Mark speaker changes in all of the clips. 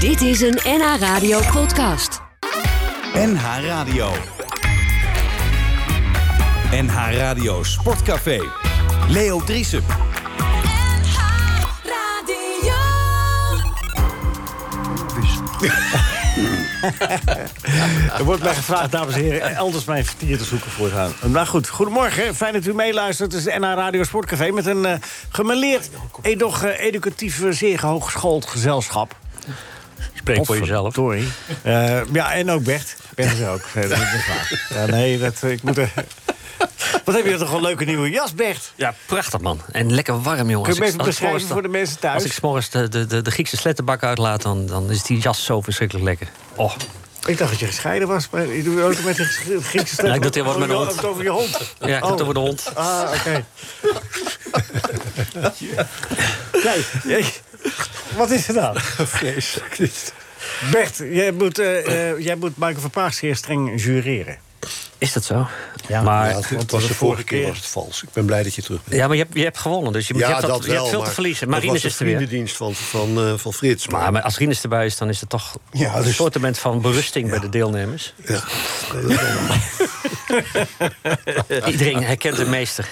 Speaker 1: Dit is een NH Radio podcast.
Speaker 2: NH Radio. NH Radio Sportcafé. Leo Driessen.
Speaker 3: Radio.
Speaker 4: Er wordt mij gevraagd, dames en heren, elders mijn vertier te zoeken voortaan. Maar goed, goedemorgen. Fijn dat u meeluistert. Het is NH Radio Sportcafé met een eh gemeleerd, edoch eh, educatief, eh, zeer hooggeschoold gezelschap.
Speaker 5: Spreek voor jezelf.
Speaker 4: Sorry. Eh, ja, en ook Bert. Bert is er ook. Eh, dat is waar. Ja, nee, dat, eh, ik moet... eh, Wat heb je toch een leuke nieuwe jas, Bert?
Speaker 5: Ja, prachtig man. En lekker warm, jongens.
Speaker 4: Kun je hem even beschrijven
Speaker 5: s'morgens-
Speaker 4: voor de mensen thuis?
Speaker 5: Als ik s'morgens de, de, de, de Griekse slettenbak uitlaat, dan, dan is die jas zo verschrikkelijk lekker. Oh,
Speaker 4: Ik dacht dat je gescheiden was, maar je doet ook met de Griekse stem.
Speaker 5: Ja, ik dacht, dit wordt mijn hond.
Speaker 4: Het over je hond.
Speaker 5: ja, ik heb
Speaker 4: Oh.
Speaker 5: het over de hond.
Speaker 4: Ah, oké. Kijk, jij- wat is er nou? Bert, jij moet, eh, eh, jij moet Michael van Paas zeer streng jureren.
Speaker 5: Is dat zo?
Speaker 4: Ja.
Speaker 5: maar,
Speaker 6: Ja, het was de vorige, keer was het vals. Ik ben blij dat je terug bent.
Speaker 5: ja, maar je hebt, je hebt gewonnen, dus je, moet- je hebt, dat, je hebt veel te
Speaker 6: maar
Speaker 5: verliezen.
Speaker 6: dat
Speaker 5: Marinus
Speaker 6: was
Speaker 5: is
Speaker 6: de
Speaker 5: er weer.
Speaker 6: vriendendienst van, van, eh, van Frits.
Speaker 5: Maar maar als Rinus erbij is, dan is er toch
Speaker 6: Ja,
Speaker 5: een
Speaker 6: dus-
Speaker 5: soortement van berusting bij de deelnemers.
Speaker 6: Ja, dat is wel-
Speaker 5: Iedereen herkent de meester.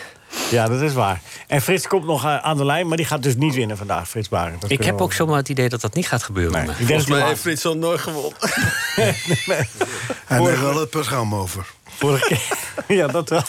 Speaker 4: Ja, dat is waar. En Frits komt nog eh, aan de lijn, maar die gaat dus niet winnen vandaag, Frits Baren. Dat
Speaker 5: Ik
Speaker 4: kunnen
Speaker 5: heb
Speaker 4: we
Speaker 5: ook
Speaker 4: wel-
Speaker 5: zomaar het idee dat dat niet gaat gebeuren.
Speaker 4: Nee, ik denk dat hij laat.
Speaker 6: Frits al nooit gewonnen.
Speaker 7: Hij neemt wel het programma over.
Speaker 4: Vorige keer. Ja, dat wel.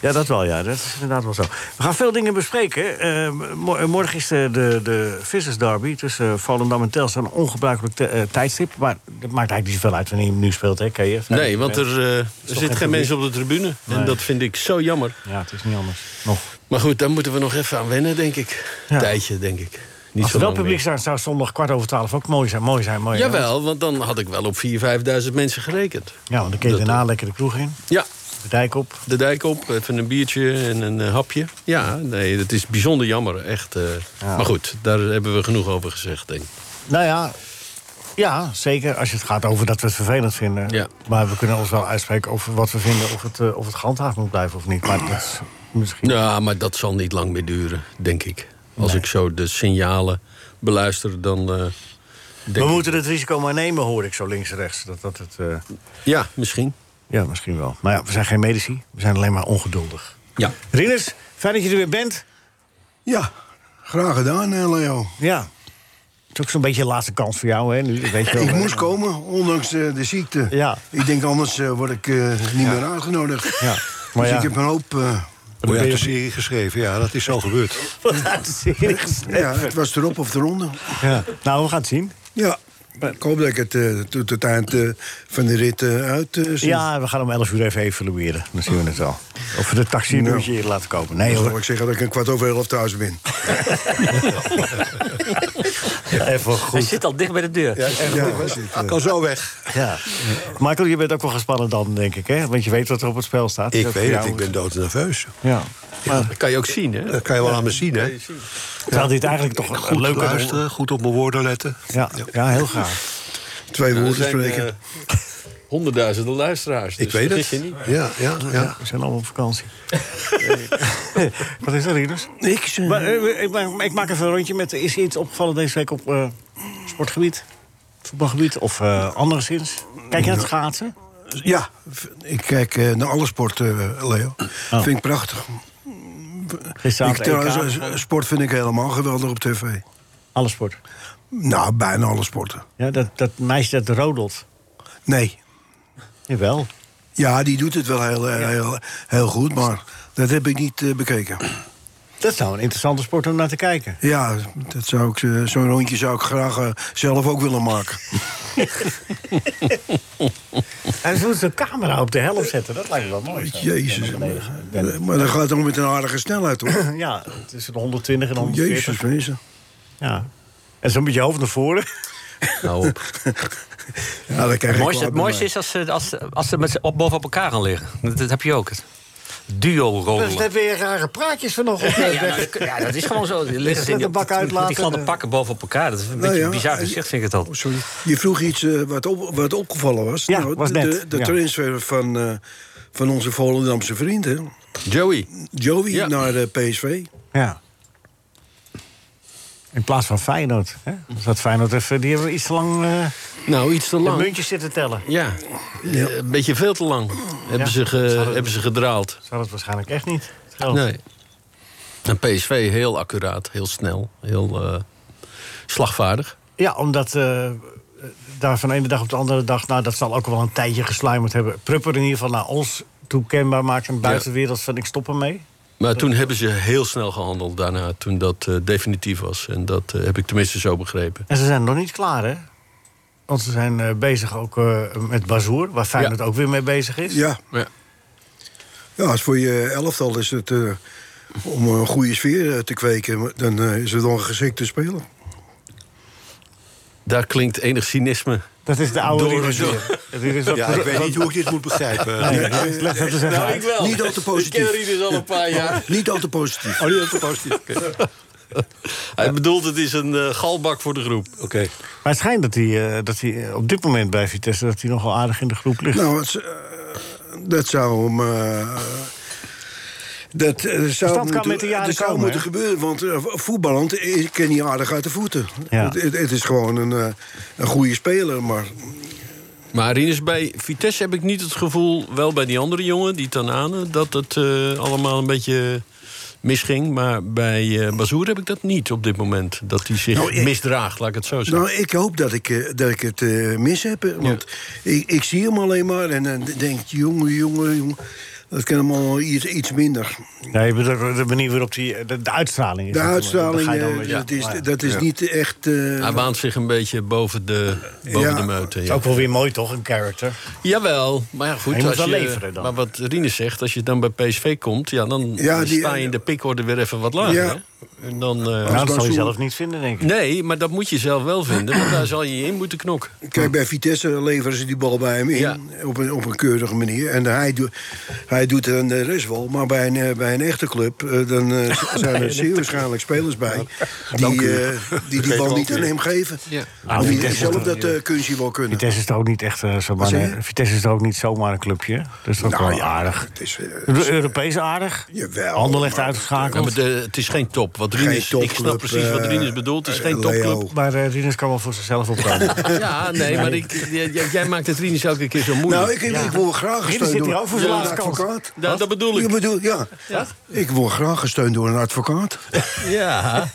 Speaker 4: Ja, dat wel, ja. Dat is inderdaad wel zo. We gaan veel dingen bespreken. Eh, mo- eh, morgen is de, de, de vissersderby tussen eh, Volendam en Telstra. Een ongebruikelijk te- eh, tijdstip. Maar dat maakt eigenlijk niet zoveel uit wanneer je hem nu speelt, hè, KF?
Speaker 8: Nee, want er, eh, er zitten
Speaker 4: publiek?
Speaker 8: geen mensen op de tribune. En dat vind ik zo jammer.
Speaker 4: Ja, het is niet anders. Nog.
Speaker 8: Maar goed, daar moeten we nog even aan wennen, denk ik.
Speaker 4: Ja.
Speaker 8: Tijdje, denk ik. Niet
Speaker 4: Als
Speaker 8: zo
Speaker 4: er wel
Speaker 8: lang
Speaker 4: publiek
Speaker 8: meer.
Speaker 4: zou, zou zondag kwart over twaalf ook mooi zijn. Mooi zijn, mooi zijn.
Speaker 8: Jawel, want dan had ik wel op 4.000, 5.000 mensen gerekend.
Speaker 4: Ja, want dan kun je
Speaker 8: Dat-
Speaker 4: daarna lekker de kroeg in.
Speaker 8: Ja,
Speaker 4: De dijk op.
Speaker 8: de dijk op, even een biertje en een eh, hapje. Ja, nee, dat is bijzonder jammer, echt. eh.
Speaker 4: Ja.
Speaker 8: Maar goed, daar hebben we genoeg over gezegd, denk ik.
Speaker 4: Nou ja, ja, zeker. Als je het gaat over dat we het vervelend vinden.
Speaker 8: Ja.
Speaker 4: Maar we kunnen ons wel uitspreken over wat we vinden... of het, eh, of het gehandhaafd moet blijven of niet. Maar dat is misschien...
Speaker 8: Ja, maar dat zal niet lang meer duren, denk ik. Als ik zo de signalen beluister, dan... eh,
Speaker 4: we
Speaker 8: denk ik-
Speaker 4: moeten het risico maar nemen, hoor ik zo links en rechts. Dat, dat het, eh,
Speaker 8: Ja, misschien.
Speaker 4: ja, misschien wel. Maar ja, we zijn geen medici. We zijn alleen maar ongeduldig.
Speaker 8: Ja.
Speaker 4: Rinus, fijn dat je er weer bent.
Speaker 7: Ja, graag gedaan, eh, Leo.
Speaker 4: Ja. Het is ook zo'n beetje de laatste kans voor jou, hè? Nu, weet je wel.
Speaker 7: Ik moest komen, ondanks eh, de ziekte.
Speaker 4: Ja.
Speaker 7: Ik denk, anders eh, word ik eh, niet meer uitgenodigd.
Speaker 4: Ja, maar
Speaker 7: dus
Speaker 4: ja.
Speaker 7: ik heb een hoop... eh,
Speaker 6: Mooi uit de serie geschreven, ja, dat is al gebeurd.
Speaker 4: Wat uit de serie gesneden.
Speaker 7: ja, het was erop of eronder.
Speaker 4: Ja. Nou, we gaan het zien.
Speaker 7: Ja, ik hoop dat ik het eh, tot het eind eh, van de rit eh, uit eh, zie.
Speaker 4: Ja, we gaan om 11 uur even evalueren. Dan zien we het wel. Of we de taxi een
Speaker 7: Nou.
Speaker 4: uurtje hier laten komen. Nee
Speaker 7: Dan
Speaker 4: hoor.
Speaker 7: zal ik zeggen dat ik een kwart over elf thuis ben.
Speaker 4: Even
Speaker 5: Hij
Speaker 4: goed.
Speaker 5: zit al dicht bij de deur.
Speaker 7: Ja, was het, eh.
Speaker 6: Ik kan zo weg.
Speaker 4: Ja. Michael, je bent ook wel gespannen dan, denk ik, hè? Want je weet wat er op het spel staat.
Speaker 6: Ik
Speaker 4: Dat
Speaker 6: weet het,
Speaker 4: jou-
Speaker 6: ik ben doodnerveus.
Speaker 4: Ja.
Speaker 8: Dat kan je ook zien, hè?
Speaker 6: Dat kan je wel aan me zien, hè?
Speaker 4: Terwijl dit eigenlijk toch een
Speaker 6: Goed
Speaker 4: leuke...
Speaker 6: luisteren, goed op mijn woorden letten.
Speaker 4: Ja, ja, heel graag.
Speaker 7: Twee
Speaker 8: Nou, Er
Speaker 7: woorden
Speaker 8: zijn
Speaker 7: spreken.
Speaker 8: eh, honderdduizenden luisteraars.
Speaker 6: Ik
Speaker 8: dus
Speaker 6: weet
Speaker 8: vergis
Speaker 6: het.
Speaker 8: je niet.
Speaker 6: Ja, ja, ja.
Speaker 4: We zijn allemaal op vakantie. wat is er, Rinus?
Speaker 6: Niks. eh,
Speaker 4: Maar, eh, ik, maak- ik maak even een rondje met... Is je iets opgevallen deze week op eh, sportgebied? Voetbalgebied? Of eh anderszins? Kijk je naar het schaatsen?
Speaker 7: Ja, v- ik kijk eh, naar alle sporten, eh, Leo.
Speaker 4: Oh.
Speaker 7: Vind ik prachtig. Ik,
Speaker 4: Gisteravond
Speaker 7: trouwens,
Speaker 4: EK.
Speaker 7: eh, sport vind ik helemaal geweldig op tv.
Speaker 4: Alle sport.
Speaker 7: Nou, bijna alle sporten.
Speaker 4: Ja, dat, dat meisje dat rodelt.
Speaker 7: Nee.
Speaker 4: Jawel.
Speaker 7: Ja, die doet het wel heel, eh, heel, heel goed, maar dat heb ik niet eh, bekeken.
Speaker 4: Dat zou een interessante sport om naar te kijken.
Speaker 7: Ja, dat zou ik, eh, zo'n rondje zou ik graag eh, zelf ook willen maken.
Speaker 4: En ze moeten de camera op de helft zetten. Dat lijkt me wel mooi. zo.
Speaker 7: Jezus. Maar, Eh, maar dat gaat toch met een aardige snelheid, hoor.
Speaker 4: Ja, tussen de 120 en 140.
Speaker 7: Jezus, mensen.
Speaker 4: Ja. En zo met je hoofd naar voren.
Speaker 8: Nou, op.
Speaker 7: Ja, dat krijg
Speaker 5: Het mooiste,
Speaker 7: ik wel
Speaker 5: het
Speaker 7: bij
Speaker 5: mooiste
Speaker 7: mij.
Speaker 5: is als ze, als, ze- als ze met z'n op, boven op elkaar gaan liggen. Dat, dat heb je ook. Het Duo rollen.
Speaker 4: weer rare praatjes vanochtend.
Speaker 5: Ja, maar dat- ja, dat is gewoon zo. Die liggen
Speaker 4: Is
Speaker 5: ze
Speaker 4: dat
Speaker 5: in die,
Speaker 4: een bak
Speaker 5: met
Speaker 4: uitlaten?
Speaker 5: die gladde pakken boven op elkaar. Dat is een beetje
Speaker 7: ja,
Speaker 5: bizar
Speaker 7: eh,
Speaker 5: gezicht, vind ik het al.
Speaker 7: Oh, sorry. Je vroeg iets eh, wat, op, wat opgevallen was. Nou,
Speaker 4: Ja, was
Speaker 7: de,
Speaker 4: net,
Speaker 7: de, de
Speaker 4: ja.
Speaker 7: transfer van, eh, van onze Volendamse vriend, hè?
Speaker 8: Joey.
Speaker 7: Joey, eh,
Speaker 8: Ja.
Speaker 7: naar de PSV.
Speaker 4: Ja. In plaats van Feyenoord. Hè? Dus dat Feyenoord even, die hebben we iets te lang eh,
Speaker 8: Nou, iets te
Speaker 4: de
Speaker 8: lang.
Speaker 4: muntjes zitten tellen.
Speaker 8: Ja, Eh, een beetje veel te lang hebben,
Speaker 4: Ja.
Speaker 8: ze, ge-
Speaker 4: Zouden-
Speaker 8: hebben ze gedraald.
Speaker 4: Zou dat waarschijnlijk echt niet. Het geld.
Speaker 8: Nee. En PSV heel accuraat, heel snel, heel eh, slagvaardig.
Speaker 4: Ja, omdat eh, daar van de ene dag op de andere dag... nou, dat zal ook wel een tijdje gesluimerd hebben. Prupper in ieder geval naar ons toe kenbaar maakt... aan de
Speaker 8: Ja.
Speaker 4: buitenwereld van ik stop ermee.
Speaker 8: Maar toen hebben ze heel snel gehandeld daarna, toen dat eh, definitief was. En dat eh, heb ik tenminste zo begrepen.
Speaker 4: En ze zijn nog niet klaar, hè? Want ze zijn eh, bezig ook eh, met Bazoer, waar Feyenoord ook weer mee bezig is.
Speaker 7: Ja,
Speaker 8: Ja.
Speaker 7: ja, als voor je elftal is het... eh, om een goede sfeer eh, te kweken, dan eh, is het wel een geschikte speler.
Speaker 8: Daar klinkt enig cynisme.
Speaker 4: Dat is de oude
Speaker 8: Door-
Speaker 4: Rieders
Speaker 8: door-
Speaker 4: weer. Dat is ook-
Speaker 6: Ja, ik weet niet hoe ik dit moet begrijpen. Nee,
Speaker 4: Leg dat eens even uit.
Speaker 8: Nou, wel.
Speaker 7: eh. Niet al te positief. Nou, Ik ken
Speaker 8: Rieders al een paar jaar.
Speaker 7: Niet al te positief.
Speaker 8: Oh, die was positief. Hij bedoelt, het is een eh, galbak voor de groep.
Speaker 6: Oké.
Speaker 4: Maar het schijnt dat hij, eh, dat hij eh, op dit moment bij Vitesse... dat hij nogal aardig in de groep ligt.
Speaker 7: Nou, het, is, eh, dat zou hem. eh, dat eh, zou,
Speaker 4: kan
Speaker 7: moeten,
Speaker 4: met de jaren
Speaker 7: dat zou
Speaker 4: komen,
Speaker 7: moeten
Speaker 4: hè?
Speaker 7: gebeuren, want eh, voetballend ik ken niet aardig uit de voeten.
Speaker 4: Ja.
Speaker 7: Het, het- het is gewoon een, eh, een goede speler, maar
Speaker 8: Maar Rinus, bij Vitesse heb ik niet het gevoel... wel bij die andere jongen, die Tanane... dat het eh, allemaal een beetje misging. Maar bij eh Bazoer heb ik dat niet op dit moment. Dat hij zich
Speaker 7: Nou, ik-
Speaker 8: misdraagt, laat ik het Oh, zo zeggen.
Speaker 7: Nou, ik hoop dat ik, eh, dat ik het eh, mis heb. eh, Want ik, ik zie hem alleen maar en dan denk ik, jongen, jongen, jongen. Dat kan hem al iets, iets minder.
Speaker 4: Nee, je bedoelt de manier waarop die, eh, de, de uitstraling is.
Speaker 7: De uitstraling,
Speaker 4: Daar ga je dan
Speaker 7: eh,
Speaker 4: mee-
Speaker 7: dat is,
Speaker 4: Maar ja.
Speaker 7: dat is niet echt... eh,
Speaker 8: Hij waant zich een beetje boven de, boven
Speaker 7: Ja.
Speaker 8: de meute.
Speaker 4: is
Speaker 8: ja.
Speaker 4: ook wel weer mooi, toch? Een character.
Speaker 8: Jawel, maar ja, goed.
Speaker 4: Hij moet
Speaker 8: als
Speaker 4: wel
Speaker 8: je,
Speaker 4: leveren dan.
Speaker 8: Maar wat Rinus zegt, als je dan bij PSV komt... Ja, dan
Speaker 7: Ja, die-
Speaker 8: sta je in de pikorde weer even wat lager.
Speaker 7: Ja.
Speaker 8: hè? En dan, eh,
Speaker 4: Nou, dat zal je
Speaker 7: Bazoer-
Speaker 4: zelf niet vinden, denk ik.
Speaker 8: Nee, maar dat moet je zelf wel vinden, want daar zal je je in moeten knokken.
Speaker 7: Kijk, bij Vitesse leveren ze die bal bij hem in.
Speaker 8: Ja.
Speaker 7: Op, een, op een keurige manier. En hij, doet hij doet het aan de rest wel. Maar bij een, eh, bij een echte club eh, dan, eh, zijn er zeer waarschijnlijk spelers bij... die eh, die, die bal niet aan hem geven.
Speaker 8: Ja.
Speaker 4: Ah,
Speaker 7: Of die
Speaker 4: Vitesse
Speaker 7: zelf
Speaker 4: moet-
Speaker 7: dat eh kunstje wel kunnen.
Speaker 4: Vitesse is toch ook niet echt eh, zomaar.
Speaker 7: zeg je?
Speaker 4: een- Vitesse is toch ook niet zomaar een clubje. Dat is toch
Speaker 8: Nou
Speaker 4: wel aardig.
Speaker 7: Het is, eh,
Speaker 4: De Europees aardig.
Speaker 7: Jawel,
Speaker 4: Anderlecht
Speaker 7: maar-
Speaker 8: Ja,
Speaker 4: uitgeschakeld.
Speaker 8: maar de- het is geen top. Wat Rinus,
Speaker 7: Geen
Speaker 8: ik snap
Speaker 7: topclub,
Speaker 8: precies wat
Speaker 7: eh,
Speaker 8: Rinus bedoelt. Het is geen
Speaker 7: eh, Leo.
Speaker 8: topclub.
Speaker 4: maar eh Rinus kan wel voor zichzelf opkomen.
Speaker 8: Ja, nee, maar ik, j- j- jij maakt het Rinus elke keer zo moeilijk.
Speaker 7: Nou, ik, ik wil graag
Speaker 4: Hier
Speaker 7: gesteund
Speaker 4: zit
Speaker 7: door
Speaker 4: hij ook voor zijn laatste kans.
Speaker 7: advocaat.
Speaker 8: Ja, dat bedoel
Speaker 7: Ik
Speaker 8: ik.
Speaker 7: bedoel, ja.
Speaker 8: Ja.
Speaker 7: Ik word graag gesteund door een advocaat.
Speaker 8: Ja.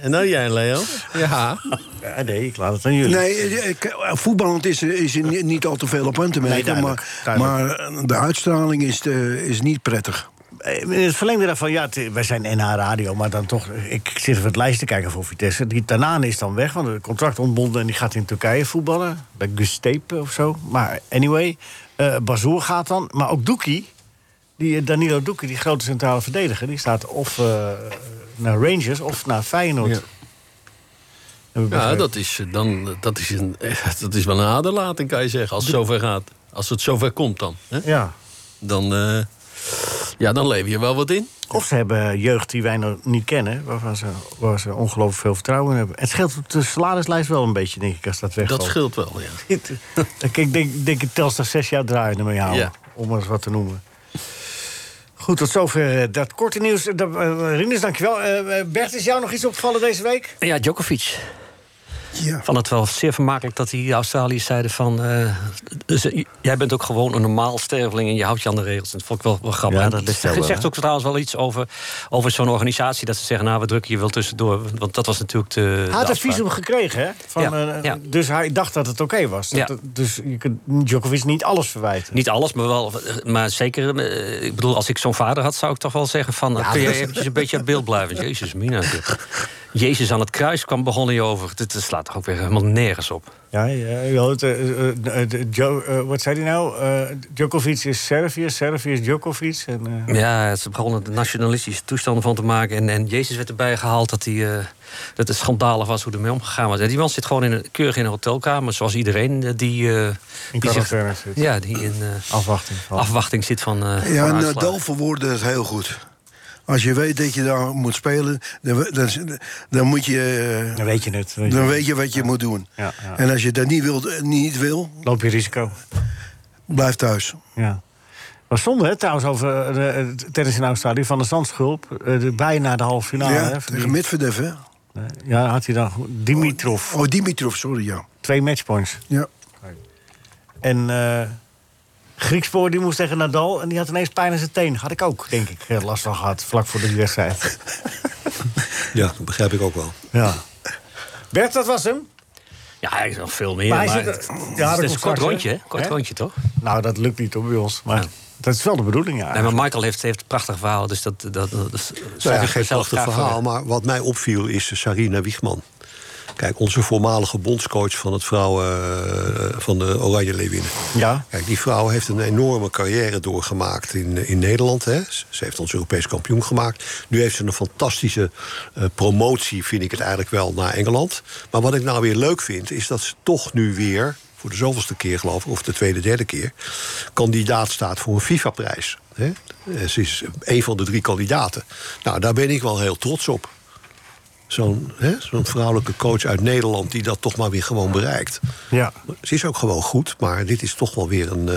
Speaker 8: En nou jij, Leo. Ja.
Speaker 4: Ja, nee, ik laat het aan jullie.
Speaker 7: Nee, eh, ik- eh, voetballend is, er- is er ni- niet al te veel op aan te merken.
Speaker 4: duidelijk,
Speaker 7: maar,
Speaker 4: duidelijk.
Speaker 7: maar eh, de uitstraling is, te- is niet prettig.
Speaker 4: Eh, In het verlengde daarvan, ja, het- wij zijn NH Radio, maar dan toch... eh, Ik zit even het lijst te kijken voor Vitesse. Die Tanane is dan weg, want het contract ontbonden... en die gaat in Turkije voetballen, bij Gustepe of zo. Maar anyway, eh Bazoer gaat dan. Maar ook Doekie, die eh, Danilo Doekie, die grote centrale verdediger... die staat of eh, naar Rangers of naar Feyenoord. Heb ik
Speaker 8: Ja,
Speaker 4: begrepen.
Speaker 8: dat is, eh, dan, dat, is een, dat is wel een aderlating, kan je zeggen. Als het zover gaat. Als het zover komt dan. Hè?
Speaker 4: Ja.
Speaker 8: Dan, eh, ja, dan lever je wel wat in.
Speaker 4: Of ze hebben jeugd die wij nog niet kennen, waarvan ze, waar ze ongelooflijk veel vertrouwen in hebben. Het scheelt op de salarislijst wel een beetje, denk ik, als dat wegvalt.
Speaker 8: Dat scheelt wel, ja.
Speaker 4: Dit- Ik denk, denk, denk ik Telstar zes jaar draaiende mee houden.
Speaker 8: Ja.
Speaker 4: Om maar eens wat te noemen. Goed, tot zover eh, dat korte nieuws. Eh, Dat, eh, Rinus, dankjewel. Eh, eh, Bert, is jou nog iets opgevallen deze week?
Speaker 5: Ja, Djokovic.
Speaker 7: Ja.
Speaker 5: Ik vond het wel zeer vermakelijk dat die Australiërs zeiden van... eh, dus, eh, jij bent ook gewoon een normaal sterveling en je houdt je aan de regels. En dat vond ik wel, wel grappig.
Speaker 4: Ja,
Speaker 5: En
Speaker 4: dat
Speaker 5: het
Speaker 4: is wel wel,
Speaker 5: zegt
Speaker 4: hè?
Speaker 5: ook trouwens wel iets over, over zo'n organisatie... dat ze zeggen, nou, we drukken je wel tussendoor. Want dat was natuurlijk de de
Speaker 4: Hij had een
Speaker 5: afspraak.
Speaker 4: visum gekregen, hè? Van,
Speaker 5: Ja,
Speaker 4: eh,
Speaker 5: ja.
Speaker 4: Dus hij dacht dat het oké was. Dat-
Speaker 5: Ja.
Speaker 4: dat- dus je kunt Djokovic niet alles verwijten.
Speaker 5: Niet alles, maar, wel, maar zeker... eh, Ik bedoel, als ik zo'n vader had, zou ik toch wel zeggen van... kun jij eventjes een beetje uit beeld blijven? Jezus, mina. zeg. Jezus aan het kruis kwam begonnen je over. Dit dit slaat toch ook weer helemaal nergens op.
Speaker 4: Ja, ja je hoort, eh, eh, eh, eh, Djo- eh, wat zei hij nou? Eh, Djokovic is Servië, Servië is Djokovic. En, eh,
Speaker 5: Ja, ze begonnen er nationalistische toestanden van te maken. En, en Jezus werd erbij gehaald dat, hij, eh, dat het schandalig was hoe ermee omgegaan was. En die man zit gewoon in een, keurig in een hotelkamer, zoals iedereen eh, die... eh,
Speaker 4: in
Speaker 5: die zich-
Speaker 4: quarantaine zit.
Speaker 5: ja, die in eh,
Speaker 4: Afwachting. van.
Speaker 5: afwachting zit van. eh
Speaker 7: Ja, nou,
Speaker 5: van
Speaker 7: Nadal
Speaker 5: uitslagen.
Speaker 7: verwoordde het heel goed. Als je weet dat je daar moet spelen, dan, dan, dan moet je... eh,
Speaker 4: Dan weet je het. Dan
Speaker 7: Dan weet je wat je moet doen.
Speaker 4: Ja, ja.
Speaker 7: En als je dat niet wil, niet wil
Speaker 4: Loop je risico.
Speaker 7: blijf thuis.
Speaker 4: Ja. Was zonde, hè, trouwens, over eh, de- het tennis in Australië. Van de Zandschulp, eh, de, bijna de halve finale.
Speaker 7: ja,
Speaker 4: hè, van die-
Speaker 7: tegen Medvedev, hè?
Speaker 4: Nee, Ja, had hij dan goed- Dimitrov.
Speaker 7: Oh, Dimitrov, sorry, ja.
Speaker 4: Twee matchpoints.
Speaker 7: ja.
Speaker 4: En eh Griekspoor die moest tegen Nadal. En die had ineens pijn in zijn teen. Had ik ook, denk ik, eh, last van gehad. Vlak voor de wedstrijd.
Speaker 6: Ja, dat begrijp ik ook wel.
Speaker 4: ja. Bert, dat was hem.
Speaker 5: Ja, er is nog veel meer.
Speaker 4: Maar
Speaker 5: Maar
Speaker 4: hij zit-
Speaker 5: het,
Speaker 4: ja,
Speaker 5: het
Speaker 4: dat
Speaker 5: is
Speaker 4: komt
Speaker 5: een kort
Speaker 4: straks, hè?
Speaker 5: rondje, hè? Kort
Speaker 4: Hè?
Speaker 5: rondje, toch?
Speaker 4: Nou, dat lukt niet hoor, bij ons. Maar dat is wel de bedoeling, ja.
Speaker 5: Nee, maar Michael heeft, heeft prachtig verhaal, dus dat... dat, dat, dat is-
Speaker 6: Nou ja,
Speaker 5: ik
Speaker 6: geen
Speaker 5: mezelf
Speaker 6: prachtig
Speaker 5: graag voor
Speaker 6: verhaal, maar wat mij opviel is Sarina Wiegman. Kijk, onze voormalige bondscoach van het vrouwen eh, van de Oranje Leeuwinnen.
Speaker 4: Ja.
Speaker 6: Kijk, die vrouw heeft een enorme carrière doorgemaakt in, in Nederland. Hè. Ze ze heeft ons Europees kampioen gemaakt. Nu heeft ze een fantastische eh, promotie, vind ik het eigenlijk wel, naar Engeland. Maar wat ik nou weer leuk vind, is dat ze toch nu weer... voor de zoveelste keer, geloof ik, of de tweede, derde keer... kandidaat staat voor een FIFA-prijs. hè. Eh, Ze is een van de drie kandidaten. Nou, daar ben ik wel heel trots op. Zo'n hè, zo'n vrouwelijke coach uit Nederland die dat toch maar weer gewoon bereikt.
Speaker 4: Ja.
Speaker 6: Ze is ook gewoon goed, maar dit is toch wel weer een, eh,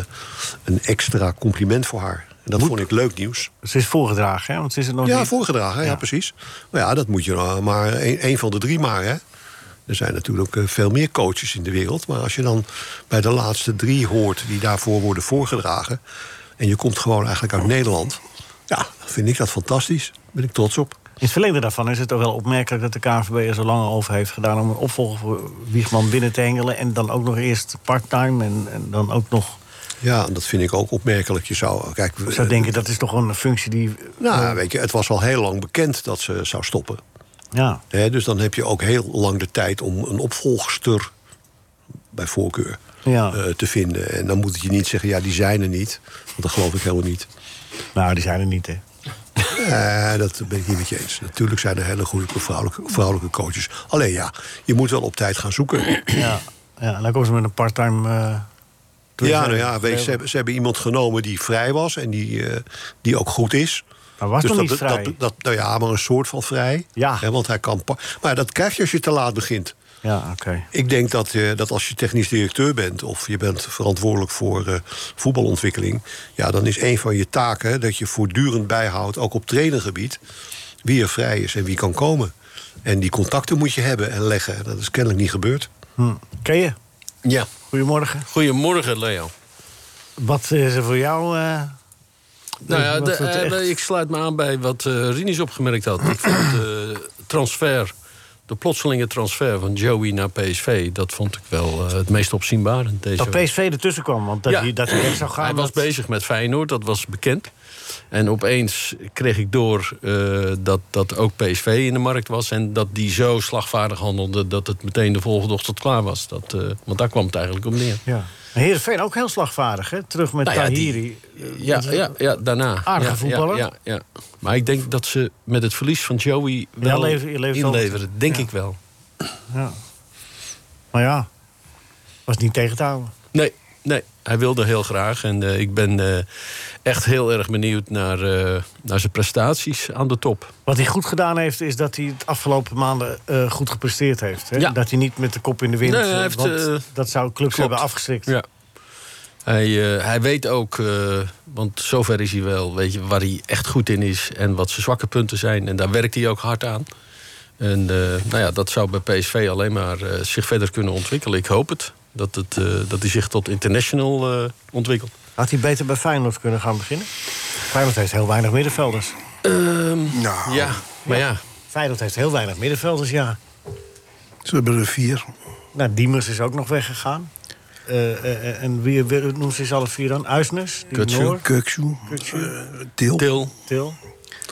Speaker 6: een extra compliment voor haar. En dat vond ik leuk nieuws.
Speaker 4: Ze is voorgedragen, hè? Want ze is er nog
Speaker 6: Ja,
Speaker 4: niet.
Speaker 6: voorgedragen, ja.
Speaker 4: Ja.
Speaker 6: precies. Maar ja, dat moet je nou maar één één van de drie maar, hè. Er zijn natuurlijk eh, veel meer coaches in de wereld. Maar als je dan bij de laatste drie hoort die daarvoor worden voorgedragen... en je komt gewoon eigenlijk uit Nederland... ja, vind ik dat fantastisch. Daar ben ik trots op.
Speaker 4: In het verlengde daarvan is het toch wel opmerkelijk dat de KNVB er zo lang over heeft gedaan om een opvolger voor Wiegman binnen te hengelen. En dan ook nog eerst part-time en, en dan ook nog.
Speaker 6: Ja, dat vind ik ook opmerkelijk. Je zou, kijk,
Speaker 4: Ik
Speaker 6: we-
Speaker 4: zou denken, dat is toch gewoon een functie die.
Speaker 6: nou, weet je, het was al heel lang bekend dat ze zou stoppen.
Speaker 4: Ja,
Speaker 6: Hè, dus dan heb je ook heel lang de tijd om een opvolgster bij voorkeur
Speaker 4: Ja.
Speaker 6: eh, te vinden. En dan moet je niet zeggen, ja, die zijn er niet. Want dat geloof ik helemaal niet.
Speaker 4: nou, die zijn er niet, hè?
Speaker 6: Eh, dat ben ik niet met je eens. Natuurlijk zijn er hele goede vrouwelijke, vrouwelijke coaches. Alleen ja, je moet wel op tijd gaan zoeken.
Speaker 4: Ja, ja en dan komen ze met een part-time. eh,
Speaker 6: ja, nou
Speaker 4: toerist-
Speaker 6: ja, weet je, ze, hebben, ze hebben iemand genomen die vrij was en die, eh, die ook goed is. Dus
Speaker 4: Maar was nog
Speaker 6: dat,
Speaker 4: niet
Speaker 6: dat-
Speaker 4: vrij.
Speaker 6: Dat, dat- nou ja, maar een soort van vrij.
Speaker 4: Ja.
Speaker 6: Hè, want hij kan. pa- Maar dat krijg je als je te laat begint.
Speaker 4: Ja, oké.
Speaker 6: Ik denk dat, eh, dat als je technisch directeur bent of je bent verantwoordelijk voor eh, voetbalontwikkeling, ja, dan is een van je taken dat je voortdurend bijhoudt, ook op trainergebied, wie er vrij is en wie kan komen. En die contacten moet je hebben en leggen. Dat is kennelijk niet gebeurd.
Speaker 4: Hm. Ken je?
Speaker 6: Ja.
Speaker 4: Goedemorgen.
Speaker 8: Goedemorgen, Leo.
Speaker 4: Wat is er voor jou? eh,
Speaker 8: Nou ja,
Speaker 4: wat-
Speaker 8: de-
Speaker 4: wat
Speaker 8: eh,
Speaker 4: echt-
Speaker 8: ik sluit me aan bij wat eh Rinus opgemerkt had. Ik vond de transfer, de plotselinge transfer van Joey naar PSV... dat vond ik wel eh, het meest opzienbarend. Deze
Speaker 4: dat PSV ertussen kwam, want dat,
Speaker 8: Ja.
Speaker 4: hij, dat hij weg zou gaan.
Speaker 8: Hij was
Speaker 4: dat-
Speaker 8: bezig met Feyenoord, dat was bekend. En opeens kreeg ik door eh, dat, dat ook PSV in de markt was... en dat die zo slagvaardig handelde dat het meteen de volgende ochtend klaar was. Dat, eh, want daar kwam het eigenlijk om neer.
Speaker 4: Ja. En Heerenveen ook heel slagvaardig, hè? Terug met
Speaker 8: Nou ja, die-
Speaker 4: Tahiri. eh,
Speaker 8: Ja, ja, ja daarna.
Speaker 4: Aardige
Speaker 8: ja,
Speaker 4: voetballer.
Speaker 8: Ja, ja, ja. Maar ik denk dat ze met het verlies van Joey wel
Speaker 4: lever- je levert
Speaker 8: inleveren.
Speaker 4: altijd.
Speaker 8: Denk
Speaker 4: Ja.
Speaker 8: ik wel.
Speaker 4: Ja. Maar ja, was niet tegen te houden.
Speaker 8: Nee, nee, hij wilde heel graag. En eh, ik ben eh, echt heel erg benieuwd naar, eh, naar zijn prestaties aan de top.
Speaker 4: Wat hij goed gedaan heeft, is dat hij het afgelopen maanden eh, goed gepresteerd heeft. Hè?
Speaker 8: Ja.
Speaker 4: Dat hij niet met de kop in de wind...
Speaker 8: Nee, hij
Speaker 4: eh,
Speaker 8: heeft,
Speaker 4: want
Speaker 8: eh,
Speaker 4: dat zou clubs
Speaker 8: klopt.
Speaker 4: hebben afgeschrikt.
Speaker 8: Ja. Hij, eh, hij weet ook, eh, want zover is hij wel, weet je, waar hij echt goed in is en wat zijn zwakke punten zijn. En daar werkt hij ook hard aan. En eh, nou ja, dat zou bij PSV alleen maar eh, zich verder kunnen ontwikkelen. Ik hoop het, dat, het, eh, dat hij zich tot international eh, ontwikkelt.
Speaker 4: Had hij beter bij Feyenoord kunnen gaan beginnen? Feyenoord heeft heel weinig middenvelders.
Speaker 7: Nou,
Speaker 8: Ehm, Ja, maar ja.
Speaker 4: Feyenoord heeft heel weinig middenvelders, ja.
Speaker 7: ze hebben er vier.
Speaker 4: Nou, Diemers is ook nog weggegaan. Eh, eh, eh, en wie, wie noemt ze eens alle vier dan? Uisnes, die
Speaker 8: Kutsu.
Speaker 4: Noor,
Speaker 7: Kuksu, eh, Til
Speaker 8: Til,
Speaker 4: Til.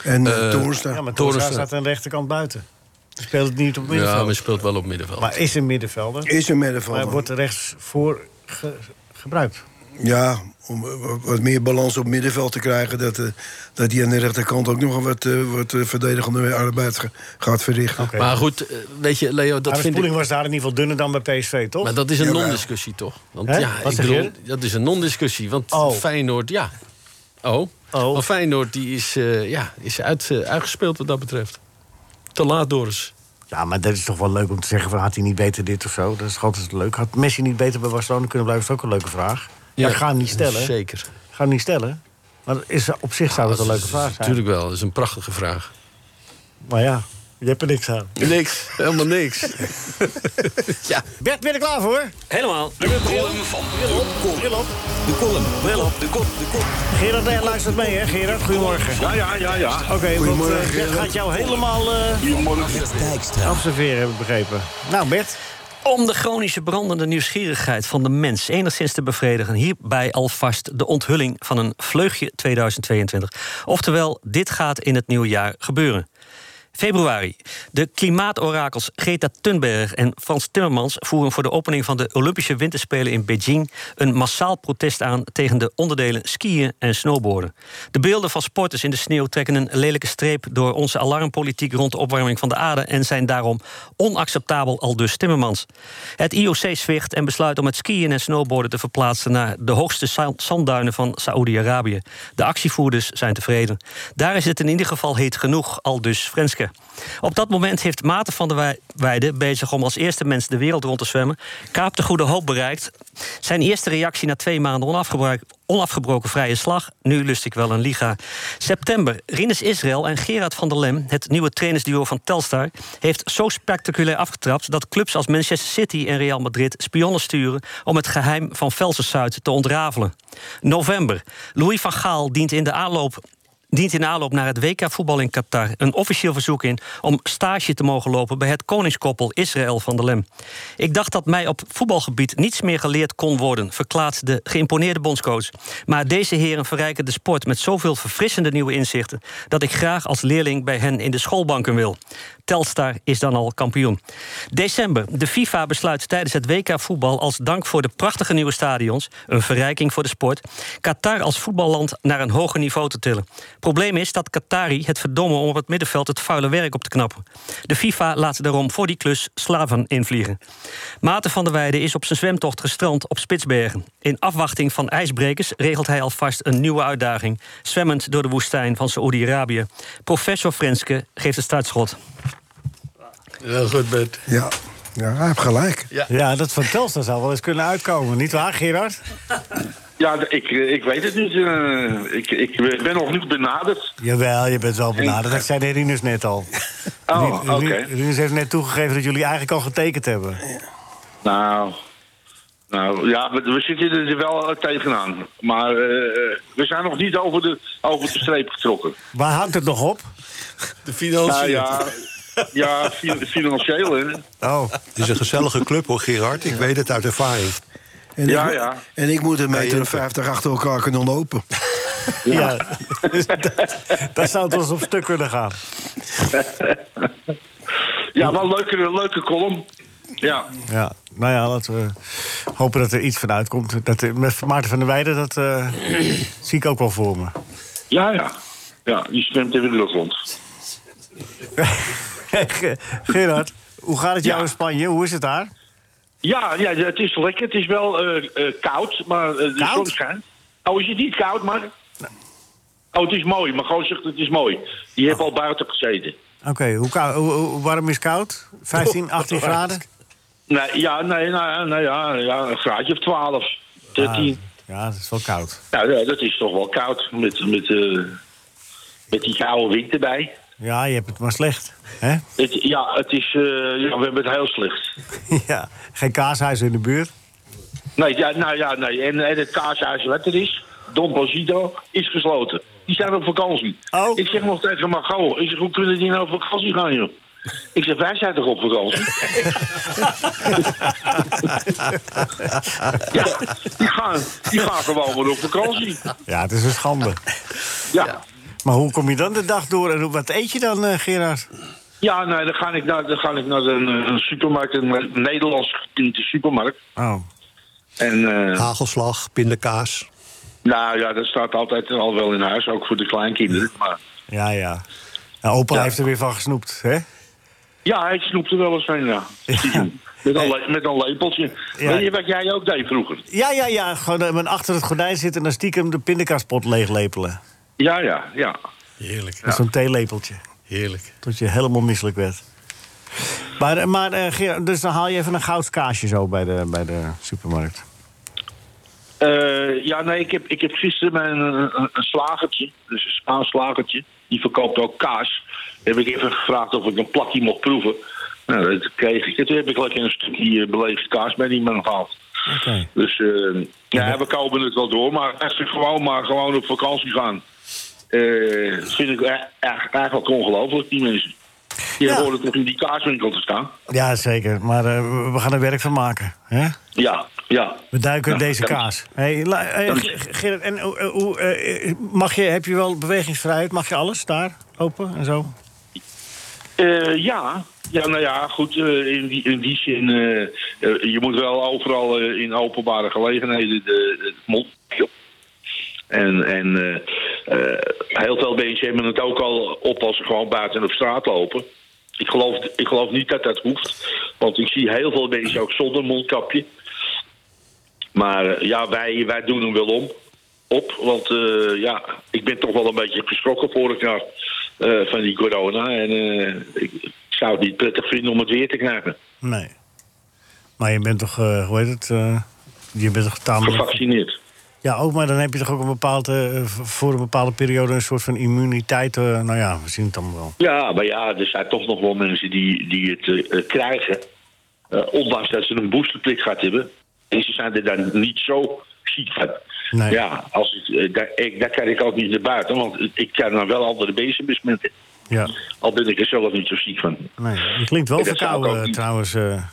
Speaker 7: en
Speaker 8: Eh,
Speaker 7: uh,
Speaker 4: Ja, maar
Speaker 8: Toornstra.
Speaker 4: Torres staat aan de rechterkant buiten. Die speelt het niet op middenveld.
Speaker 8: ja, maar
Speaker 4: maar,
Speaker 8: speelt wel op middenveld.
Speaker 4: is een middenvelder.
Speaker 7: Is een
Speaker 4: Maar
Speaker 7: middenvelder.
Speaker 4: wordt er rechts voor ge- gebruikt.
Speaker 7: Ja, om eh, wat meer balans op middenveld te krijgen. Dat, eh, dat hij aan de rechterkant ook nog wat, eh, wat eh, verdedigende arbeid ga- gaat verrichten.
Speaker 4: Oké.
Speaker 8: Maar goed, eh, weet je, Leo, dat
Speaker 4: Maar de
Speaker 8: vind ik...
Speaker 4: spoeling was daar in ieder geval dunner dan bij PSV, toch?
Speaker 8: Maar dat is een
Speaker 7: Jawel.
Speaker 8: non-discussie, toch? Want
Speaker 4: Hè?
Speaker 8: ja,
Speaker 4: Wat
Speaker 8: ik
Speaker 4: zeg je?
Speaker 8: bedoel, dat is een non-discussie. Want
Speaker 4: Oh.
Speaker 8: Feyenoord, ja. Oh.
Speaker 4: Oh.
Speaker 8: Maar Feyenoord die is, eh, ja, is uit, eh, uitgespeeld wat dat betreft. Te laat, Doris.
Speaker 4: Ja, maar dat is toch wel leuk om te zeggen... Van, had hij niet beter dit of zo? Dat is toch altijd leuk. Had Messi niet beter bij Barcelona kunnen blijven? Dat is ook een leuke vraag. Ja, ik ga hem niet stellen.
Speaker 8: Zeker.
Speaker 4: Ik ga hem niet stellen. Maar dat is, op zich zou dat een leuke vraag zijn.
Speaker 8: Natuurlijk wel, dat is een prachtige vraag.
Speaker 4: Maar ja, Je hebt er niks aan.
Speaker 8: Niks, helemaal niks. ja.
Speaker 4: Bert, ben je er klaar voor?
Speaker 5: Helemaal.
Speaker 2: De column. Bril op. De kop. De kop.
Speaker 4: Gerard eh, luistert mee, hè? Gerard, goedemorgen.
Speaker 3: Ja, ja, ja, ja.
Speaker 4: Oké, want eh, Bert gaat jou helemaal eh,
Speaker 3: Goedemorgen.
Speaker 4: observeren, heb ik begrepen. Nou, Bert.
Speaker 5: Om de chronische brandende nieuwsgierigheid van de mens enigszins te bevredigen, hierbij alvast de onthulling van een vleugje 2022. Oftewel, dit gaat in het nieuwe jaar gebeuren. Februari. De klimaatorakels Greta Thunberg en Frans Timmermans voeren voor de opening van de Olympische Winterspelen in Beijing een massaal protest aan tegen de onderdelen skiën en snowboarden. De beelden van sporters in de sneeuw trekken een lelijke streep door onze alarmpolitiek rond de opwarming van de aarde en zijn daarom onacceptabel, al dus Timmermans. Het IOC zwicht en besluit om het skiën en snowboarden te verplaatsen naar de hoogste za- zandduinen van Saoedi-Arabië. De actievoerders zijn tevreden. Daar is het in ieder geval heet genoeg, al dus Frenske. Op dat moment heeft Maarten van der Wij- Weijden, bezig om als eerste mens de wereld rond te zwemmen, Kaap de Goede Hoop bereikt. Zijn eerste reactie na twee maanden onafgebruik- onafgebroken vrije slag. Nu lust ik wel een liga. September. Rinus Israël en Gerard van der Lem, het nieuwe trainersduo van Telstar, heeft zo spectaculair afgetrapt dat clubs als Manchester City en Real Madrid spionnen sturen om het geheim van Velsen-Zuid te ontrafelen. November. Louis van Gaal dient in de aanloop dient in aanloop naar het WK voetbal in Qatar een officieel verzoek in om stage te mogen lopen bij het koningskoppel Israël van der Lem. Ik dacht dat mij op voetbalgebied niets meer geleerd kon worden, verklaart de geïmponeerde bondscoach. Maar deze heren verrijken de sport met zoveel verfrissende nieuwe inzichten dat ik graag als leerling bij hen in de schoolbanken wil. Telstar is dan al kampioen. December. De FIFA besluit tijdens het WK voetbal als dank voor de prachtige nieuwe stadions, een verrijking voor de sport, Qatar als voetballand naar een hoger niveau te tillen. Probleem is dat Qatari het verdomme om op het middenveld het vuile werk op te knappen. De FIFA laat daarom voor die klus slaven invliegen. Maarten van der Weijden is op zijn zwemtocht gestrand op Spitsbergen. In afwachting van ijsbrekers regelt hij alvast een nieuwe uitdaging, zwemmend door de woestijn van Saoedi-Arabië. Professor Frenske geeft het startschot.
Speaker 8: Heel goed, Bert.
Speaker 7: Ja, ja hij heeft gelijk.
Speaker 4: Ja, dat van Telstar zou wel eens kunnen uitkomen, nietwaar, Gerard?
Speaker 3: Ja, d- ik, eh, ik weet het niet. eh, ik, ik ben nog niet benaderd.
Speaker 4: Jawel, je bent wel benaderd. Dat zei de Rinus net al.
Speaker 3: Oh,
Speaker 4: Rin- Rin-
Speaker 3: oké.
Speaker 4: Rinus heeft net toegegeven dat jullie eigenlijk al getekend hebben.
Speaker 3: Nou, nou ja, we, we zitten er wel tegenaan. Maar eh, we zijn nog niet over de, over de streep getrokken.
Speaker 4: Waar hangt het nog op?
Speaker 8: De
Speaker 3: Nou
Speaker 8: financiën.
Speaker 3: ja, ja fi- financieel, hè.
Speaker 4: Oh,
Speaker 6: Het is een gezellige club hoor, Gerard. Ik weet het uit ervaring.
Speaker 7: En
Speaker 3: Ja,
Speaker 7: ik,
Speaker 3: ja.
Speaker 7: En ik moet een meter
Speaker 6: Jente.
Speaker 7: of 50 achter elkaar kunnen lopen.
Speaker 4: ja. Dus dat, dat zou het wel eens op stuk kunnen gaan.
Speaker 3: Ja, wel een leuke, leuke column. Ja,
Speaker 4: Ja, nou ja, laten we hopen dat er iets van uitkomt. Dat, er- met Maarten van der Weijden, dat eh, zie ik ook wel voor me.
Speaker 3: ja, ja. Ja, die zwemt in de lucht rond.
Speaker 4: Ge- Gerard, hoe gaat het jou
Speaker 3: Ja.
Speaker 4: in Spanje? Hoe is het daar?
Speaker 3: Ja, ja, het is lekker. Het is wel eh, eh, koud, maar eh, de
Speaker 4: Koud?
Speaker 3: zon schijnt. Oh, is het niet koud, maar... Oh, het is mooi. Mijn gozer zegt het is mooi. Die heeft al buiten gezeten.
Speaker 4: Oké, hoe, kou- hoe- hoe- warm is koud? 15, 18 graden?
Speaker 3: Nee, ja, nee, nou, nou ja, ja, een graadje of 12, 13.
Speaker 4: Ja, dat is wel koud.
Speaker 3: Nou, ja, dat is toch wel koud met, met, eh, met die koude wind erbij.
Speaker 4: Ja, je hebt het maar slecht. Hè?
Speaker 3: Het, ja, het is, eh, ja, we hebben het heel slecht.
Speaker 4: ja, geen kaashuis in de buurt.
Speaker 3: Nee, ja, nou ja, nee. En, en het kaashuis wat er is, Don Bosito, is gesloten. Die zijn op vakantie.
Speaker 4: Oh.
Speaker 3: Ik zeg nog tegen Margot, ik zeg, hoe kunnen die nou op vakantie gaan, joh? Ik zeg, wij zijn toch op vakantie? ja, die gaan, die gaan gewoon weer op vakantie.
Speaker 4: Ja, het is een schande.
Speaker 3: ja.
Speaker 4: Maar hoe kom je dan de dag door en hoe- wat eet je dan, eh, Gerard?
Speaker 3: Ja, nee, dan ga ik naar, dan ga ik naar een, een supermarkt, een, een Nederlands getinte supermarkt.
Speaker 4: Oh,
Speaker 3: En eh,
Speaker 6: Hagelslag, pindakaas.
Speaker 3: nou ja, dat staat altijd al wel in huis, ook voor de kleinkinderen. Maar
Speaker 4: ja, ja. Nou, opa
Speaker 3: Ja.
Speaker 4: heeft er weer van gesnoept, hè?
Speaker 3: ja, ik snoepte wel eens van, ja. Met een, le- met een lepeltje.
Speaker 4: Ja.
Speaker 3: Weet je wat jij ook deed vroeger?
Speaker 4: Ja, ja, ja. Gewoon eh, maar achter het gordijn zitten en dan stiekem de pindakaspot leeglepelen.
Speaker 3: Ja, ja, ja.
Speaker 8: Heerlijk,
Speaker 4: Met zo'n theelepeltje.
Speaker 8: heerlijk.
Speaker 4: Tot je helemaal misselijk werd. Maar, eh, maar eh, Gerard, dus dan haal je even een goudskaasje zo bij de, bij de supermarkt.
Speaker 3: Eh, ja, nee, ik heb, ik heb gisteren mijn, eh, een, een slagertje, dus een Spaans slagertje. die verkoopt ook kaas. Heb ik even gevraagd of ik een plakje mocht proeven. Nou, dat kreeg ik. En toen heb ik lekker een stukje eh, beleefd kaas bij die man gehaald.
Speaker 4: Oké.
Speaker 3: Dus eh, ja, we kopen het wel door. Maar als we gewoon maar gewoon op vakantie gaan... eh, vind ik e- e- eigenlijk ongelooflijk, die mensen. Die
Speaker 4: Ja.
Speaker 3: horen toch in die kaaswinkel te staan.
Speaker 4: Ja, zeker. Maar eh, we gaan er werk van maken. Hè?
Speaker 3: Ja, ja.
Speaker 4: We duiken in
Speaker 3: Ja,
Speaker 4: deze
Speaker 3: ja.
Speaker 4: kaas. Hey, la- eh,
Speaker 3: Ja.
Speaker 4: G- Gerrit, en hoe- eh, hoe, eh, mag je, heb je wel bewegingsvrijheid? Mag je alles daar lopen en zo?
Speaker 3: Eh, ja. ja, nou ja, goed. eh, in, die, in die zin, eh, eh, je moet wel overal eh, in openbare gelegenheden de, het mond. En, en eh, eh, heel veel mensen hebben het ook al op als ze gewoon buiten op straat lopen. Ik geloof, ik geloof niet dat dat hoeft. Want ik zie heel veel mensen ook zonder mondkapje. Maar eh, ja, wij, wij doen hem wel om. Op, want eh, ja, ik ben toch wel een beetje geschrokken vorig jaar eh, van die corona. En eh, ik, ik zou het niet prettig vinden om het weer te krijgen.
Speaker 4: Nee. Maar je bent toch, eh, hoe heet het? eh, je bent toch tamelijk...
Speaker 3: Gevaccineerd.
Speaker 4: Ja, ook, maar dan heb je toch ook een bepaalde, eh, v- voor een bepaalde periode... een soort van immuniteit. eh, nou ja, we zien het allemaal wel.
Speaker 3: Ja, maar ja, er zijn toch nog wel mensen die, die het eh, eh, krijgen. Eh, ondanks dat ze een boosterprik gaat hebben. En ze zijn er dan niet zo ziek van.
Speaker 4: Nee.
Speaker 3: Ja, als ik, eh, daar, ik, daar kan ik ook niet naar buiten. Want ik kan dan wel andere bezig besmetten.
Speaker 4: Ja,
Speaker 3: Al ben ik er zelf niet zo ziek van.
Speaker 4: nee. Je klinkt wel
Speaker 3: Dat zou ik ook
Speaker 4: verkouden
Speaker 3: niet-
Speaker 4: trouwens. eh.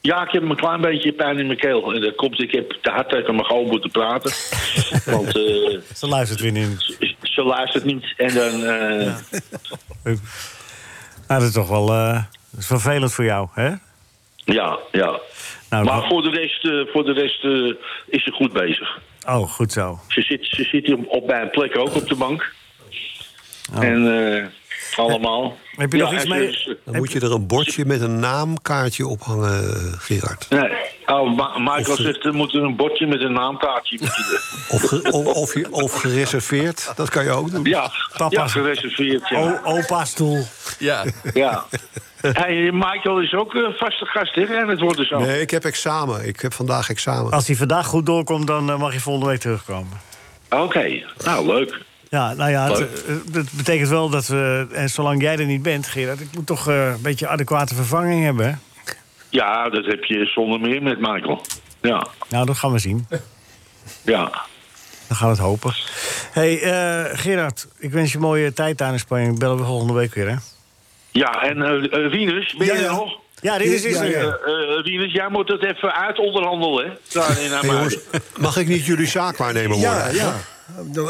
Speaker 3: Ja, ik heb een klein beetje pijn in mijn keel. En dat komt, ik heb te hard tegen mijn gewoon moeten praten. want eh,
Speaker 4: ze luistert weer niet.
Speaker 3: ze luistert niet. En dan, eh,
Speaker 4: Nou, dat is toch wel eh, dat is vervelend voor jou, hè?
Speaker 3: ja, ja.
Speaker 4: Nou,
Speaker 3: Maar
Speaker 4: dat-
Speaker 3: voor de rest, eh, voor de rest eh, is ze goed bezig.
Speaker 4: Oh, goed zo.
Speaker 3: Ze zit, ze zit hier op mijn plek ook op de bank. En eh, allemaal.
Speaker 4: Oh. Heb je nog iets
Speaker 3: en dus, eh,
Speaker 4: mee-
Speaker 3: ze-
Speaker 6: Dan moet je er een bordje met een naamkaartje ophangen, eh, Gerard.
Speaker 3: nee. Oh, Ma- Michael
Speaker 6: Of-
Speaker 3: zegt, er moet een bordje met een naamkaartje. moet je-
Speaker 6: Of, ge- o- of, je- of gereserveerd, dat kan je ook doen.
Speaker 3: ja,
Speaker 4: Papa. Oh,
Speaker 3: ja, gereserveerd. Ja.
Speaker 4: O, opa stoel.
Speaker 8: Ja,
Speaker 3: Ja. Hey, Michael is ook eh, vaste gast, hè? En het wordt dus al.
Speaker 6: Nee, ik heb examen. Ik heb vandaag examen.
Speaker 4: Als hij vandaag goed doorkomt, dan eh, mag je volgende week terugkomen.
Speaker 3: Oké, nou leuk.
Speaker 4: Ja, nou ja, het,
Speaker 3: Leuk.
Speaker 4: eh, dat betekent wel dat we... En zolang jij er niet bent, Gerard, ik moet toch eh, een beetje adequate vervanging hebben. hè?
Speaker 3: Ja, dat heb je zonder meer met Michael. Ja,
Speaker 4: Nou, dat gaan we zien.
Speaker 3: ja.
Speaker 4: Dan gaan we het hopen. hey, eh, Gerard, ik wens je een mooie tijd daar in Spanje. Ik bel we volgende week weer, hè?
Speaker 3: Ja, en eh eh, Wieners, ben
Speaker 7: Ja,
Speaker 3: je er
Speaker 7: ja.
Speaker 3: nog?
Speaker 4: Ja, dit is, is
Speaker 7: Ja,
Speaker 4: er
Speaker 7: ja.
Speaker 4: weer.
Speaker 3: Eh, eh, Wieners, jij moet het even uitonderhandelen, hè? Daar in
Speaker 6: Hey,
Speaker 3: Amsterdam.
Speaker 6: jongens, mag ik niet jullie zaakwaarnemer worden?
Speaker 7: Ja, ja.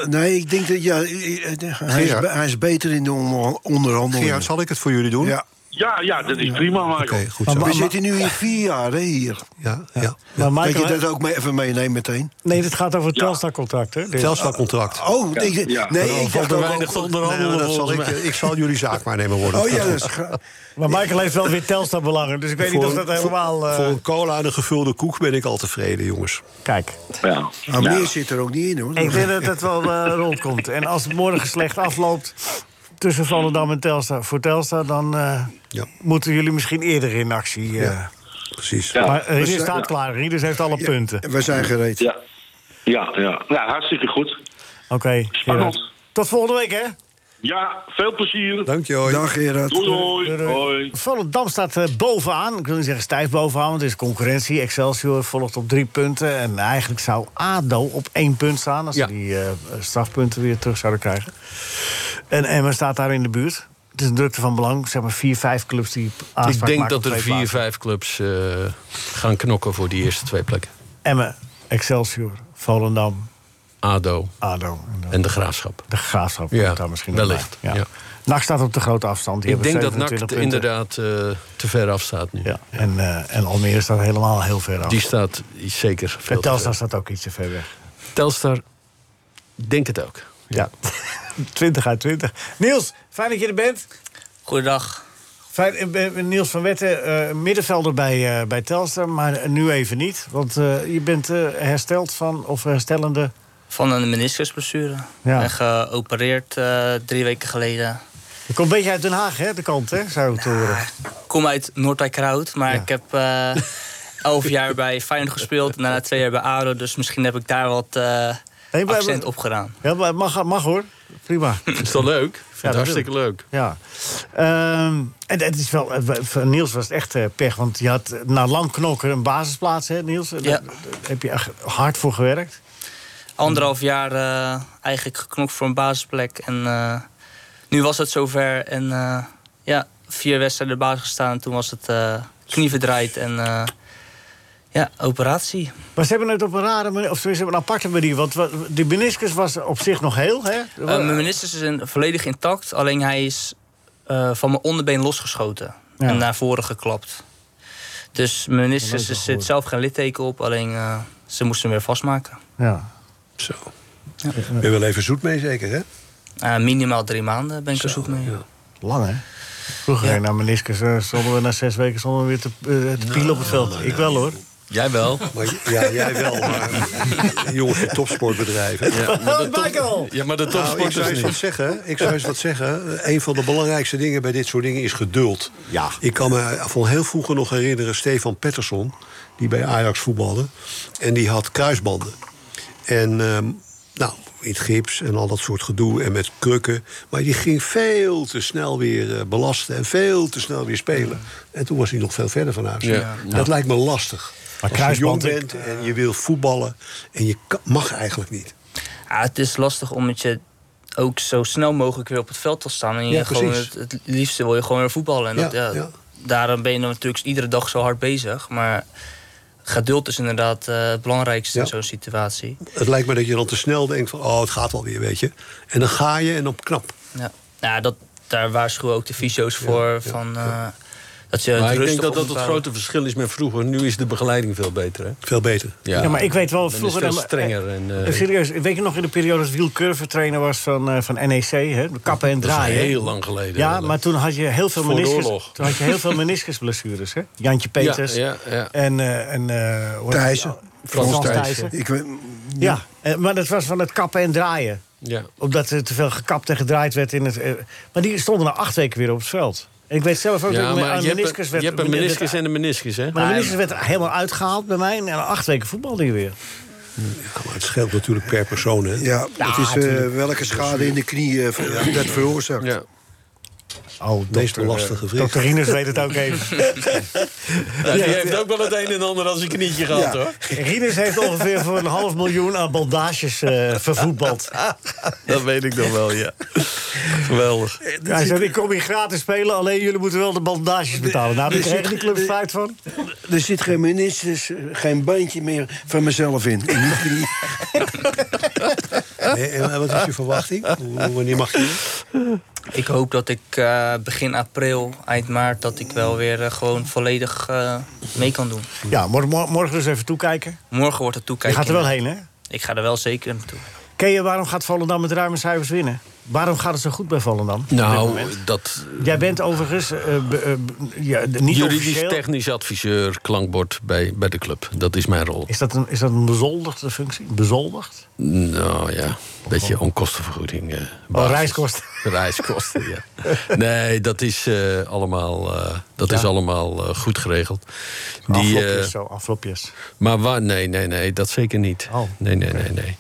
Speaker 7: Nee, ik denk dat ja, eh, hij, is,
Speaker 6: Gerard.
Speaker 7: hij is beter in de onder- onderhandeling.
Speaker 6: Gerard, zal ik het voor jullie doen?
Speaker 7: Ja.
Speaker 3: ja, ja, dat is prima, Michael.
Speaker 6: Oké, goed zo.
Speaker 7: We zitten nu in vier jaar hè, hier.
Speaker 6: Ja, ja.
Speaker 4: Maar
Speaker 7: Dat
Speaker 4: Michael,
Speaker 7: je dat ook mee, even meeneemt meteen.
Speaker 4: nee, dit gaat over het Telstar-contract, hè? Dit-
Speaker 6: Telstra-contract.
Speaker 7: Oh, nee, nee, ik dacht ook...
Speaker 8: weinig te onderhandelen,
Speaker 4: Nou,
Speaker 6: Nee, maar dat zal ik,
Speaker 8: volgens
Speaker 6: ik zal jullie zaakwaarnemer worden.
Speaker 7: Oh ja, dat is gra-
Speaker 4: Maar Michael heeft wel weer Telstar-belangen, dus ik weet niet of dat helemaal... eh,
Speaker 6: Voor een cola en een gevulde koek ben ik al tevreden, jongens.
Speaker 4: Kijk. Nou,
Speaker 3: Ja.
Speaker 7: Ah,
Speaker 3: Ja.
Speaker 7: meer zit er ook niet in, hoor.
Speaker 4: Ik denk dat het wel eh, rondkomt. En als het morgen slecht afloopt tussen Volendam en Telstar, voor Telstar... dan eh,
Speaker 6: Ja.
Speaker 4: moeten jullie misschien eerder in actie. eh.
Speaker 6: Precies.
Speaker 3: Ja.
Speaker 4: Maar Rieders
Speaker 7: zijn-
Speaker 4: staat klaar. Rieders heeft alle punten.
Speaker 7: We zijn gereed.
Speaker 3: Ja. ja, ja. Nou, hartstikke goed.
Speaker 4: Oké, Gerard.
Speaker 3: Spannend.
Speaker 4: Tot volgende week, hè?
Speaker 3: Ja, veel plezier.
Speaker 6: Dank je, hoi.
Speaker 7: Dag, Gerard.
Speaker 3: Doei,
Speaker 4: Doei,
Speaker 3: doei.
Speaker 4: doei.
Speaker 3: Hoi.
Speaker 4: Volendam staat eh, bovenaan. Ik wil niet zeggen stijf bovenaan, want het is concurrentie. Excelsior volgt op drie punten. En eigenlijk zou ADO op één punt staan... als ze
Speaker 8: Ja.
Speaker 4: die eh, strafpunten weer terug zouden krijgen. En Emmen staat daar in de buurt. Het is een drukte van belang. Zeg maar vier, vijf clubs die aanspraak
Speaker 8: ik denk
Speaker 4: maken
Speaker 8: dat
Speaker 4: op
Speaker 8: er
Speaker 4: twee
Speaker 8: vier,
Speaker 4: plaatsen.
Speaker 8: vijf clubs eh, gaan knokken voor die eerste twee plekken.
Speaker 4: Emmen, Excelsior, Volendam,
Speaker 8: ADO
Speaker 4: ADO. En dan
Speaker 8: en de Graafschap.
Speaker 4: de Graafschap
Speaker 8: Ja,
Speaker 4: komt daar misschien nog
Speaker 8: wellicht,
Speaker 4: bij.
Speaker 8: ja.
Speaker 4: NAC staat op de grote afstand. Die
Speaker 8: ik denk
Speaker 4: hebben
Speaker 8: dat NAC
Speaker 4: 27 punten.
Speaker 8: inderdaad eh, te ver af staat nu.
Speaker 4: Ja, en, eh, en Almere staat helemaal heel ver af.
Speaker 8: Die staat zeker veel
Speaker 4: en
Speaker 8: te
Speaker 4: Telstar
Speaker 8: ver.
Speaker 4: staat ook iets te ver weg.
Speaker 8: Telstar, denk het ook.
Speaker 4: Ja. 20 uit 20. Niels, fijn dat je er bent.
Speaker 9: Goedendag.
Speaker 4: Fijn, eh, eh, Niels van Wetten, eh, middenvelder bij, eh, bij Telstar, maar nu even niet. Want eh, je bent eh, hersteld van, of herstellende...
Speaker 9: Van een meniscusblessure.
Speaker 4: Ja.
Speaker 9: En geopereerd eh, drie weken geleden.
Speaker 4: Je komt een beetje uit Den Haag, hè, de kant, hè, zou ik het horen.
Speaker 9: Ik kom uit Noordwijk Kraut, maar
Speaker 4: Ja.
Speaker 9: ik heb eh, elf jaar bij Feyenoord gespeeld. En daarna twee jaar bij ADO. Dus misschien heb ik daar wat eh,
Speaker 4: Nee, maar-
Speaker 9: accent op gedaan.
Speaker 4: Ja, maar het mag, mag hoor. prima.
Speaker 8: Is dat leuk? Ik
Speaker 4: dat
Speaker 8: vind het hartstikke leuk.
Speaker 4: Ja. Ehm, en het is wel, eh, voor Niels was het echt eh, pech. Want je had eh, na lang knokken een basisplaats, hè, Niels? Daar,
Speaker 9: Ja.
Speaker 4: daar heb je echt hard voor gewerkt.
Speaker 9: Anderhalf jaar eh, eigenlijk geknokt voor een basisplek. En eh, nu was het zover. En eh, ja, vier wedstrijden de basis gestaan. En toen was het eh, knie verdraaid en eh, ja, operatie.
Speaker 4: Maar ze hebben het op een rare manier, of ze hebben een aparte manier. Want wa- die meniscus was op zich nog heel, hè?
Speaker 9: Eh, mijn meniscus is in- volledig intact. Alleen hij is eh, van mijn onderbeen losgeschoten.
Speaker 4: Ja.
Speaker 9: En naar voren geklapt. Dus mijn meniscus er zit zelf geen litteken op. Alleen eh, ze moesten hem weer vastmaken.
Speaker 4: ja.
Speaker 6: Zo. Ben je wel even zoet mee, zeker, hè?
Speaker 9: Eh, minimaal drie maanden ben ik er zoek mee.
Speaker 4: Lang, hè? Vroeger ging je naar meniscus, eh, stonden we na zes weken stonden we weer te, eh, te pielen op het veld. Ik wel, hoor.
Speaker 8: Jij wel.
Speaker 6: Maar, ja, jij wel, maar jongens van topsportbedrijven.
Speaker 8: Ja, maar de,
Speaker 4: Michael!
Speaker 8: top- ja, maar de
Speaker 6: Nou, ik
Speaker 8: topsporters
Speaker 6: zou eens wat
Speaker 8: niet.
Speaker 6: zeggen. Ik zou eens wat zeggen. Een van de belangrijkste dingen bij dit soort dingen is geduld.
Speaker 4: Ja.
Speaker 6: Ik kan me van heel vroeger nog herinneren Stefan Pettersson, die bij Ajax voetbalde. En die had kruisbanden. En ehm, nou, in het gips en al dat soort gedoe en met krukken. Maar die ging veel te snel weer eh, belasten en veel te snel weer spelen. En toen was hij nog veel verder van huis.
Speaker 8: Ja.
Speaker 6: Dat lijkt me lastig.
Speaker 4: Maar
Speaker 6: Als je jong
Speaker 4: kruisband-
Speaker 6: bent en je wil voetballen en je kan- mag eigenlijk niet.
Speaker 9: Ja, het is lastig omdat je ook zo snel mogelijk weer op het veld wil staan. En je
Speaker 6: Ja,
Speaker 9: gewoon
Speaker 6: precies.
Speaker 9: het, het liefste wil je gewoon weer voetballen. En dat,
Speaker 6: Ja,
Speaker 9: ja,
Speaker 6: ja.
Speaker 9: Daarom ben je dan natuurlijk iedere dag zo hard bezig. Maar geduld is inderdaad eh, het belangrijkste in
Speaker 6: Ja.
Speaker 9: zo'n situatie.
Speaker 6: Het lijkt me dat je dan te snel denkt van, oh, het gaat wel weer, weet je. En dan ga je en dan knap.
Speaker 9: Ja, Nou ja dat, daar waarschuwen ook de fysio's voor. van, eh, dat je het
Speaker 8: Maar ik
Speaker 9: rustig
Speaker 8: denk dat dat het
Speaker 9: opbouwt.
Speaker 8: grote verschil is met vroeger. Nu is de begeleiding veel beter, hè?
Speaker 6: Veel beter.
Speaker 4: Ja, maar ik weet wel,
Speaker 8: is
Speaker 4: vroeger...
Speaker 8: veel
Speaker 4: dan-
Speaker 8: strenger en, eh,
Speaker 4: Eh, serieus, weet je nog in de periode dat Wiel Curve trainer was van, eh, van NEC? Hè? Kappen en
Speaker 8: Dat is
Speaker 4: draaien.
Speaker 8: heel lang geleden.
Speaker 4: Ja,
Speaker 8: inderdaad.
Speaker 4: maar toen had je heel veel
Speaker 8: Voor de
Speaker 4: meniscus.
Speaker 8: oorlog.
Speaker 4: Toen had je heel veel meniscusblessures, hè? Jantje Peters
Speaker 8: Ja, ja, ja.
Speaker 4: en eh en eh, hoe heet
Speaker 7: Thijssen.
Speaker 4: die? Frans,
Speaker 8: Frans
Speaker 4: Thijssen.
Speaker 8: Thijssen.
Speaker 7: Ik, weet-
Speaker 4: Ja, eh, maar dat was van het kappen en draaien,
Speaker 8: ja.
Speaker 4: omdat er te veel gekapt en gedraaid werd in het. eh, maar die stonden na acht weken weer op het veld. En ik weet zelf ook
Speaker 8: Ja,
Speaker 4: dat ik
Speaker 8: maar
Speaker 4: aan
Speaker 8: je hebt,
Speaker 4: meniscus
Speaker 8: een-
Speaker 4: werd.
Speaker 8: je hebt een
Speaker 4: werd-
Speaker 8: meniscus Ah, en een meniscus, hè?
Speaker 4: Maar de meniscus werd helemaal uitgehaald bij mij en na acht weken voetbalde hij weer.
Speaker 6: Ja, maar het scheelt natuurlijk per persoon, hè.
Speaker 7: ja, het is eh, welke schade in de knie eh, ver- dat veroorzaakt. eh,
Speaker 8: Ja.
Speaker 4: Oh,
Speaker 6: Meest lastige vriend.
Speaker 4: Dr. Rinus weet het ook even.
Speaker 8: Ja, die heeft ook wel het een en ander als een knietje gehad, hoor.
Speaker 4: Rinus heeft ongeveer voor een half miljoen aan bandages eh, vervoetbald.
Speaker 8: Dat weet ik nog wel, ja. Geweldig.
Speaker 4: Hij zei, ik kom hier gratis spelen, alleen jullie moeten wel de bandages betalen. Nou, daar
Speaker 7: dus
Speaker 4: kreeg
Speaker 7: ik-
Speaker 4: die club
Speaker 7: de-
Speaker 4: spijt van.
Speaker 7: Er zit geen ministers, geen bandje meer van mezelf in. in die knie.
Speaker 6: Nee, en wat is je verwachting? Hoe- Wanneer mag je?
Speaker 9: Ik hoop dat ik eh, begin april, eind maart, dat ik wel weer eh, gewoon volledig eh, mee kan doen.
Speaker 4: Ja, mor- mor- morgen dus even toekijken.
Speaker 9: Morgen wordt het toekijken.
Speaker 4: Je gaat er wel heen, hè?
Speaker 9: Ik ga er wel zeker naartoe.
Speaker 4: Ken je waarom gaat Volendam met ruime cijfers winnen? Waarom gaat het zo goed bij Volendam? op dit
Speaker 8: Nou,
Speaker 4: moment?
Speaker 8: dat
Speaker 4: Jij bent overigens eh, be- eh, be- ja, de- niet officieel...
Speaker 8: juridisch-technisch adviseur, klankbord bij, bij de club. Dat is mijn rol.
Speaker 4: Is dat, een, is dat een bezoldigde functie? Bezoldigd?
Speaker 8: Nou ja, beetje onkostenvergoeding. eh, basis.
Speaker 4: reiskosten.
Speaker 8: Reiskosten, ja. Nee, dat is eh, allemaal, eh, dat is allemaal eh, goed geregeld. Die, eh,
Speaker 4: aflopjes, zo, aflopjes.
Speaker 8: maar waar? Nee, nee, nee, dat zeker niet.
Speaker 4: Oh,
Speaker 8: nee, nee, nee, nee.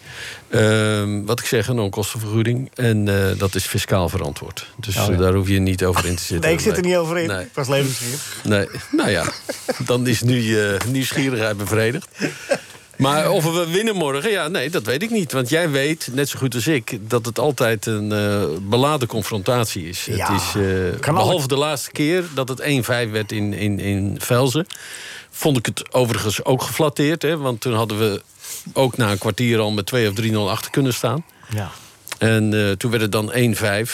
Speaker 8: Ehm, wat ik zeg, een onkostenvergoeding. En eh, dat is fiscaal verantwoord. Dus eh, daar hoef je niet over in te zitten.
Speaker 4: Oh, Nee, ik zit er niet over in.
Speaker 8: Nee.
Speaker 4: Ik was levensvriend.
Speaker 8: Nee, nou ja, dan is nu eh, nieuwsgierigheid bevredigd. Maar of we winnen morgen, ja, nee, dat weet ik niet. Want jij weet, net zo goed als ik, dat het altijd een eh, beladen confrontatie is.
Speaker 4: Ja,
Speaker 8: het is eh,
Speaker 4: kan
Speaker 8: behalve
Speaker 4: altijd.
Speaker 8: de laatste keer dat het 1-5 werd in, in, in Velzen. Vond ik het overigens ook geflatteerd. Hè, want toen hadden we ook na een kwartier al met 2 of 3-0 achter kunnen staan.
Speaker 4: Ja.
Speaker 8: En eh, toen werd het dan 1-5. Eh,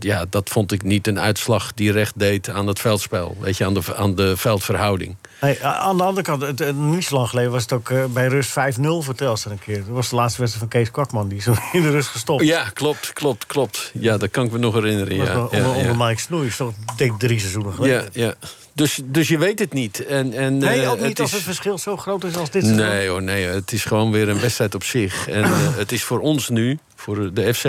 Speaker 8: ja, dat vond ik niet een uitslag die recht deed aan het veldspel. Weet je, aan de, aan de veldverhouding.
Speaker 4: Hey, a- aan de andere kant, het, het- niet zo lang geleden was het ook eh, bij rust 5-0 voor Telstar een keer. Dat was de laatste wedstrijd van Kees Kwakman, die zo in de rust gestopt.
Speaker 8: Ja, klopt, klopt, klopt. Ja, dat kan ik me nog
Speaker 4: Dat
Speaker 8: herinneren.
Speaker 4: was
Speaker 8: Ja,
Speaker 4: nog
Speaker 8: ja,
Speaker 4: onder, onder
Speaker 8: ja.
Speaker 4: Mike Snoei, zo denk ik drie seizoenen geleden.
Speaker 8: ja, ja. Dus, dus je weet het niet. En, en,
Speaker 4: Nee,
Speaker 8: eh,
Speaker 4: ook niet
Speaker 8: het
Speaker 4: als
Speaker 8: is-
Speaker 4: het verschil zo groot is als dit. seizoen.
Speaker 8: Nee hoor, nee, hoor. het is gewoon weer een wedstrijd op zich. En eh, het is voor ons nu, voor de FC...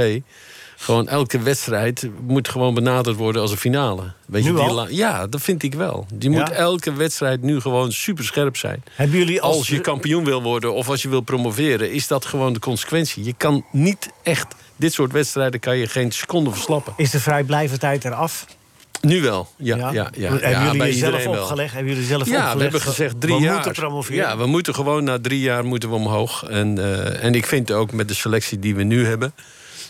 Speaker 8: gewoon elke wedstrijd moet gewoon benaderd worden als een finale. Weet
Speaker 4: Nu
Speaker 8: je, die
Speaker 4: al?
Speaker 8: la- ja, dat vind ik wel. Die
Speaker 4: Ja?
Speaker 8: moet elke wedstrijd nu gewoon superscherp zijn.
Speaker 4: Hebben jullie als,
Speaker 8: als, je kampioen wil worden of als je wil promoveren, is dat gewoon de consequentie. Je kan niet echt dit soort wedstrijden kan je geen seconde verslappen.
Speaker 4: Is de vrijblijvendheid eraf?
Speaker 8: Nu wel, ja. ja. ja, ja.
Speaker 4: Hebben
Speaker 8: Ja,
Speaker 4: jullie
Speaker 8: bij
Speaker 4: jezelf
Speaker 8: iedereen wel.
Speaker 4: opgelegd? Hebben jullie zelf
Speaker 8: Ja,
Speaker 4: opgelegd?
Speaker 8: we hebben gezegd drie
Speaker 4: we
Speaker 8: jaar.
Speaker 4: moeten promoveren.
Speaker 8: Ja, we moeten gewoon na drie jaar moeten we omhoog. En, eh, en ik vind ook met de selectie die we nu hebben...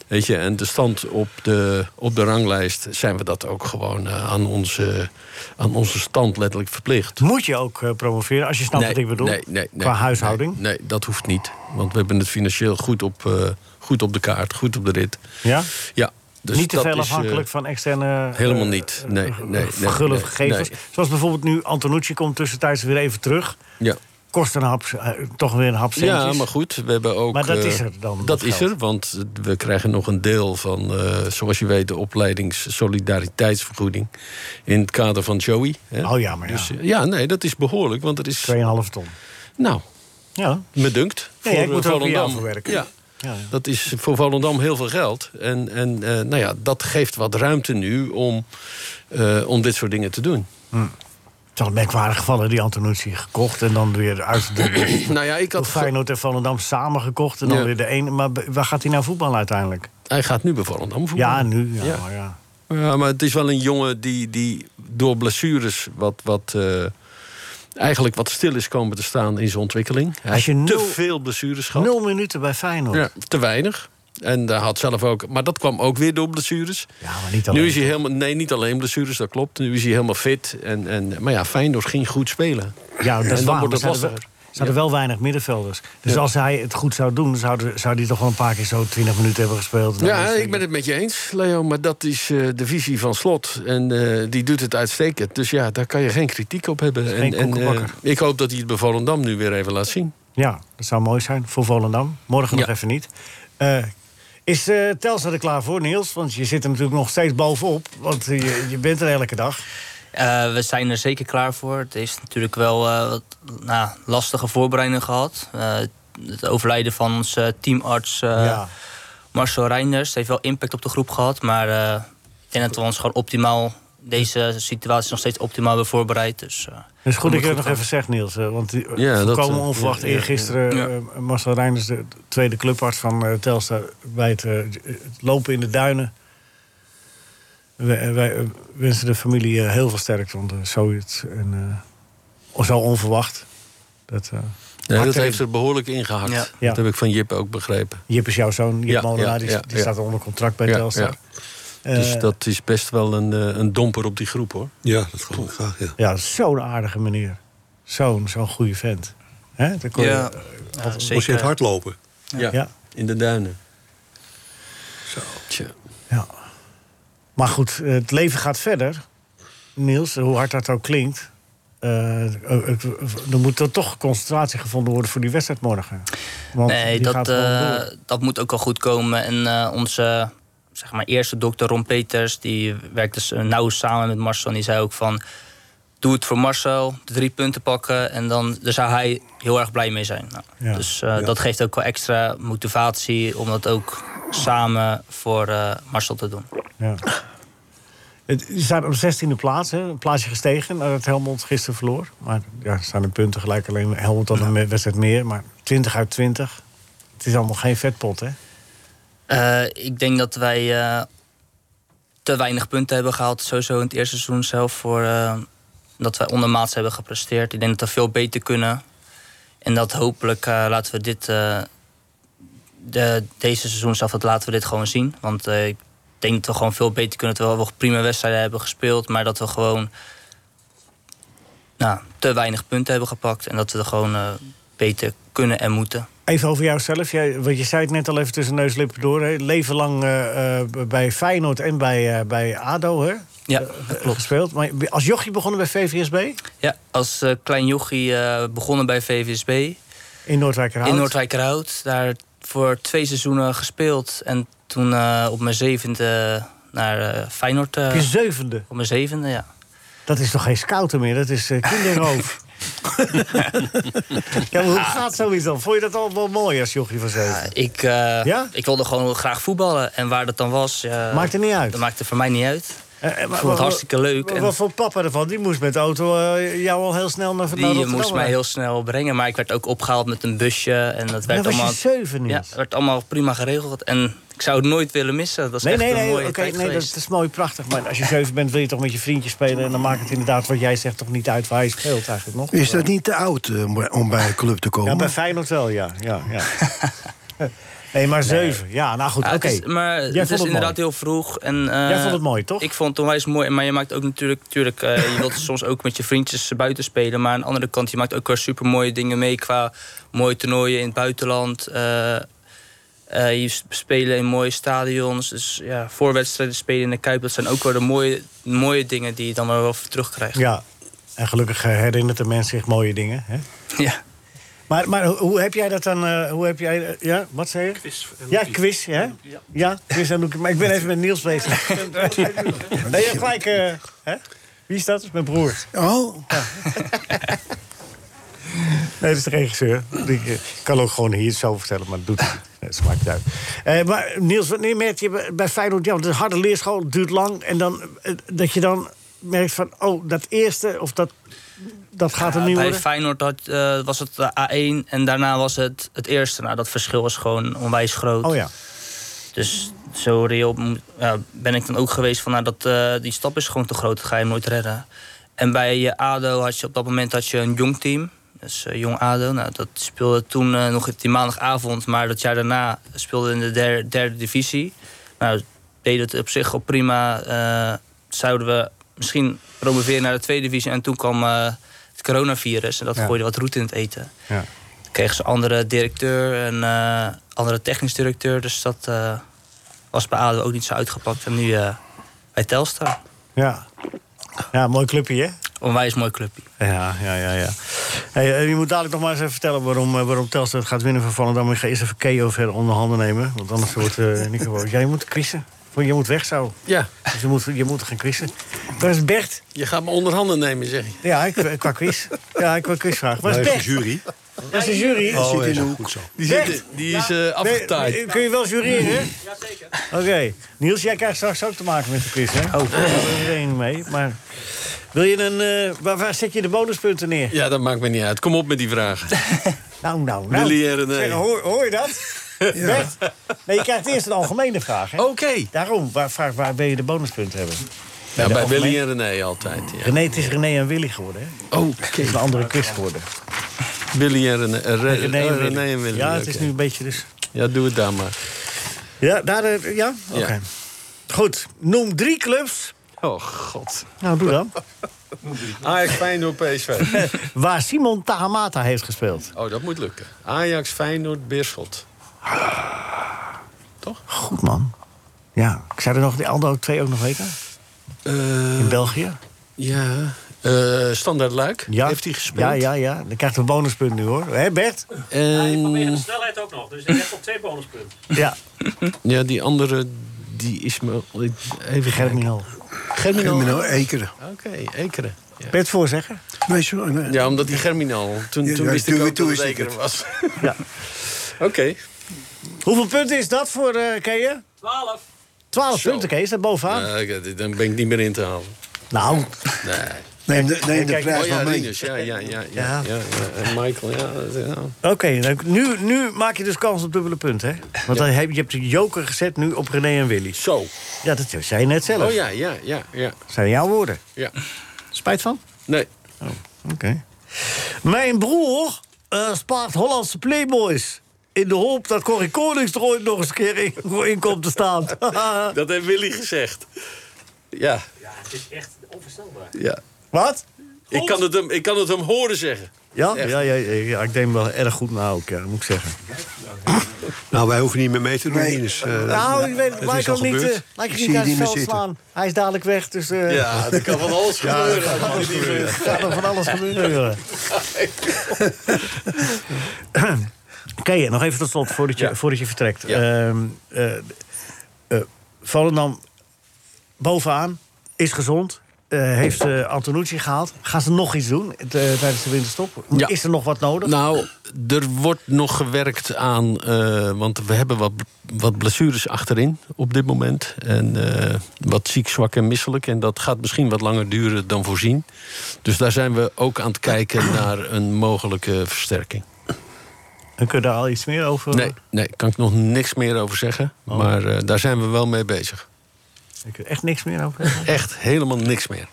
Speaker 8: Weet je, en de stand op de, op de ranglijst... zijn we dat ook gewoon eh, aan, onze, aan onze stand letterlijk verplicht.
Speaker 4: Moet je ook eh, promoveren, als je snapt wat ik bedoel?
Speaker 8: Nee, nee, nee,
Speaker 4: Qua huishouding?
Speaker 8: Nee, nee, dat hoeft niet. Want we hebben het financieel goed op, eh, goed op de kaart, goed op de rit.
Speaker 4: Ja?
Speaker 8: Ja, dus
Speaker 4: niet te
Speaker 8: dat
Speaker 4: veel
Speaker 8: is, eh,
Speaker 4: afhankelijk van externe... eh,
Speaker 8: helemaal niet. Nee, nee, nee,
Speaker 4: vergullen
Speaker 8: nee,
Speaker 4: gegevens.
Speaker 8: nee.
Speaker 4: Zoals bijvoorbeeld nu Antonucci komt tussentijds weer even terug.
Speaker 8: Ja.
Speaker 4: Kost een hap, eh, toch weer een hap centjes.
Speaker 8: Ja, maar goed, we hebben ook.
Speaker 4: Maar dat
Speaker 8: eh,
Speaker 4: is er dan,
Speaker 8: Dat,
Speaker 4: dat
Speaker 8: is
Speaker 4: geld.
Speaker 8: er, want we krijgen nog een deel van, eh, zoals je weet, de opleidingssolidariteitsvergoeding. In het kader van Joey. Hè?
Speaker 4: Oh ja, maar ja.
Speaker 8: Dus, eh, ja, nee, dat is behoorlijk, want dat is.
Speaker 4: 2,5 ton.
Speaker 8: Nou,
Speaker 4: Ja.
Speaker 8: me dunkt. eh,
Speaker 4: Nee, ik moet er ook weer
Speaker 8: Volendam.
Speaker 4: aan verwerken.
Speaker 8: Ja.
Speaker 4: Ja, ja.
Speaker 8: Dat is voor Volendam heel veel geld. En, en eh, nou ja, dat geeft wat ruimte nu om, eh, om dit soort dingen te doen.
Speaker 4: Hm. Het is wel merkwaardig gevallen, die Antonucci gekocht en dan weer uit de...
Speaker 8: Nou ja, ik had. ge-
Speaker 4: Feyenoord en Volendam samen gekocht en dan
Speaker 8: Ja.
Speaker 4: weer de ene. Maar b- waar gaat hij nou voetballen uiteindelijk?
Speaker 8: Hij gaat nu bij Volendam voetballen.
Speaker 4: Ja, nu. Ja,
Speaker 8: Ja.
Speaker 4: Maar ja.
Speaker 8: Ja, maar het is wel een jongen die, die door blessures wat, wat, eh, eigenlijk wat stil is komen te staan in zijn ontwikkeling. Hij
Speaker 4: Als je
Speaker 8: heeft te
Speaker 4: nul-
Speaker 8: veel blessures gehad.
Speaker 4: Nul minuten bij Feyenoord.
Speaker 8: Ja,
Speaker 4: Ja,
Speaker 8: te weinig. En hij had zelf ook, maar dat kwam ook weer door blessures.
Speaker 4: maar niet alleen.
Speaker 8: Nu is hij helemaal, nee, niet alleen blessures, dat klopt. Nu is hij helemaal fit. En, en, maar ja, Feyenoord ging goed spelen.
Speaker 4: Ja, Nou, dat is
Speaker 8: En
Speaker 4: waar,
Speaker 8: dan wordt
Speaker 4: maar
Speaker 8: het
Speaker 4: ze hadden wel-
Speaker 8: lastiger.
Speaker 4: ze hadden wel weinig middenvelders. Dus als hij het goed zou doen, zouden- zou hij toch wel een paar keer zo 20 minuten hebben gespeeld. Dan
Speaker 8: Ja,
Speaker 4: is hij-
Speaker 8: ik ben het met je eens, Leo. Maar dat is eh, de visie van Slot. En eh, die doet het uitstekend. Dus ja, daar kan je geen kritiek op hebben.
Speaker 4: geen
Speaker 8: En, en eh,
Speaker 4: koekenbakker.
Speaker 8: ik hoop dat hij het bij Volendam nu weer even laat zien.
Speaker 4: Ja, dat zou mooi zijn voor Volendam. Morgen nog
Speaker 8: Ja.
Speaker 4: even niet. Eh, is eh Telstra er klaar voor, Niels? Want je zit er natuurlijk nog steeds bovenop. Want eh, je, je bent er elke dag.
Speaker 9: Eh, we zijn er zeker klaar voor. Het is natuurlijk wel eh, wat, nou, lastige voorbereidingen gehad. Eh, het overlijden van onze teamarts eh,
Speaker 4: ja.
Speaker 9: Marcel Reinders heeft wel impact op de groep gehad. Maar eh, ik denk dat we ons gewoon optimaal, deze situatie nog steeds optimaal hebben voorbereid. Dus, eh,
Speaker 4: Het is goed dat
Speaker 9: moet
Speaker 4: je dat
Speaker 9: goed
Speaker 4: nog even zegt, Niels. eh, Want die, eh,
Speaker 8: Ja, dat,
Speaker 4: volkomen
Speaker 8: eh,
Speaker 4: onverwacht
Speaker 8: ja, ja,
Speaker 4: eergisteren...
Speaker 9: ja.
Speaker 4: eh, Marcel Reinders, de tweede clubarts van eh, Telstra... bij het, eh, het lopen in de duinen... Wij, wij, eh, wensen de familie eh, heel veel sterkte. Want eh, zoiets en, eh, zo onverwacht. Dat, eh,
Speaker 8: Nee, dat
Speaker 4: Hard
Speaker 8: heeft er behoorlijk ingehakt.
Speaker 9: Ja.
Speaker 4: Ja.
Speaker 8: Dat heb ik van Jip ook begrepen.
Speaker 4: Jip is dus jouw zoon, Jip
Speaker 8: Ja,
Speaker 4: Molenaar,
Speaker 8: ja,
Speaker 4: die,
Speaker 8: ja,
Speaker 4: die
Speaker 8: ja.
Speaker 4: staat onder contract bij
Speaker 8: Ja,
Speaker 4: Telstra.
Speaker 8: ja.
Speaker 4: Eh,
Speaker 8: dus dat is best wel een, eh, een domper op die groep, hoor.
Speaker 6: Ja, dat geloof ik graag. Ja.
Speaker 4: ja, zo'n aardige meneer. Zo'n zo'n goede vent. Hè? daar kon je-
Speaker 9: ja, ja,
Speaker 6: Moest je
Speaker 9: zeker.
Speaker 6: het hardlopen?
Speaker 8: Ja.
Speaker 4: Ja.
Speaker 8: In de duinen. Tja.
Speaker 4: ja. Maar goed, eh, het leven gaat verder. Niels, hoe hard dat ook klinkt. eh, eh, eh, er moet er toch concentratie gevonden worden voor die wedstrijd morgen. Want
Speaker 9: Nee,
Speaker 4: die
Speaker 9: dat,
Speaker 4: gaat gewoon
Speaker 9: eh,
Speaker 4: door.
Speaker 9: dat moet ook wel goed komen. En eh, onze zeg maar, eerste dokter Ron Peters, die werkte s- nauw samen met Marcel. En die zei ook van, doe het voor Marcel, de drie punten pakken. En dan daar zou hij heel erg blij mee zijn. Nou,
Speaker 4: Ja,
Speaker 9: dus eh, dat geeft ook wel extra motivatie om dat ook samen voor eh, Marcel te doen.
Speaker 4: ja. Het, ze staan op 16e plaats, hè? een plaatsje gestegen nadat Helmond gisteren verloor. Maar ja, er staan de punten gelijk, alleen Helmond had een me- wedstrijd meer. Maar 20 uit 20, het is allemaal geen vetpot, hè?
Speaker 9: Eh, ik denk dat wij eh, te weinig punten hebben gehaald, sowieso in het eerste seizoen zelf, voor eh, dat wij ondermaats hebben gepresteerd. Ik denk dat we veel beter kunnen. En dat hopelijk eh, laten we dit, eh, de, deze seizoen zelf, dat laten we dit gewoon zien. Want eh, ik denk dat we gewoon veel beter kunnen, terwijl we wel prima wedstrijden hebben gespeeld, maar dat we gewoon nou, te weinig punten hebben gepakt. En dat we er gewoon eh, beter kunnen en moeten.
Speaker 4: Even over jouzelf, Jij, want je zei het net al even tussen neus en lippen door. Hè? Leven lang eh, eh, bij Feyenoord en bij, eh, bij ADO hè?
Speaker 9: Ja,
Speaker 4: gespeeld. Maar je- als jochie begonnen bij VVSB
Speaker 9: Ja, als eh, klein jochie eh, begonnen bij VVSB
Speaker 4: in Noordwijkerhout.
Speaker 9: in Noordwijkerhout. Daar voor twee seizoenen gespeeld. En toen eh, op mijn zevende naar eh, Feyenoord. eh,
Speaker 4: Op je zevende.
Speaker 9: op mijn zevende, ja.
Speaker 4: Dat is toch geen scouten meer, dat is eh, kinderroof. ja, maar hoe gaat zoiets dan? Vond je dat al wel mooi als jochie van zeven?
Speaker 9: Ah, Ik, eh,
Speaker 4: Ja?
Speaker 9: ik wilde gewoon graag voetballen. En waar dat dan was... eh,
Speaker 4: Maakte niet uit.
Speaker 9: Dat maakte voor mij niet uit.
Speaker 4: Eh, eh, maar-
Speaker 9: vond het
Speaker 4: maar-
Speaker 9: hartstikke leuk
Speaker 4: maar
Speaker 9: en-
Speaker 4: Wat voor papa ervan? Die moest met de auto eh, jou al heel snel naar, naar
Speaker 9: Die eh,
Speaker 4: Rotterdam
Speaker 9: moest mij
Speaker 4: rijden.
Speaker 9: heel snel brengen. Maar ik werd ook opgezeid met een busje. En dat
Speaker 4: Dan
Speaker 9: werd
Speaker 4: was je
Speaker 9: allemaal...
Speaker 4: zeven,
Speaker 9: Ja,
Speaker 4: Niels.
Speaker 9: werd allemaal prima geregeld. En ik zou het nooit willen missen. Dat is
Speaker 4: Nee,
Speaker 9: echt
Speaker 4: nee,
Speaker 9: een
Speaker 4: nee,
Speaker 9: mooie
Speaker 4: oké,
Speaker 9: tijd
Speaker 4: nee dat
Speaker 9: geweest.
Speaker 4: is mooi, prachtig. Maar als je zeven bent, wil je toch met je vriendje spelen... en dan maakt het inderdaad, wat jij zegt, toch niet uit waar je speelt eigenlijk nog.
Speaker 7: Is dat niet te oud eh, om- om bij een club te komen?
Speaker 4: Ja, bij Feyenoord wel, ja. ja, ja. nee, maar zeven. Ja, nou goed,
Speaker 9: Ja,
Speaker 4: oké.
Speaker 9: het is- maar
Speaker 4: vond
Speaker 9: het
Speaker 4: het
Speaker 9: is
Speaker 4: mooi.
Speaker 9: inderdaad heel vroeg. En, eh,
Speaker 4: Jij vond het mooi, toch?
Speaker 9: Ik vond het onwijs mooi. Maar je maakt ook natuurlijk... natuurlijk eh, je wilt soms ook met je vriendjes buiten spelen. Maar aan de andere kant, je maakt ook wel super mooie dingen mee. Qua mooie toernooien in het buitenland. eh, eh, je sp- spelen in mooie stadions. Dus ja, voorwedstrijden spelen in de Kuip. Dat zijn ook wel de mooie, mooie dingen die je dan wel weer terugkrijgt.
Speaker 4: Ja, en gelukkig eh, herinnert de mens zich mooie dingen. Hè?
Speaker 9: Ja.
Speaker 4: Maar, maar hoe- hoe heb jij dat dan... eh, hoe heb jij, eh, ja, wat zei je? Quiz. Ja, quiz, hè? Ja, quiz en Loekie. Maar ik ben even met Niels bezig. nee, je hebt gelijk... eh, hè? Wie is dat? Dat is mijn broer.
Speaker 7: Oh,
Speaker 4: Nee, dat is de regisseur. Die eh, kan ook gewoon hier zo vertellen, maar dat doet hij niet. Nee, Dat maakt niet uit. Eh, maar Niels, wanneer merk je bij- bij Feyenoord... Ja, want de harde leerschool het duurt lang. En dan, eh, dat je dan merkt van... Oh, dat eerste of dat, dat gaat er
Speaker 9: Ja,
Speaker 4: niet
Speaker 9: bij
Speaker 4: worden.
Speaker 9: Feyenoord had, eh, was het de A1 en daarna was het het eerste. Nou, dat verschil was gewoon onwijs groot.
Speaker 4: Oh ja.
Speaker 9: Dus zo reëel mo- ja, ben ik dan ook geweest van... Nou, dat, eh, die stap is gewoon te groot, dat ga je hem nooit redden. En bij eh, ADO had je op dat moment had je een jong team. Dus eh, jong ADO, nou, dat speelde toen eh, nog die maandagavond. Maar dat jaar daarna speelde in de der- derde divisie. Nou, deed het op zich al prima. Eh, zouden we misschien promoveren naar de tweede divisie. En toen kwam eh, het coronavirus en dat
Speaker 4: Ja.
Speaker 9: gooide wat roet in het eten.
Speaker 4: Ja.
Speaker 9: Toen kregen ze een andere directeur en eh, andere technisch directeur. Dus dat eh, was bij ADO ook niet zo uitgepakt. En nu eh, bij Telstar.
Speaker 4: Ja. Ja, mooi clubje, hè?
Speaker 9: Onwijs mooi clubje.
Speaker 4: Ja, ja, ja, ja. Hey, eh, je moet dadelijk nog maar eens even vertellen waarom, eh, waarom Telstra het gaat winnen van Volendam. Maar Ik ga eerst even Keo verder onder handen nemen. Want anders wordt eh Nico boos. Jij moet quizzen. Je moet weg zo.
Speaker 8: Ja,
Speaker 4: Dus je moet, je moet gaan quizzen. Waar is Bert?
Speaker 8: je gaat me onder handen nemen, zeg je.
Speaker 4: Ja, ik, qua quiz. Ja, ik wil quizvraag. Waar is
Speaker 6: Hij is
Speaker 4: Bert?
Speaker 6: de jury.
Speaker 4: Dat is de jury.
Speaker 6: Oh, ja, zo, goed zo.
Speaker 8: Die,
Speaker 4: Bert!
Speaker 8: zit- die is eh
Speaker 4: Nee,
Speaker 8: afgetaaid.
Speaker 4: nee, kun je wel jureren? Jazeker. Oké. Niels, jij krijgt straks ook te maken met de quiz, hè? Oh. Daar is iedereen mee. Maar wil je een... eh, waar, waar zet je de bonuspunten neer?
Speaker 8: Ja, dat maakt me niet uit. Kom op met die vragen.
Speaker 4: Nou, nou, nou.
Speaker 8: Willy en René.
Speaker 4: Zeg, hoor, hoor je dat? Bert? Nee, je krijgt eerst een algemene vraag, hè?
Speaker 8: Oké.
Speaker 4: Daarom, waar, vraag waar wil je de bonuspunten hebben?
Speaker 8: Ja,
Speaker 4: de
Speaker 8: bij
Speaker 4: algemeen-
Speaker 8: Willy en René altijd. Ja.
Speaker 4: René, het is René en Willy geworden, hè? Het
Speaker 8: Oké.
Speaker 4: is een andere quiz geworden.
Speaker 8: Willy en René. eh, Re- eh, René, en Willy.
Speaker 4: Ja, het is
Speaker 8: oké.
Speaker 4: nu een beetje dus...
Speaker 8: Ja, doe het daar maar.
Speaker 4: Ja, daar, eh, ja? Oké.
Speaker 8: Ja.
Speaker 4: Goed, noem drie clubs.
Speaker 8: Oh, god.
Speaker 4: Nou, doe dan.
Speaker 8: Ajax, Feyenoord, PSV.
Speaker 4: Waar Simon Tahamata heeft gespeeld.
Speaker 8: Oh, dat moet lukken. Ajax, Feyenoord, Beerschot.
Speaker 4: Goed, man. Ja, ik zou er nog die andere twee ook nog weten.
Speaker 8: Eh,
Speaker 4: In België.
Speaker 8: ja. Eh, standaard Luik
Speaker 4: Ja.
Speaker 8: heeft hij gespeeld.
Speaker 4: Ja, ja, ja. Dan krijgt hij een bonuspunt nu, hoor. Hé, Bert?
Speaker 8: En
Speaker 10: snelheid ook nog. Dus ik heb op twee bonuspunten.
Speaker 4: Ja,
Speaker 8: ja, die andere, die is me... ik- Even
Speaker 4: Gerrit
Speaker 8: kijken.
Speaker 4: Minal.
Speaker 8: Germinal.
Speaker 7: crimineel Ekeren.
Speaker 8: Oké, Ekeren. Ja.
Speaker 4: Bert voorzegger?
Speaker 7: Nee, sorry, nee.
Speaker 8: Ja, omdat die Germinal. Toen,
Speaker 7: Ja,
Speaker 8: toen
Speaker 7: ja,
Speaker 8: wist
Speaker 7: toen-
Speaker 8: ik ook
Speaker 7: toen
Speaker 8: dat het
Speaker 7: wist ik
Speaker 8: Ekeren was.
Speaker 4: Ja.
Speaker 8: Oké.
Speaker 4: Hoeveel punten is dat voor eh Keeën?
Speaker 10: 12.
Speaker 4: 12
Speaker 8: Zo.
Speaker 4: punten, Kees. Dat bovenaan.
Speaker 8: Nou, ik- dan ben ik niet meer in te halen.
Speaker 4: Nou,
Speaker 8: Nee.
Speaker 7: Neem de, neem de
Speaker 4: Kijk,
Speaker 7: prijs
Speaker 8: Oh ja,
Speaker 7: maar mee.
Speaker 8: Rinus, ja, ja, ja, ja,
Speaker 4: Ja.
Speaker 8: ja, ja. En Michael, ja. dat- ja.
Speaker 4: oké. nou, Nu, nu maak je dus kans op dubbele punten, hè? Want dan heb, je hebt de joker gezet nu op René en Willy.
Speaker 8: Zo.
Speaker 4: Ja, dat zei je net zelf.
Speaker 8: Oh ja, ja, ja, ja,
Speaker 4: Dat zijn jouw woorden.
Speaker 8: ja.
Speaker 4: Spijt van? Oh,
Speaker 8: Nee.
Speaker 4: Oké. Mijn broer eh, spaart Hollandse Playboys. In de hoop dat Corrie Konings er ooit nog eens een keer in, in komt te staan.
Speaker 8: Dat heeft Willy gezegd. Ja,
Speaker 10: Ja, het is echt onvoorstelbaar.
Speaker 8: ja.
Speaker 4: Wat?
Speaker 8: Ik kan, het hem, ik kan het hem horen zeggen.
Speaker 4: Ja? Ja,
Speaker 8: Echt.
Speaker 4: ja, ja, ja, ik denk wel erg goed na ook, ja, dat moet ik zeggen.
Speaker 6: Nou, wij hoeven niet meer mee te doen, Ines. Eh,
Speaker 4: nou, ik weet het,
Speaker 6: het is al
Speaker 4: Michael niet, eh
Speaker 6: gebeurd.
Speaker 4: laat je
Speaker 7: zie
Speaker 4: niet
Speaker 7: je
Speaker 4: uit het
Speaker 7: niet meer
Speaker 4: veld
Speaker 7: zitten.
Speaker 4: slaan. Hij is dadelijk weg, dus eh
Speaker 8: Ja, er kan van alles gebeuren.
Speaker 4: er gaat nog van alles gebeuren. Oké, nog even tot slot, voordat je,
Speaker 8: Ja.
Speaker 4: voordat je vertrekt.
Speaker 8: Ja.
Speaker 4: Ehm, eh, eh, Volendam bovenaan, is gezond. eh, heeft eh, Antonucci gehaald. Gaan ze nog iets doen eh, tijdens de winterstop?
Speaker 8: Ja.
Speaker 4: Is er nog wat nodig?
Speaker 8: Nou, er wordt nog gewerkt aan. eh, want we hebben wat, wat blessures achterin op dit moment. En eh, wat ziek, zwak en misselijk. En dat gaat misschien wat langer duren dan voorzien. Dus daar zijn we ook aan het kijken naar een mogelijke versterking.
Speaker 4: En kun je daar al iets meer over? Oh.
Speaker 8: Nee, nee, kan ik nog niks meer over zeggen. Maar eh, daar zijn we wel mee bezig.
Speaker 4: Ik kun je echt niks meer over?
Speaker 8: Echt helemaal niks meer.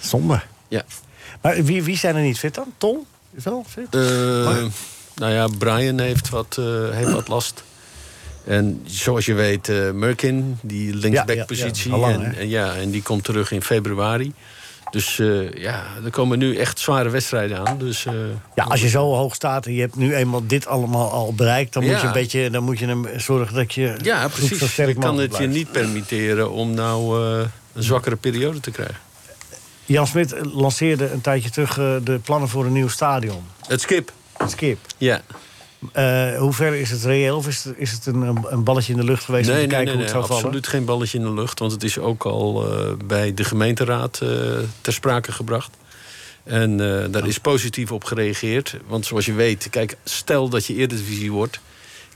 Speaker 4: Zonde.
Speaker 8: Ja.
Speaker 4: Maar wie, wie zijn er niet fit dan? Tom? Is wel fit?
Speaker 8: Eh, nou ja, Brian heeft wat, eh, heeft wat last. En zoals je weet, eh Merkin, die linksback-positie.
Speaker 4: ja, ja. Al lang,
Speaker 8: en,
Speaker 4: hè?
Speaker 8: en ja, en die komt terug in februari. Dus eh, ja, er komen nu echt zware wedstrijden aan. Dus, eh,
Speaker 4: Ja, als je zo hoog staat en je hebt nu eenmaal dit allemaal al bereikt... dan moet
Speaker 8: Ja.
Speaker 4: je een beetje dan moet je hem zorgen dat je
Speaker 8: ja,
Speaker 4: goed zo
Speaker 8: precies.
Speaker 4: sterk
Speaker 8: Je kan
Speaker 4: mogelijk
Speaker 8: het je
Speaker 4: blijft.
Speaker 8: niet permitteren om nou eh, een zwakkere periode te krijgen.
Speaker 4: Jan Smit lanceerde een tijdje terug eh, de plannen voor een nieuw stadion.
Speaker 8: Het skip.
Speaker 4: Skip.
Speaker 8: Ja.
Speaker 4: Eh, hoe ver is het reëel? Of is het, is het een, een balletje in de lucht geweest om te kijken hoe het zou vallen?
Speaker 8: absoluut geen balletje in de lucht. Want het is ook al eh, bij de gemeenteraad eh, ter sprake gebracht. En eh, daar is positief op gereageerd. Want zoals je weet, kijk, stel dat je Eredivisie wordt...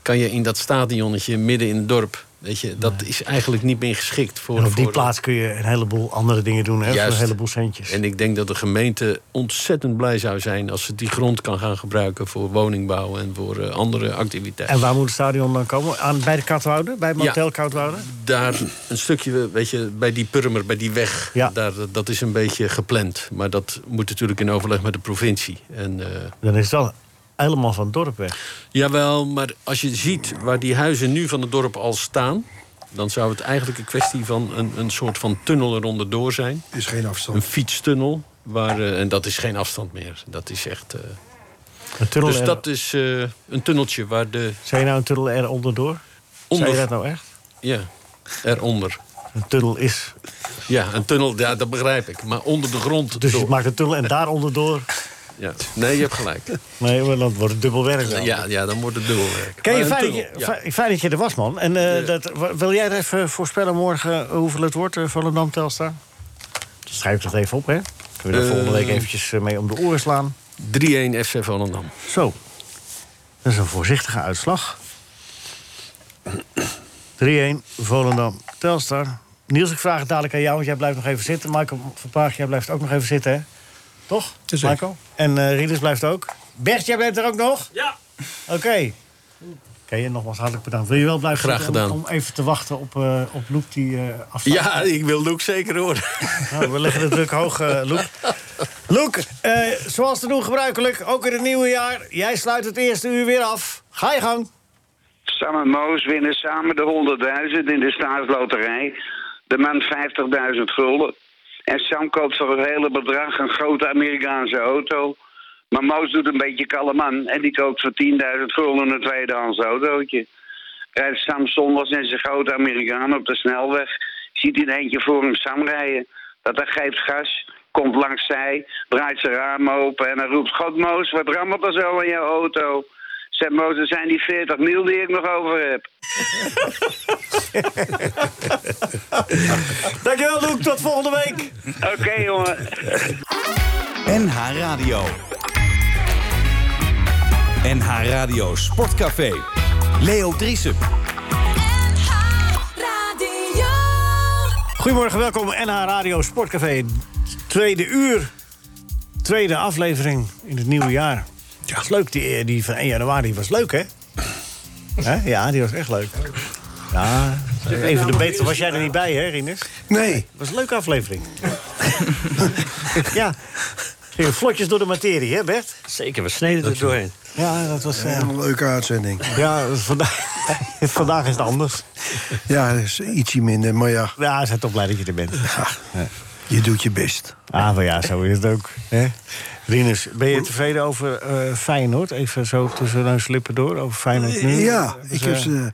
Speaker 8: kan je in dat stadionnetje midden in het dorp... Weet je, dat is eigenlijk niet meer geschikt voor...
Speaker 4: En op die
Speaker 8: voor-
Speaker 4: plaats kun je een heleboel andere dingen doen. Hè? Voor een
Speaker 8: Juist.
Speaker 4: heleboel centjes.
Speaker 8: En ik denk dat de gemeente ontzettend blij zou zijn... als ze die grond kan gaan gebruiken voor woningbouw... en voor eh, andere activiteiten.
Speaker 4: En waar moet het stadion dan komen? Aan, bij de Katwoude? Bij het
Speaker 8: Ja.
Speaker 4: motel Koudwoude?
Speaker 8: daar een stukje, weet je, bij die Purmer, bij die weg,
Speaker 4: Ja.
Speaker 8: daar, dat is een beetje gepland. Maar dat moet natuurlijk in overleg met de provincie. En, eh,
Speaker 4: Dan is het wel helemaal van het dorp weg.
Speaker 8: jawel, maar als je ziet waar die huizen nu van het dorp al staan, dan zou het eigenlijk een kwestie van een, een soort van tunnel eronder door zijn.
Speaker 7: Is geen
Speaker 8: Een
Speaker 7: afstand.
Speaker 8: fietstunnel. Waar, eh, en dat is geen afstand meer. Dat is echt. eh,
Speaker 4: Een tunnel
Speaker 8: dus
Speaker 4: er-
Speaker 8: dat is eh, een tunneltje waar de.
Speaker 4: Zei je nou een tunnel er onderdoor? Onder... Zei je
Speaker 8: Onder,
Speaker 4: dat nou echt?
Speaker 8: ja, eronder.
Speaker 4: Een tunnel is...
Speaker 8: Ja, een tunnel, ja, dat begrijp ik. Maar onder de grond.
Speaker 4: Dus
Speaker 8: door.
Speaker 4: je maakt een tunnel en daar onderdoor...
Speaker 8: Ja. Nee, je hebt gelijk.
Speaker 4: Nee, maar dan wordt het dubbel werk. dan.
Speaker 8: Ja, ja, dan wordt het dubbelwerk.
Speaker 4: Ken je,
Speaker 8: Maar een
Speaker 4: fijn, dat
Speaker 8: tunnel,
Speaker 4: je,
Speaker 8: ja.
Speaker 4: fi- fijn dat je er was, man. En eh, dat, wa- wil jij er even voorspellen morgen hoeveel het wordt, eh, Volendam Telstar? Schrijf dat even op, hè? Kunnen we daar
Speaker 8: Eh.
Speaker 4: volgende week eventjes eh, mee om de oren slaan?
Speaker 8: 3-1 FC Volendam.
Speaker 4: Zo. Dat is een voorzichtige uitslag. 3-1, Volendam, Telstar. Niels, ik vraag het dadelijk aan jou, want jij blijft nog even zitten. Michael van Praag, jij blijft ook nog even zitten, hè? Toch,
Speaker 6: Jazeker.
Speaker 4: Michael? En eh Rieders blijft ook. Bert, jij bent er ook nog?
Speaker 10: Ja.
Speaker 4: Oké. Oké, en nogmaals hartelijk bedankt. Wil je wel blijven
Speaker 8: Graag
Speaker 4: zitten om-
Speaker 8: gedaan.
Speaker 4: Om, even te wachten op, eh op Loep die eh afstaat?
Speaker 8: Ja, ik wil Loek zeker horen.
Speaker 4: Nou, we leggen de druk hoog, eh Loek. Loek, eh, zoals te doen gebruikelijk, ook in het nieuwe jaar. Jij sluit het eerste uur weer af. Ga je gang.
Speaker 11: Sam en Moos winnen samen de 100.000 in de staatsloterij. De man 50.000 gulden. En Sam koopt voor het hele bedrag een grote Amerikaanse auto. Maar Moos doet een beetje kalm aan en die koopt voor 10.000 gulden een tweedehands autootje. Rijdt Sam zondags in zijn grote Amerikaan op de snelweg. Ziet in eentje voor hem Sam rijden. Dat hij geeft gas, komt langs zij, draait zijn raam open en hij roept... God Moos, wat rammelt er zo in jouw auto? Zegt Moos, er zijn die 40 mil die ik nog over heb.
Speaker 4: Dankjewel, Loek. Tot volgende week.
Speaker 11: Oké, jongen.
Speaker 2: NH Radio. NH Radio Sportcafé. Leo Driesen.
Speaker 4: Goedemorgen, welkom NH Radio Sportcafé. Tweede uur, tweede aflevering in het nieuwe jaar. Ja. is leuk, die, eh, die van 1 januari was leuk, hè? Hè? Ja, die was echt leuk. Ja, een van de betere. Was jij er niet bij, hè, Rinus?
Speaker 7: Nee,
Speaker 4: was een leuke aflevering. ja, gingen vlotjes door de materie, hè, Bert?
Speaker 5: Zeker, we sneden er doorheen.
Speaker 4: Ja, dat was... eh,
Speaker 7: een leuke uitzending.
Speaker 4: ja, dat is vandaag, vandaag is het anders.
Speaker 7: Ja, dat is ietsje minder, maar ja,
Speaker 4: Ja, ze zijn toch blij dat je er bent.
Speaker 7: je doet je best.
Speaker 4: Ah, maar ja, zo is het ook. Hè? Rinus, ben je tevreden over eh Feyenoord? Even zo tussen neus en lippen door, over Feyenoord nu?
Speaker 7: Ja,
Speaker 4: Hebben
Speaker 7: ik
Speaker 4: ze-
Speaker 7: heb ze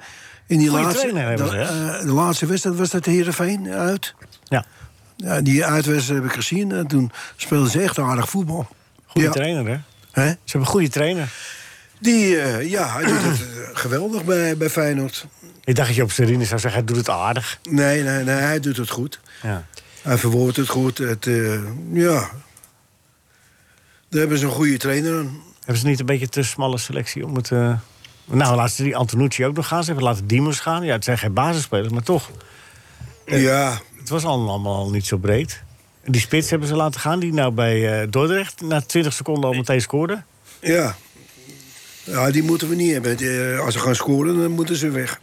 Speaker 7: in die
Speaker 4: Goeie
Speaker 7: laatste,
Speaker 4: trainer hebben
Speaker 7: de,
Speaker 4: ze, hè?
Speaker 7: eh, de laatste wedstrijd was dat Heerenveen uit.
Speaker 4: Ja,
Speaker 7: Ja, die uitwedstrijd heb ik gezien en toen speelden ze echt aardig voetbal.
Speaker 4: goede
Speaker 7: ja.
Speaker 4: trainer, hè?
Speaker 7: Hè?
Speaker 4: Ze hebben een goede trainer.
Speaker 7: Die, eh, ja, hij doet het eh, geweldig bij, bij Feyenoord.
Speaker 4: Ik dacht dat je op zijn Rinus zou zeggen, hij doet het aardig.
Speaker 7: Nee, nee, nee, hij doet het goed.
Speaker 4: Ja.
Speaker 7: Hij verwoordt het goed. Het, eh, ja. Daar hebben ze een goede trainer aan.
Speaker 4: Hebben ze niet een beetje te smalle selectie om het... eh, Nou, laten ze die Antonucci ook nog gaan. Ze hebben laten Diemers gaan. Ja, het zijn geen basisspelers, maar toch. Eh,
Speaker 7: Ja,
Speaker 4: Het was allemaal, allemaal niet zo breed. En Die spits hebben ze laten gaan, die nou bij eh, Dordrecht... na 20 seconden al meteen scoorde.
Speaker 7: ja. Ja, die moeten we niet hebben. Die, eh, als ze gaan scoren, dan moeten ze weg.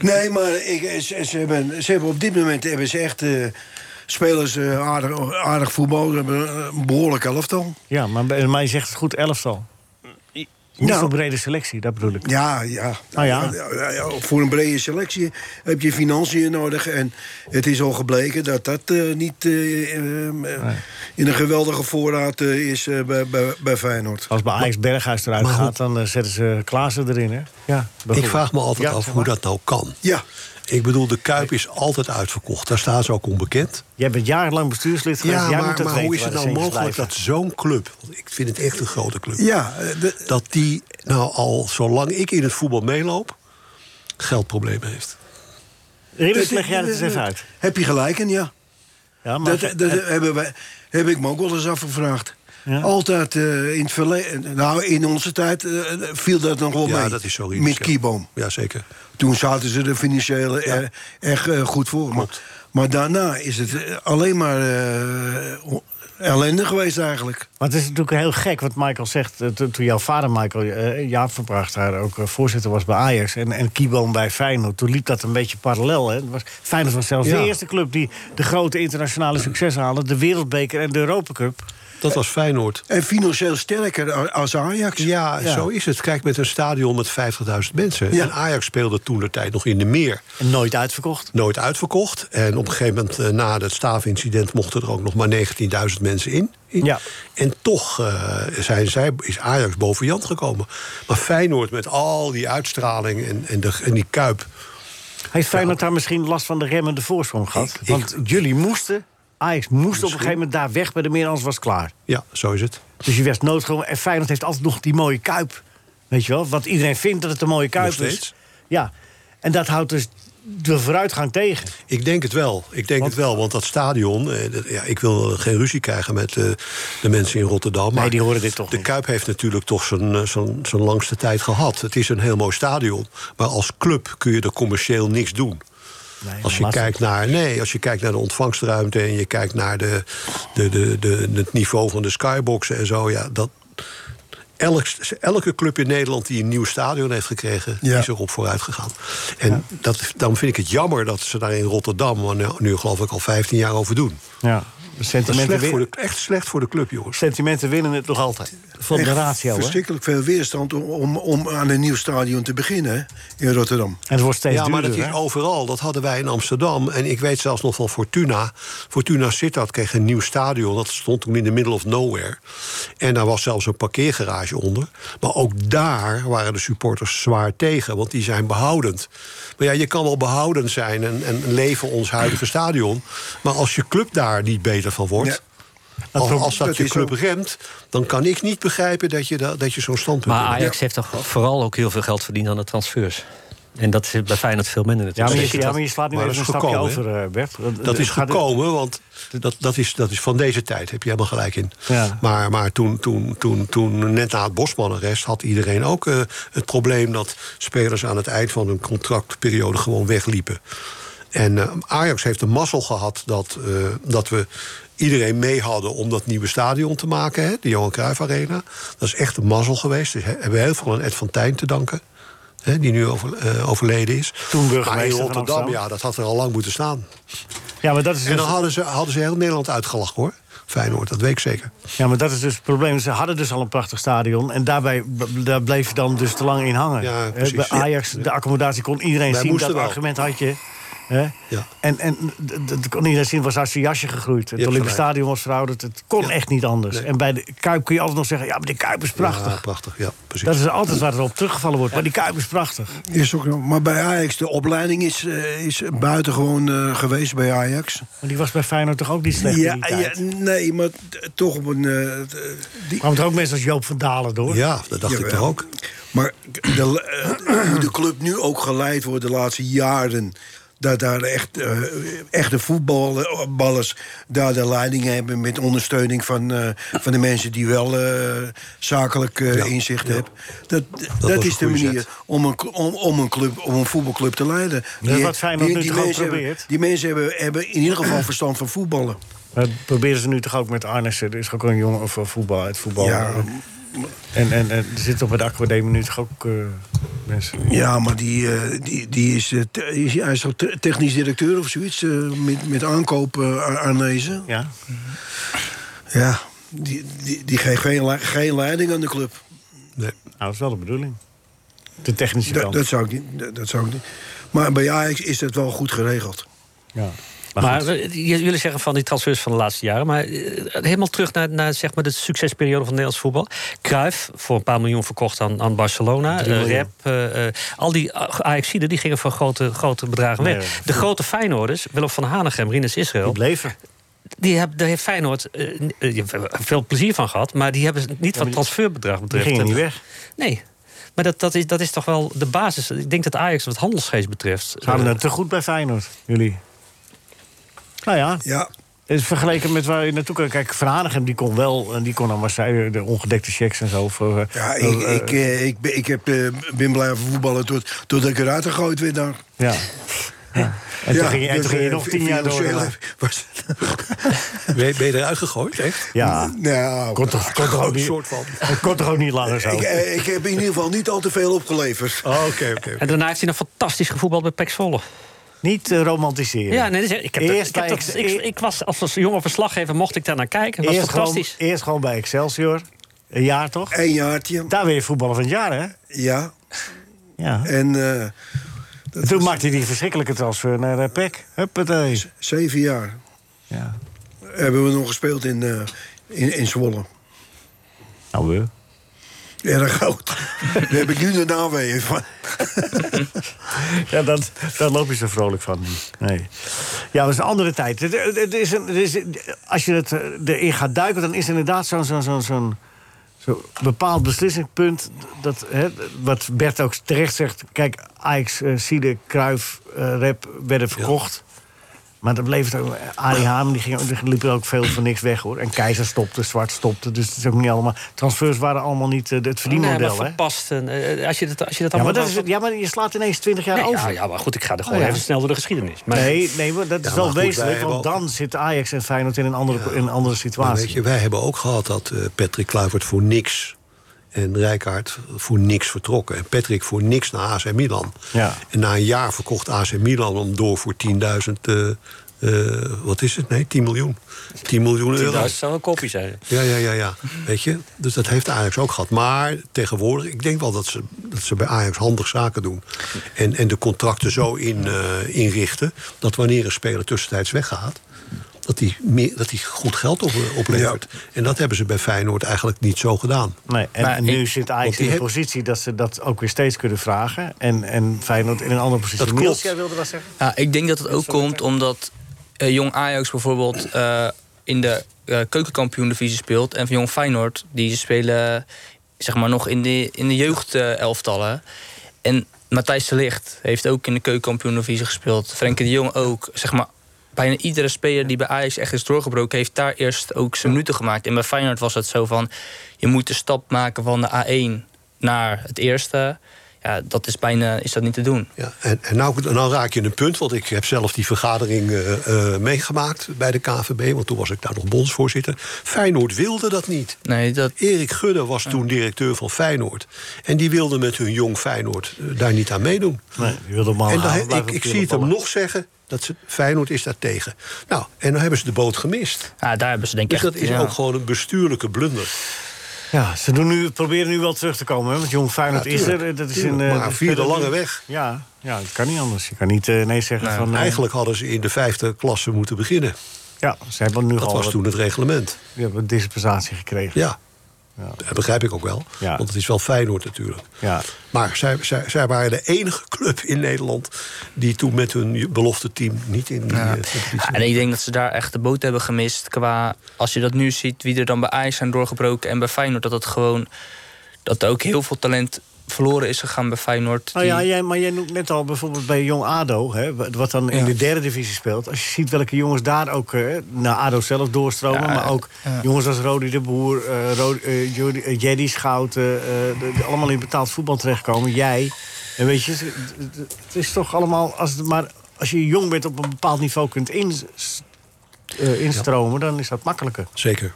Speaker 7: nee, maar ik, eh, ze, ze hebben, ze hebben op dit moment hebben ze echt... eh, Spelers eh, aardig, aardig voetbal, ze hebben een behoorlijk elftal.
Speaker 4: Ja, maar, bij- maar je zegt het goed elftal. Niet
Speaker 7: Nou.
Speaker 4: zo'n brede selectie, dat bedoel ik.
Speaker 7: Ja, ja.
Speaker 4: Ah, ja.
Speaker 7: ja, Voor een brede selectie heb je financiën nodig. En het is al gebleken dat dat eh, niet eh, ehm, eh, in een geweldige voorraad eh, is eh, bij, bij, bij Feyenoord.
Speaker 4: Als bij Ajax Berghuis eruit
Speaker 7: maar
Speaker 4: gaat, dan eh, zetten ze Klaassen erin, hè? Ja,
Speaker 6: Ik vraag me altijd af hoe dat nou kan.
Speaker 7: Ja.
Speaker 6: Ik bedoel, de Kuip is altijd uitverkocht. Daar staan ze ook onbekend.
Speaker 4: Jij bent jarenlang bestuurslid geweest.
Speaker 6: Ja,
Speaker 4: Jij moet
Speaker 6: maar,
Speaker 4: dat
Speaker 6: maar
Speaker 4: weten
Speaker 6: hoe is
Speaker 4: waar
Speaker 6: het
Speaker 4: de
Speaker 6: nou
Speaker 4: centjes
Speaker 6: mogelijk dat zo'n club... want ik vind het echt een grote club...
Speaker 7: Ja, eh,
Speaker 6: dat die nou al zolang ik in het voetbal meeloop... geldproblemen heeft.
Speaker 4: Ridders,
Speaker 7: Dat-
Speaker 4: leg jij het eens
Speaker 7: dat-
Speaker 4: even uit.
Speaker 7: Heb je gelijk in, ja.
Speaker 4: Ja, maar-
Speaker 7: dat dat hebben wij, heb ik me ook wel eens afgevraagd. Altijd eh, in het verleden... Nou, in onze tijd eh, viel dat nog wel
Speaker 6: Ja,
Speaker 7: mee.
Speaker 6: dat is zo
Speaker 7: Met
Speaker 6: irritant, ja.
Speaker 7: Kieboom.
Speaker 6: Jazeker.
Speaker 7: Toen zaten ze er financieel eh, echt eh, goed voor. Maar, maar daarna is het eh, alleen maar eh, o- ellende geweest eigenlijk.
Speaker 4: Maar het is natuurlijk heel gek wat Michael zegt. eh, to- toen jouw vader Michael eh, Jaap verbracht daar ook eh, voorzitter was bij Ajax en, en Kieboom bij Feyenoord. Toen liep dat een beetje parallel. Hè? Het Was, Feyenoord was zelfs
Speaker 6: Ja.
Speaker 4: de eerste club die de grote internationale successen haalde. De Wereldbeker en de Europacup.
Speaker 6: Dat was Feyenoord.
Speaker 7: En financieel sterker a- als Ajax.
Speaker 6: Ja, zo is het. Kijk, met een stadion met 50.000 mensen.
Speaker 7: Ja.
Speaker 6: En Ajax speelde toen de tijd nog in de meer.
Speaker 4: En nooit uitverkocht.
Speaker 6: Nooit uitverkocht. En op een gegeven moment, eh, na het staafincident... mochten er ook nog maar 19.000 mensen in. in.
Speaker 4: Ja.
Speaker 6: En toch eh, zijn zij, is Ajax boven Jan gekomen. Maar Feyenoord met al die uitstraling en, en, de, en die kuip... Nou,
Speaker 4: Heeft Feyenoord daar misschien last van de remmende voorsprong gehad? Want jullie moesten, Ajax moest op een gegeven moment daar weg bij de meer, anders was het klaar.
Speaker 6: Ja, zo is het.
Speaker 4: Dus je werd noodgedwongen. En Feyenoord heeft altijd nog die mooie kuip. Weet je wel? Wat iedereen vindt dat het een mooie kuip dus?
Speaker 6: Nog
Speaker 4: is.
Speaker 6: steeds.
Speaker 4: Ja. En dat houdt dus de vooruitgang tegen.
Speaker 6: Ik denk het wel. Ik denk het wel, want dat stadion... eh, dat- ja, ik wil geen ruzie krijgen met eh, de mensen in Rotterdam. Maar
Speaker 4: die horen dit toch
Speaker 6: De Kuip heeft natuurlijk toch zijn, eh, zijn, zijn langste tijd gehad. Het is een heel mooi stadion. Maar als club kun je er commercieel niks doen. als, je kijkt naar, nee, als je kijkt naar de ontvangstruimte... en je kijkt naar de, de, de, de, het niveau van de skyboxen en zo... Ja, dat, elk, elke club in Nederland die een nieuw stadion heeft gekregen, is erop vooruit gegaan. En dat, dan vind ik het jammer dat ze daar in Rotterdam, waar nu, nu geloof ik al 15 jaar over doen.
Speaker 4: Ja.
Speaker 6: Dat is
Speaker 4: Sentimenten,
Speaker 6: slecht voor
Speaker 4: win-
Speaker 6: de, echt slecht voor de club, jongens.
Speaker 4: sentimenten winnen het nog altijd. Van de
Speaker 7: Echt
Speaker 4: ratio, hè?
Speaker 7: Verschrikkelijk veel weerstand om, om, om aan een nieuw stadion te beginnen hè, in Rotterdam.
Speaker 4: En het wordt steeds
Speaker 6: ja, maar
Speaker 4: duurder,
Speaker 6: dat is
Speaker 4: hè?
Speaker 6: overal. Dat hadden wij in Amsterdam. En ik weet zelfs nog van Fortuna. Fortuna Sittard kreeg een nieuw stadion. Dat stond toen in de middle of nowhere. En daar was zelfs een parkeergarage onder. Maar ook daar waren de supporters zwaar tegen. Want die zijn behoudend. Maar ja, je kan wel behoudend zijn en, en leven ons huidige stadion. Maar als je club daar niet beter van wordt... Als, als dat,
Speaker 7: dat
Speaker 6: je
Speaker 7: is
Speaker 6: club
Speaker 7: zo.
Speaker 6: remt, dan kan ik niet begrijpen dat je, da- dat je zo'n standpunt
Speaker 5: Maar
Speaker 6: hebt.
Speaker 5: Ajax heeft toch vooral ook heel veel geld verdiend aan de transfers. En dat is bij Feyenoord veel minder
Speaker 4: Ja,
Speaker 5: natuurlijk.
Speaker 4: maar
Speaker 5: Dus
Speaker 4: je,
Speaker 5: ik
Speaker 4: ja,
Speaker 5: had-
Speaker 4: maar je slaat nu
Speaker 6: Maar
Speaker 4: even
Speaker 6: dat
Speaker 4: een
Speaker 6: is
Speaker 4: stapje
Speaker 6: gekomen, hè?
Speaker 4: over, eh, Bert. Want,
Speaker 6: Dat
Speaker 4: eh,
Speaker 6: is
Speaker 4: gaat-
Speaker 6: gekomen, want dat, dat, is, dat is van deze tijd, heb je helemaal gelijk in.
Speaker 4: Ja.
Speaker 6: Maar, maar toen, toen, toen, toen, net na het Bosman-arrest, had iedereen ook eh, het probleem dat spelers aan het eind van hun contractperiode gewoon wegliepen. En eh, Ajax heeft de mazzel gehad dat, eh, dat we iedereen mee hadden om dat nieuwe stadion te maken, hè, de Johan Cruijff Arena. Dat is echt een mazzel geweest. Dus, hè, hebben we heel veel aan Ed van Tijn te danken. Hè, die nu over, eh, overleden is.
Speaker 4: Toen burgemeester
Speaker 6: maar in
Speaker 4: van
Speaker 6: Rotterdam,
Speaker 4: Amsterdam.
Speaker 6: ja, dat had er al lang moeten staan.
Speaker 4: Ja, maar dat is
Speaker 6: En
Speaker 4: dus,
Speaker 6: dan hadden ze, hadden ze heel Nederland uitgelachen hoor. Feyenoord, dat weet ik zeker.
Speaker 4: ja, maar dat is dus het probleem. Ze hadden dus al een prachtig stadion. En daarbij b- daar bleef je dan dus te lang in hangen.
Speaker 6: Ja,
Speaker 4: Eh,
Speaker 6: precies.
Speaker 4: Bij Ajax, de accommodatie kon iedereen
Speaker 6: Wij
Speaker 4: zien.
Speaker 6: moesten
Speaker 4: Dat
Speaker 6: wel.
Speaker 4: argument had je. hè?
Speaker 6: Ja.
Speaker 4: En, en d- d- dat kon iedereen zien, was uit zijn jasje gegroeid. Het
Speaker 6: hebt
Speaker 4: Olympisch
Speaker 6: gelijk.
Speaker 4: Stadion was verouderd. Het kon echt niet anders. En bij de Kuip kun je altijd nog zeggen... ja, maar de Kuip is prachtig.
Speaker 6: Ja, prachtig, ja, precies.
Speaker 4: dat is altijd waar er op teruggevallen wordt. Maar die Kuip is prachtig.
Speaker 7: Is ook, nog- maar bij Ajax, de opleiding is, eh, is buitengewoon eh, geweest bij Ajax.
Speaker 4: Maar die was bij Feyenoord toch ook niet slecht in
Speaker 7: Ja,
Speaker 4: die
Speaker 7: ja,
Speaker 4: tijd?
Speaker 7: nee, maar t- toch op een... eh, t- die-
Speaker 4: Kwamen er ook mensen als Joop van Dalen door?
Speaker 6: Ja, dat dacht ik
Speaker 7: Jawel.
Speaker 6: toch ook.
Speaker 7: Maar de, eh, hoe de club nu ook geleid wordt de laatste jaren. Dat daar echt, eh, echte voetballers daar de leiding hebben met ondersteuning van, eh, van de mensen die wel eh, zakelijk eh, inzicht hebben. Dat, dat,
Speaker 6: was
Speaker 7: is
Speaker 6: een
Speaker 7: de
Speaker 6: goede
Speaker 7: manier
Speaker 6: zet.
Speaker 7: om een, cl- om, om, een club, om een voetbalclub te leiden.
Speaker 4: Dat is wat Feyenoord nu toch ook
Speaker 7: mensen hebben-
Speaker 4: probeert?
Speaker 7: die mensen hebben, hebben in ieder geval verstand van voetballen.
Speaker 4: Eh, Dat proberen ze nu toch ook met Arnissen. Er is ook een jongen voor voetbal, eh, uit voetbal.
Speaker 7: Ja,
Speaker 4: En, en, en er zit toch bij de Aquademie nu toch ook eh, mensen?
Speaker 7: Ja, maar die, eh, die, die is, eh, te- is, hij is toch te- technisch directeur of zoiets. eh, met, met aankoop eh, aan- aanwezen.
Speaker 4: Ja.
Speaker 7: Ja, die, die, die geeft geen, le- geen leiding aan de club.
Speaker 4: Nou, dat is wel de bedoeling. De technische
Speaker 7: Dat,
Speaker 4: kant.
Speaker 7: dat, zou ik niet, dat, dat zou ik niet. Maar bij Ajax is dat wel goed geregeld.
Speaker 4: Ja.
Speaker 5: Maar, eh, j- jullie zeggen van die transfers van de laatste jaren. Maar eh, helemaal terug naar, naar zeg maar de succesperiode van Nederlands voetbal. Cruijff, voor een paar miljoen verkocht aan, aan Barcelona.
Speaker 4: Drie
Speaker 5: Eh,
Speaker 4: miljoen.
Speaker 5: Rep, eh, eh, al die Ajaxiden die gingen voor grote, grote bedragen weg.
Speaker 4: Nee, ja.
Speaker 5: de grote Feyenoorders, Willem van Hanegem, Rinus Israël... Die
Speaker 4: bleven.
Speaker 5: Die heb, daar heeft Feyenoord eh, n- eh, je hebt er veel plezier van gehad... maar die hebben niet wat transferbedrag betreft...
Speaker 4: gingen niet
Speaker 5: eh,
Speaker 4: weg.
Speaker 5: Nee, maar dat, dat, is, dat is toch wel de basis. Ik denk dat Ajax wat handelsgeest betreft...
Speaker 4: Ze hadden
Speaker 5: eh,
Speaker 4: het te goed bij Feyenoord, jullie. Nou ja.
Speaker 7: Ja.
Speaker 4: Is vergeleken met waar je naartoe kan. Kijk, Van Hanegem die kon wel, en die kon dan Marseille, de ongedekte checks en zo. Voor, eh,
Speaker 7: Ja, ik,
Speaker 6: Nou,
Speaker 4: eh,
Speaker 7: ik, eh, ik, ben- ik heb, eh, ben blijven voetballen tot, totdat ik eruit gegooid werd daar.
Speaker 4: ja. En toen
Speaker 7: Ja,
Speaker 4: ging, je- en
Speaker 7: dus,
Speaker 4: toen ging je
Speaker 7: eh,
Speaker 4: nog tien jaar door.
Speaker 7: financieel
Speaker 4: ja.
Speaker 7: heb- was-
Speaker 6: Ben je, ben je eruit gegooid, echt?
Speaker 4: Ja,
Speaker 7: Nou,
Speaker 4: kon toch, kon toch ook
Speaker 6: Groot
Speaker 4: niet,
Speaker 6: soort van.
Speaker 4: het kon toch ook niet langer zo.
Speaker 7: ik, eh, ik heb in ieder geval niet al te veel opgeleverd.
Speaker 6: Oh, Oké, oké.
Speaker 5: En daarna Nou, heeft hij nog fantastisch gevoetbald bij PEC Zwolle.
Speaker 4: Niet eh, romantiseren.
Speaker 5: Ja, nee, dat is- ik, heb dat-
Speaker 4: Eerst
Speaker 5: ik, heb
Speaker 4: bij
Speaker 5: dat-
Speaker 4: Ex-
Speaker 5: ik, ik was als, als jonge verslaggever mocht ik daar naar kijken. Dat was
Speaker 4: eerst, gewoon,
Speaker 5: fantastisch.
Speaker 4: eerst gewoon bij Excelsior. Een jaar toch?
Speaker 7: Eén jaartje,
Speaker 4: Daar weer voetballer van het jaar, hè?
Speaker 7: ja.
Speaker 4: Ja.
Speaker 7: En eh,
Speaker 4: En toen maakte hij die verschrikkelijke transfer naar eh, PEC. Huppatee.
Speaker 7: zeven jaar
Speaker 4: Ja.
Speaker 7: hebben we nog gespeeld in, eh, in, in Zwolle.
Speaker 4: Nou, we.
Speaker 7: Erg groot. Daar heb ik nu de naweeën van.
Speaker 4: Ja, dat, daar loop je zo vrolijk van. niet. Nee. Ja, dat is een andere tijd. Het, het- het is een, het is, als je het eh, erin gaat duiken, dan is er inderdaad zo'n zo'n zo'n zo'n zo'n bepaald beslissingspunt. Dat, hè, wat Bert ook terecht zegt. Kijk, Ajax, eh, Siede, Kruif, Rep werden verkocht. Maar dat bleef het ook. Arie Haam, die, ging, ook- die liep er ook veel voor niks weg, hoor. En Keizer stopte, Zwart stopte. Dus het is ook niet allemaal... Transfers waren allemaal niet eh, het
Speaker 5: Nee, maar
Speaker 4: verdienmodel, hè?
Speaker 5: verpast. En, eh, als je dat, als je dat
Speaker 4: Ja maar,
Speaker 5: allemaal...
Speaker 4: dat is, het- ja, maar je slaat ineens 20 jaar
Speaker 5: Nee,
Speaker 4: over.
Speaker 5: ja, ja, maar goed, ik ga er gewoon
Speaker 4: Oh, ja.
Speaker 5: even snel door de geschiedenis. Maar
Speaker 4: Nee, nee, maar dat is
Speaker 6: Ja,
Speaker 4: wel
Speaker 6: maar goed,
Speaker 4: wezenlijk,
Speaker 6: wij
Speaker 4: want
Speaker 6: hebben
Speaker 4: dan zit Ajax en Feyenoord in een andere, in een andere
Speaker 6: Maar
Speaker 4: situatie.
Speaker 6: weet je, wij hebben ook gehad dat eh, Patrick Kluivert voor niks... en Rijkaard voor niks vertrokken. En Patrick voor niks naar AC Milan.
Speaker 4: Ja.
Speaker 6: En na een jaar verkocht AC Milan om door voor 10.000... eh, eh, wat is het? Nee, 10 miljoen. 10 miljoen euro.
Speaker 5: dat zou een kopie zijn.
Speaker 6: Ja, ja, ja, ja. Weet je? Dus dat heeft Ajax ook gehad. Maar tegenwoordig, ik denk wel dat ze, dat ze bij Ajax handig zaken doen. En, en de contracten zo in, eh, inrichten. dat wanneer een speler tussentijds weggaat. dat die, meer, dat die goed geld op, eh, oplevert. En dat hebben ze bij Feyenoord eigenlijk niet zo gedaan.
Speaker 4: Nee, en
Speaker 5: Maar
Speaker 4: nu
Speaker 5: ik-
Speaker 4: zit
Speaker 6: want
Speaker 4: Ajax
Speaker 6: die
Speaker 4: in de
Speaker 6: heb-
Speaker 4: positie dat ze dat ook weer steeds kunnen vragen. En, en Feyenoord in een andere positie.
Speaker 6: Dat klopt.
Speaker 4: Niels, jij wilde wat zeggen?
Speaker 9: Ja, ik denk dat het ook komt omdat eh, Jong Ajax bijvoorbeeld eh, in de eh keukenkampioen-divisie speelt. En van Jong Feyenoord, die spelen zeg maar, nog in de, in de jeugd-elftallen. en Matthijs de Ligt heeft ook in de keukenkampioen-divisie gespeeld. Frenkie de Jong ook. Zeg maar, bijna iedere speler die bij Ajax echt is doorgebroken... heeft daar eerst ook zijn minuten gemaakt. En bij Feyenoord was het zo van... je moet de stap maken van de A1 naar het eerste... Ja, dat is bijna is dat niet te doen.
Speaker 6: Ja, en, en nou, nou raak je een punt, want ik heb zelf die vergadering eh, eh, meegemaakt bij de KVB, want toen was ik daar nog bondsvoorzitter. Feyenoord wilde dat niet.
Speaker 9: Nee, dat,
Speaker 6: Erik Gudde was toen directeur van Feyenoord. En die wilde met hun jong Feyenoord eh, daar niet aan meedoen.
Speaker 4: Nee, je wilde hem al
Speaker 6: en dan,
Speaker 4: halen,
Speaker 6: he-
Speaker 4: blijven
Speaker 6: ik, ik
Speaker 4: op
Speaker 6: zie het hem
Speaker 4: ballen.
Speaker 6: nog zeggen, dat ze, Feyenoord is daar tegen. Nou, en dan hebben ze de boot gemist.
Speaker 9: Ja, daar hebben ze denk ik
Speaker 6: Dus
Speaker 9: echt...
Speaker 6: dat is
Speaker 9: ja.
Speaker 6: ook gewoon een bestuurlijke blunder.
Speaker 4: Ja, ze doen nu, proberen nu wel terug te komen. Hè? Want Jong Feyenoord
Speaker 6: Ja,
Speaker 4: is
Speaker 6: tuurlijk,
Speaker 4: er. Dat is in,
Speaker 6: tuurlijk,
Speaker 4: eh,
Speaker 6: maar
Speaker 4: de-
Speaker 6: via de lange weg.
Speaker 4: Ja, ja, dat kan niet anders. Je kan niet eh, nee zeggen van... eh,
Speaker 6: Eigenlijk hadden ze in de vijfde klasse moeten beginnen.
Speaker 4: Ja, ze hebben nu
Speaker 6: Dat
Speaker 4: al
Speaker 6: was
Speaker 4: wat-
Speaker 6: toen het reglement.
Speaker 4: die hebben dispensatie gekregen.
Speaker 6: Ja, dat begrijp ik ook wel.
Speaker 4: Ja.
Speaker 6: Want het is wel Feyenoord natuurlijk.
Speaker 4: Ja.
Speaker 6: Maar zij, zij, zij waren de enige club in Nederland... die toen met hun belofte team niet in die eh, competitie...
Speaker 9: Ja, Ah, en ik denk dat ze daar echt de boot hebben gemist. Qua, als je dat nu ziet, wie er dan bij Ajax zijn doorgebroken en bij Feyenoord. Dat het gewoon, dat er ook heel veel talent verloren is gegaan bij Feyenoord.
Speaker 4: Nou ja,
Speaker 9: die-
Speaker 4: jij, maar jij noemt net al bijvoorbeeld bij Jong ADO... Hè, wat wat dan in
Speaker 9: Ja.
Speaker 4: de derde divisie speelt. Als je ziet welke jongens daar ook eh, naar ADO zelf doorstromen...
Speaker 9: Ja,
Speaker 4: maar ook
Speaker 9: ja.
Speaker 4: jongens als Rodi de Boer, eh Ro- eh, Jordi- eh, Jerry Schouten... eh, de- die allemaal in betaald voetbal terechtkomen. Jij. En weet je, ze- d- d- het is toch allemaal... Als, het maar, als je jong bent op een bepaald niveau kunt ins- eh, instromen... dan is dat makkelijker.
Speaker 6: Zeker.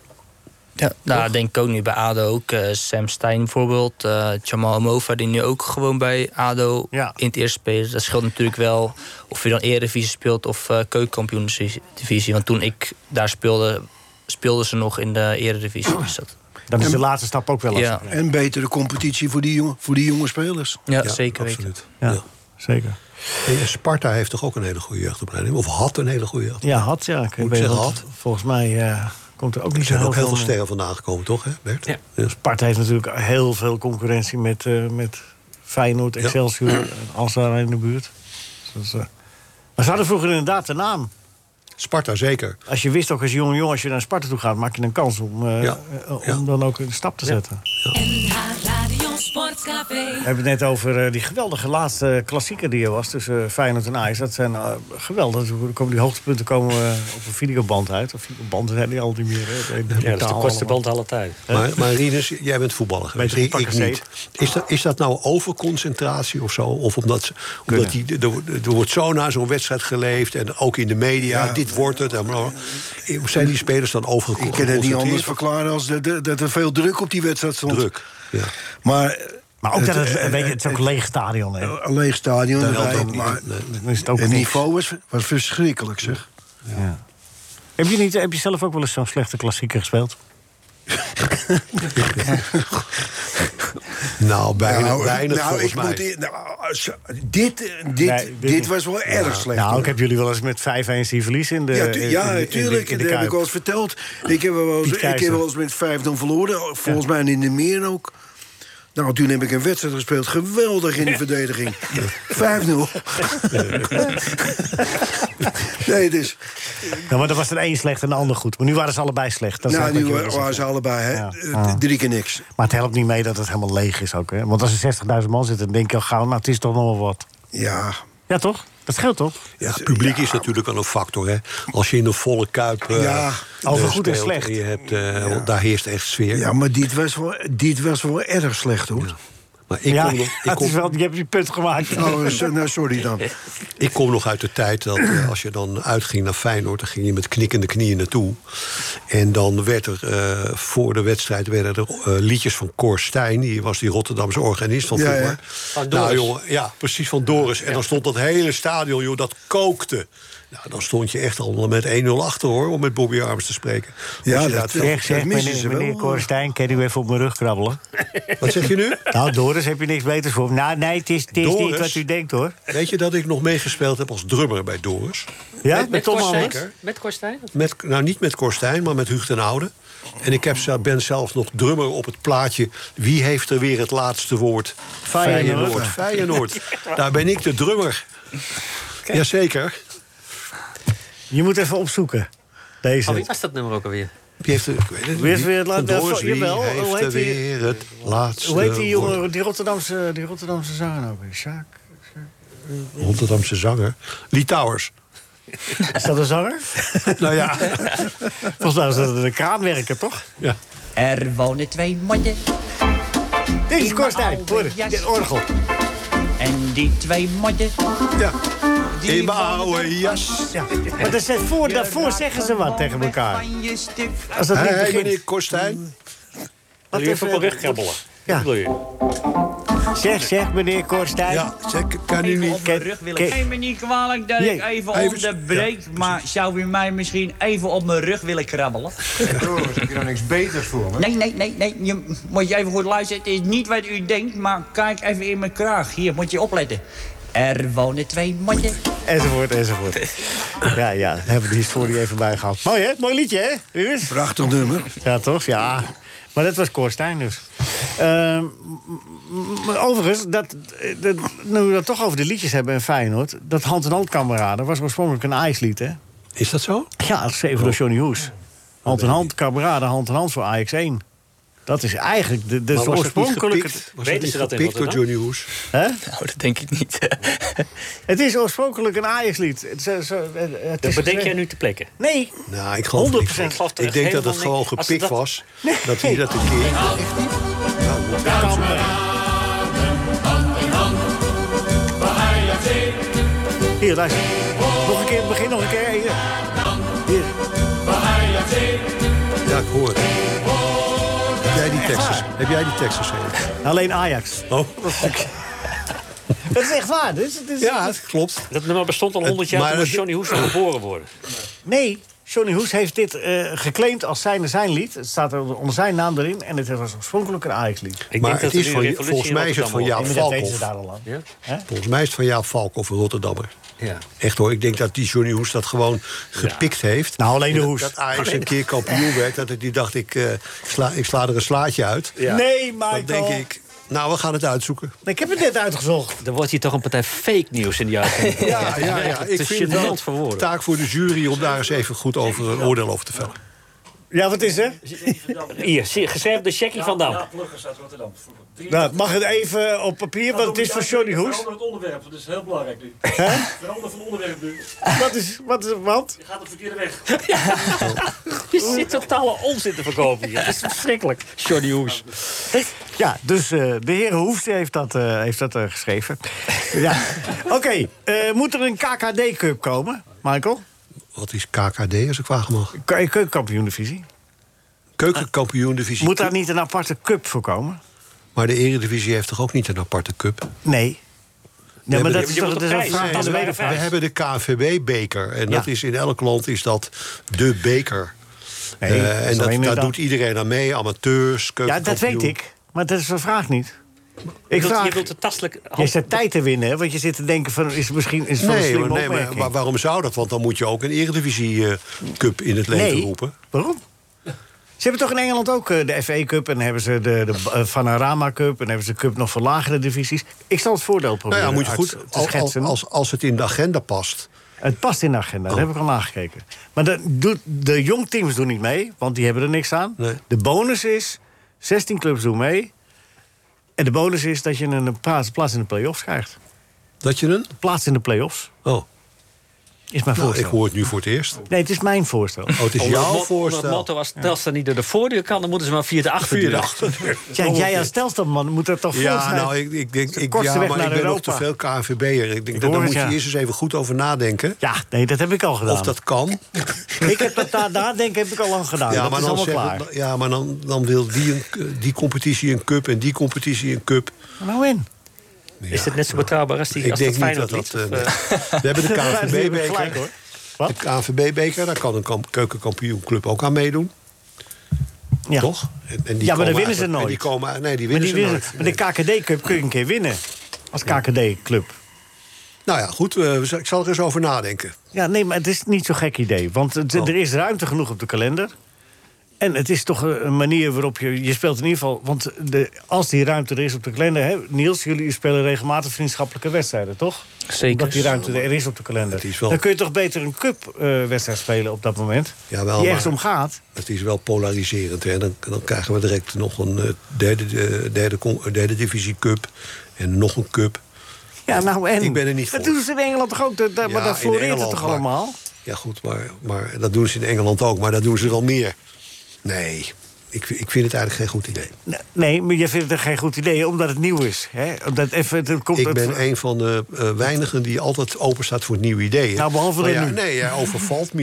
Speaker 9: Ja, nou, denk ik ook nu bij ADO. Ook, eh, Sam Stein bijvoorbeeld. eh Jamal Mova, die nu ook gewoon bij ADO in het eerste speelt. Dat scheelt natuurlijk wel of je dan Eredivisie speelt of eh keukenkampioendivisie. Want toen ik daar speelde, speelden ze nog in de Eredivisie. Dus dat...
Speaker 4: Dan is de laatste stap ook wel lastig.
Speaker 9: Ja.
Speaker 7: En betere competitie voor die jonge, voor die jonge spelers.
Speaker 9: Ja, zeker weten.
Speaker 4: Ja, zeker.
Speaker 6: En Sparta heeft toch ook een hele goede jeugdopleiding? Of had een hele goede jeugdopleiding?
Speaker 4: Ja, had ja. Ik
Speaker 6: Moet
Speaker 4: weet
Speaker 6: zeggen,
Speaker 4: dat
Speaker 6: had.
Speaker 4: Volgens mij eh, komt er ook
Speaker 6: Er
Speaker 4: niet zo eh,
Speaker 6: zijn ook heel veel
Speaker 4: van.
Speaker 6: sterren vandaan gekomen, toch, hè, Bert? Ja.
Speaker 4: Dus Sparta heeft natuurlijk heel veel concurrentie met, eh, met Feyenoord, Excelsior, en als daar in de buurt. Dus, eh, maar ze hadden vroeger inderdaad de naam.
Speaker 6: Sparta, zeker.
Speaker 4: Als je wist ook als jong jongen, als je naar Sparta toe gaat, maak je een kans om, eh,
Speaker 6: Ja.
Speaker 4: eh, om dan ook een stap te zetten.
Speaker 1: NH Radio Sportcafé.
Speaker 4: We hebben het net over eh, die geweldige laatste klassieker die er was tussen eh, Feyenoord en Ajax. Dat zijn eh, geweldig. Er komen die hoogtepunten komen eh, op een videoband uit. Of videoband zijn die al die meer. hè.
Speaker 5: Ja, dat is de kortste band alle tijd.
Speaker 6: Maar, maar Rinus, jij bent voetballer geweest.
Speaker 4: Beter
Speaker 6: Ik, ik
Speaker 4: pakken
Speaker 6: niet. Is dat, is dat nou overconcentratie of zo? Of omdat, ze-
Speaker 4: Kunnen.
Speaker 6: omdat die, er, wordt- er wordt zo naar zo'n wedstrijd geleefd... en ook in de media, dit wordt het. En bla, bla. Zijn die spelers dan
Speaker 7: Ik kan het
Speaker 6: overgeconcentreerd?
Speaker 7: niet anders verklaren als dat, dat- dat er veel druk op die wedstrijd stond.
Speaker 6: Druk, ja.
Speaker 7: Maar,
Speaker 4: Maar ook dat het,
Speaker 7: eh,
Speaker 4: een beetje, het is ook een leeg stadion. hè.
Speaker 7: Een leeg stadion.
Speaker 4: Dat
Speaker 7: erbij,
Speaker 4: helpt ook niet.
Speaker 7: maar
Speaker 4: Dan is het ook
Speaker 7: het
Speaker 4: niks.
Speaker 7: niveau was, was verschrikkelijk, zeg.
Speaker 4: Ja. Heb, je niet, heb je zelf ook wel eens zo'n slechte klassieker gespeeld?
Speaker 6: Nou, bijna,
Speaker 7: nou,
Speaker 6: weinig
Speaker 7: nou,
Speaker 6: volgens
Speaker 7: ik
Speaker 6: mij.
Speaker 7: moet eer- nou, als- dit, eh, dit,
Speaker 4: Nee,
Speaker 7: dit,
Speaker 4: niet.
Speaker 7: was wel erg
Speaker 4: Ja.
Speaker 7: slecht.
Speaker 4: Nou,
Speaker 7: hoor.
Speaker 4: ik heb jullie wel eens met 5-1 zien verliezen in de
Speaker 7: ja, tu-
Speaker 4: eh, in- in
Speaker 7: ja,
Speaker 4: de- in de-
Speaker 7: tuurlijk.
Speaker 4: in de
Speaker 7: dat heb
Speaker 4: Kuip.
Speaker 7: ik al eens verteld. Ik heb wel eens,
Speaker 4: Piet
Speaker 7: ik heb
Speaker 4: Keizer.
Speaker 7: wel eens met vijf dan verloren. Volgens mij in de meer ook. Nou, toen heb ik een wedstrijd gespeeld. Geweldig in de verdediging. 5-0. nee, dus...
Speaker 4: Ja, Nou, maar dat was er één slecht en de ander goed. Maar nu waren ze allebei slecht. Dat is
Speaker 7: nou,
Speaker 4: echt wat
Speaker 7: nu
Speaker 4: jullie zeggen.
Speaker 7: waren ze allebei, hè.
Speaker 4: Ja.
Speaker 7: Eh,
Speaker 4: Ah.
Speaker 7: Drie keer niks.
Speaker 4: Maar het helpt niet mee dat het helemaal leeg is ook. Hè? Want als er 60.000 man zitten, dan denk je al gauw, nou, het is toch nog wel wat.
Speaker 7: Ja.
Speaker 4: Ja, toch? Dat scheelt toch?
Speaker 6: Ja, het publiek is natuurlijk wel een factor. Hè? Als je in een volle kuip. eh,
Speaker 7: Ja,
Speaker 6: eh,
Speaker 4: over goed en
Speaker 6: speelt
Speaker 4: slecht.
Speaker 6: Je hebt, eh, Daar heerst echt sfeer.
Speaker 7: Ja, maar dit was wel, dit was wel erg slecht, hoor.
Speaker 6: Maar ik,
Speaker 4: ja,
Speaker 6: kom nog, ik,
Speaker 4: het is
Speaker 6: kom,
Speaker 4: wel, je hebt die punt gemaakt.
Speaker 7: Nou, eh, nou, sorry dan.
Speaker 6: ik kom nog uit de tijd dat eh, als je dan uitging naar Feyenoord, dan ging je met knikkende knieën naartoe. En dan werd er eh, voor de wedstrijd werden er eh, liedjes van Cor Stijn, die was die Rotterdamse organist van
Speaker 7: Ja,
Speaker 6: vroeger.
Speaker 7: ja.
Speaker 5: Van Doris.
Speaker 6: nou jongen, ja, precies van Doris. En dan stond dat hele stadion, joh, dat kookte. Nou, dan stond je echt al met 1-0 achter hoor, om met Bobby Arms te spreken.
Speaker 7: Ja,
Speaker 6: Als je
Speaker 7: dat-
Speaker 6: daar het veld-
Speaker 4: Zeg, zeg,
Speaker 7: missen
Speaker 4: meneer,
Speaker 7: ze wel.
Speaker 4: meneer Korstijn, kan u even op mijn rug krabbelen?
Speaker 6: Wat zeg je nu?
Speaker 4: Nou, Doris, heb je niks beters voor? Nou, nee, het is, het is niet
Speaker 6: Doris?
Speaker 4: wat u denkt, hoor.
Speaker 6: Weet je dat ik nog meegespeeld heb als drummer bij Doris?
Speaker 4: Ja, met, Tom
Speaker 5: Korstijn?
Speaker 4: Hammers?
Speaker 5: Met Korstijn?
Speaker 6: Met, nou, niet met Korstijn, maar met Huug ten Oude. En ik heb, ze- ben zelf nog drummer op het plaatje... Wie heeft er weer het laatste woord?
Speaker 4: Feyenoord.
Speaker 6: Feyenoord. Daar ben ik de drummer. Jazeker.
Speaker 4: Je moet even opzoeken. Deze.
Speaker 5: Oh, wie was dat nummer ook alweer?
Speaker 6: Wie heeft er, ik weet het
Speaker 4: Wie heeft
Speaker 6: niet.
Speaker 4: weer het laatste-
Speaker 6: Van Doris,
Speaker 4: eh, jawel,
Speaker 6: Wie
Speaker 4: hoe
Speaker 6: heeft
Speaker 4: heet
Speaker 6: er
Speaker 4: die-
Speaker 6: weer het laatste
Speaker 4: Hoe heet die
Speaker 6: woord?
Speaker 4: jongen, die Rotterdamse, die Rotterdamse zanger ook? Sjaak?
Speaker 6: Rotterdamse zanger. Lee Towers.
Speaker 4: Is dat een zanger?
Speaker 6: nou ja.
Speaker 4: Volgens mij is dat een kraanwerker, toch?
Speaker 6: ja.
Speaker 12: Er wonen twee mannen
Speaker 4: Dit is
Speaker 12: In
Speaker 4: Korstijn,
Speaker 12: mijn oude
Speaker 4: hoor.
Speaker 12: jas.
Speaker 4: Dit orgel.
Speaker 12: en die twee mannen...
Speaker 6: ja.
Speaker 12: Die
Speaker 6: In mijn oude jas.
Speaker 4: Ja. Maar dat zijn voor, daarvoor zeggen ze wat tegen elkaar.
Speaker 12: Van je stuk.
Speaker 4: Als dat niet
Speaker 6: Hey,
Speaker 4: begint.
Speaker 6: meneer Korstijn.
Speaker 4: Wat even op
Speaker 5: krabbelen?
Speaker 4: Ja.
Speaker 5: Wil je?
Speaker 4: Zeg, zeg, meneer Korstijn.
Speaker 6: Ja, zeker. Kan u niet.
Speaker 4: Kijk, kijk,
Speaker 12: Neem me niet kwalijk dat ik
Speaker 4: Nee,
Speaker 12: even,
Speaker 6: even-
Speaker 12: onderbreek, maar zou u mij misschien even op mijn rug willen krabbelen?
Speaker 13: heb je daar niks beters voor, hè?
Speaker 12: Nee, nee, nee, nee, je, moet je even goed luisteren. Het is niet wat u denkt, maar kijk even in mijn kraag. Hier, moet je opletten. Er wonen twee mannen.
Speaker 4: Enzovoort, enzovoort. Ja, ja, daar hebben we die historie even bij gehad. Mooi, hè? Mooi liedje, hè? Rinus?
Speaker 7: Prachtig nummer.
Speaker 4: Ja, toch? Ja. Maar dat was Korstijn dus. Ehm, m- maar overigens, dat, dat, nu we dat toch over de liedjes hebben in Feyenoord... dat Hand en Hand Kameraden was oorspronkelijk een ijslied, hè?
Speaker 6: Is dat zo? Oh.
Speaker 4: Ja, geschreven door Johnny Hoes. Hand in Hand Kameraden, Hand in Hand voor Ajax 1. Dat is eigenlijk de, de,
Speaker 6: Maar was dat niet
Speaker 4: oorspronkelijke...
Speaker 6: gepikt? Was
Speaker 5: Weten
Speaker 6: niet
Speaker 5: ze dat in
Speaker 6: gepikt door
Speaker 5: Rotterdam?
Speaker 6: Johnny Hoes?
Speaker 4: Hè?
Speaker 9: Nou, dat denk ik niet.
Speaker 4: Het is oorspronkelijk een Ajax-lied. Het, is- eh, het, is
Speaker 5: Dat bedenk
Speaker 4: geschreven-
Speaker 5: jij nu te plekken.
Speaker 4: Nee,
Speaker 6: Nou, ik geloof het niet.
Speaker 4: 100%
Speaker 5: geloof er
Speaker 6: Ik
Speaker 5: echt
Speaker 6: denk dat
Speaker 5: helemaal
Speaker 6: het gewoon
Speaker 5: niks- als
Speaker 6: gepikt
Speaker 5: dat-
Speaker 6: was. Dat hij dat een keer...
Speaker 4: Hier, luister. Nog een keer, het begin nog een keer. Hier. Hier.
Speaker 6: Ja, ik hoor het.
Speaker 5: Ah.
Speaker 6: tekst geschreven? Heb jij die tekst geschreven?
Speaker 4: Alleen Ajax.
Speaker 6: Oh,
Speaker 4: Dat is echt waar. Dit is, dit is-
Speaker 6: Ja, dat klopt.
Speaker 4: Dat nummer bestond al
Speaker 5: 100 jaar toen moest Johnny Hoes nog geboren worden.
Speaker 4: Nee, Johnny Hoes heeft dit eh, geclaimd als zijn, zijn lied. Het staat er onder zijn naam erin en het was oorspronkelijk een Ajax-lied.
Speaker 6: denk Maar dat het er is nu een van- revolutie volgens in mij is het Rotterdam van
Speaker 4: Nee, maar
Speaker 6: Jaap
Speaker 4: Dat weten ze
Speaker 6: Valkhoff.
Speaker 4: daar al lang. Hè?
Speaker 6: Volgens mij is het van Jaap Valk of een Rotterdammer.
Speaker 4: Ja.
Speaker 6: Echt hoor, ik denk dat die Johnny Hoes dat gewoon gepikt heeft.
Speaker 4: Nou, alleen de
Speaker 6: En dat-
Speaker 4: Hoes.
Speaker 6: Dat Ajax
Speaker 4: Alleen
Speaker 6: een
Speaker 4: de-
Speaker 6: keer kampioen werd, dat ik die dacht, ik, eh, sla, ik sla er een slaatje uit.
Speaker 4: Nee, Michael.
Speaker 6: Dan denk ik, nou, we gaan het uitzoeken.
Speaker 4: Nee, Ik heb het net uitgezocht.
Speaker 5: Dan wordt hier toch een partij fake nieuws in die uitzending.
Speaker 6: Ja, ja, ja.
Speaker 5: Het
Speaker 6: Ik
Speaker 5: is
Speaker 6: vind het wel
Speaker 5: gênant voor
Speaker 6: een
Speaker 5: woorden.
Speaker 6: taak voor de jury om daar eens even goed over een oordeel over te vellen.
Speaker 4: Ja, wat is er?
Speaker 5: Hier, zie- geschreven door Jackie van Dam.
Speaker 10: Pluggers uit Rotterdam. Vroeger.
Speaker 4: Nou, het mag het even op papier, want het is van Johnny Hoes.
Speaker 10: Verander het onderwerp, dat is heel belangrijk nu. Verander van onderwerp nu.
Speaker 4: Wat is, wat is, wat?
Speaker 10: Je gaat op verkeerde weg.
Speaker 5: Je zit totale onzin te verkopen hier. Dat is verschrikkelijk. Johnny Hoes.
Speaker 4: Ja, dus eh, de heer Hoes heeft dat, eh, heeft dat eh, geschreven. ja. Oké, eh, moet er een KKD-cup komen, Michael?
Speaker 6: Wat is KKD als ik vragen mag?
Speaker 4: Keukenkampioen-divisie.
Speaker 6: Keukenkampioen-divisie.
Speaker 4: Moet daar niet een aparte cup voor komen?
Speaker 6: Maar de Eredivisie heeft toch ook niet een aparte cup?
Speaker 4: Nee. Nee, maar
Speaker 6: hebben
Speaker 4: dat
Speaker 6: de-
Speaker 4: is
Speaker 6: je
Speaker 4: toch
Speaker 6: moet
Speaker 4: dat is een
Speaker 6: Nee,
Speaker 4: vraag aan de
Speaker 6: we, we
Speaker 4: wedervraag.
Speaker 6: hebben de KNVB-beker. En
Speaker 4: Ja.
Speaker 6: dat is in elk land is dat de beker.
Speaker 4: Nee,
Speaker 6: Eh,
Speaker 4: dat is
Speaker 6: en dat,
Speaker 4: alleen
Speaker 6: daar
Speaker 4: dan-
Speaker 6: doet iedereen aan mee. Amateurs,
Speaker 4: Ja, dat
Speaker 6: keukenkampioen.
Speaker 4: weet ik. Maar dat is de vraag niet. Ik
Speaker 5: wilt-
Speaker 4: vraag,
Speaker 5: je wilt de tastelijk...
Speaker 4: je zit tijd te winnen, hè, want je zit te denken van... is het misschien is het wel een
Speaker 6: Nee,
Speaker 4: slimme
Speaker 6: maar, nee maar
Speaker 4: opmerking?
Speaker 6: waar- waarom zou dat? Want dan moet je ook een Eredivisie-cup in het leven
Speaker 4: Nee.
Speaker 6: roepen.
Speaker 4: Waarom? Ze hebben toch in Engeland ook eh, de FA Cup... en dan hebben ze de, de eh, Vanarama Cup... en dan hebben ze de cup nog voor lagere divisies. Ik zal het voordeel
Speaker 6: Nou
Speaker 4: proberen
Speaker 6: ja, moet je
Speaker 4: uit
Speaker 6: goed,
Speaker 4: te
Speaker 6: als, als,
Speaker 4: schetsen.
Speaker 6: als, als het in de agenda past.
Speaker 4: Het past in de agenda, dat heb ik al nagekeken. Maar de, doet- de jong teams doen niet mee, want die hebben er niks aan. De bonus is, 16 clubs doen mee... en de bonus is dat je een plaats, plaats in de play-offs krijgt.
Speaker 6: Dat je een?
Speaker 4: Plaats in de play-offs.
Speaker 6: Oh.
Speaker 4: Is mijn
Speaker 6: Nou, ik
Speaker 4: voorstel.
Speaker 6: hoor het nu voor het eerst.
Speaker 4: Nee, het is mijn voorstel.
Speaker 6: Oh, het is
Speaker 5: Omdat het
Speaker 6: jouw
Speaker 5: mot- omdat Het
Speaker 6: voorstel.
Speaker 5: motto was, Telstra niet door de voordeur kan... dan moeten ze maar via de achterdeur.
Speaker 6: Via de achterdeur.
Speaker 4: Ja, jij als Telstamman moet dat toch
Speaker 6: Ja,
Speaker 4: volgens mij-
Speaker 6: nou, ik, ik denk,
Speaker 4: de
Speaker 6: ik,
Speaker 4: kortste
Speaker 6: ja,
Speaker 4: weg
Speaker 6: maar
Speaker 4: naar
Speaker 6: ik ben nog
Speaker 4: Europa.
Speaker 6: te veel KNVB'er. Ik denk,
Speaker 4: hoor
Speaker 6: dat daar
Speaker 4: het,
Speaker 6: moet je
Speaker 4: ja.
Speaker 6: eerst eens even goed over nadenken.
Speaker 4: Ja, nee, dat heb ik al gedaan.
Speaker 6: Of dat kan.
Speaker 4: Ik heb dat na- nadenken heb ik al lang gedaan. dat is allemaal
Speaker 6: zeggen-
Speaker 4: klaar.
Speaker 6: dan- ja, maar dan, dan wil die, een, die competitie een cup en die competitie een cup.
Speaker 4: Nou in.
Speaker 5: Is het net zo betrouwbaar als die
Speaker 6: Ik
Speaker 5: als
Speaker 6: denk niet dat
Speaker 5: Feyenoord
Speaker 6: dat...
Speaker 5: lied,
Speaker 6: eh,
Speaker 5: of, eh?
Speaker 6: We hebben de
Speaker 4: Gelijk, hoor.
Speaker 6: KNVB-beker.
Speaker 4: Wat?
Speaker 6: De KNVB-beker, daar kan een kamp- keukenkampioenclub ook aan meedoen.
Speaker 4: Ja.
Speaker 6: Toch? En- en die
Speaker 4: ja, maar
Speaker 6: komen
Speaker 4: dan winnen ze
Speaker 6: eigenlijk- en
Speaker 4: nooit.
Speaker 6: die komen, nee, die
Speaker 4: Maar
Speaker 6: winnen
Speaker 4: die winnen-
Speaker 6: ze nooit.
Speaker 4: maar de KKD-cup kun je een keer winnen. Als KKD-club.
Speaker 6: Nou ja, goed, eh, we z- ik zal er eens over nadenken. Oh.
Speaker 4: Ja, nee, maar het is niet zo'n gek idee. Want het- er is ruimte genoeg op de kalender. En het is toch een een manier waarop je... Je speelt in ieder geval... Want de, als die ruimte er is op de kalender... Hè, Niels, jullie spelen regelmatig vriendschappelijke wedstrijden, toch?
Speaker 5: Zeker.
Speaker 4: Omdat die ruimte er is op de kalender.
Speaker 6: is wel-
Speaker 4: Dan kun je toch beter een cup-wedstrijd spelen op dat moment?
Speaker 6: Jawel,
Speaker 4: die ergens
Speaker 6: maar-
Speaker 4: om gaat.
Speaker 6: Het is wel polariserend. Hè? Dan, dan krijgen we direct nog een eh, derde, eh, derde, con- eh, derde divisie cup. En nog een cup.
Speaker 4: Ja, nou en...
Speaker 6: Ik ben er niet
Speaker 4: Dat
Speaker 6: voor.
Speaker 4: doen ze in Engeland toch ook? Dat- dat- maar
Speaker 6: Ja,
Speaker 4: daar
Speaker 6: in
Speaker 4: floreert het
Speaker 6: Engeland,
Speaker 4: toch
Speaker 6: maar-
Speaker 4: allemaal?
Speaker 6: Ja, goed, maar, maar dat doen ze in Engeland ook. Maar dat doen ze wel meer. Nee, ik, ik vind het eigenlijk geen goed idee.
Speaker 4: Nee, maar je vindt het geen goed idee, omdat het nieuw is. Hè? Omdat even, het komt
Speaker 6: Ik
Speaker 4: het-
Speaker 6: ben een van de eh, weinigen die altijd open staat voor nieuwe ideeën.
Speaker 4: Nou, behalve
Speaker 6: Maar
Speaker 4: dat
Speaker 6: ja,
Speaker 4: nu.
Speaker 6: Nee, jij overvalt me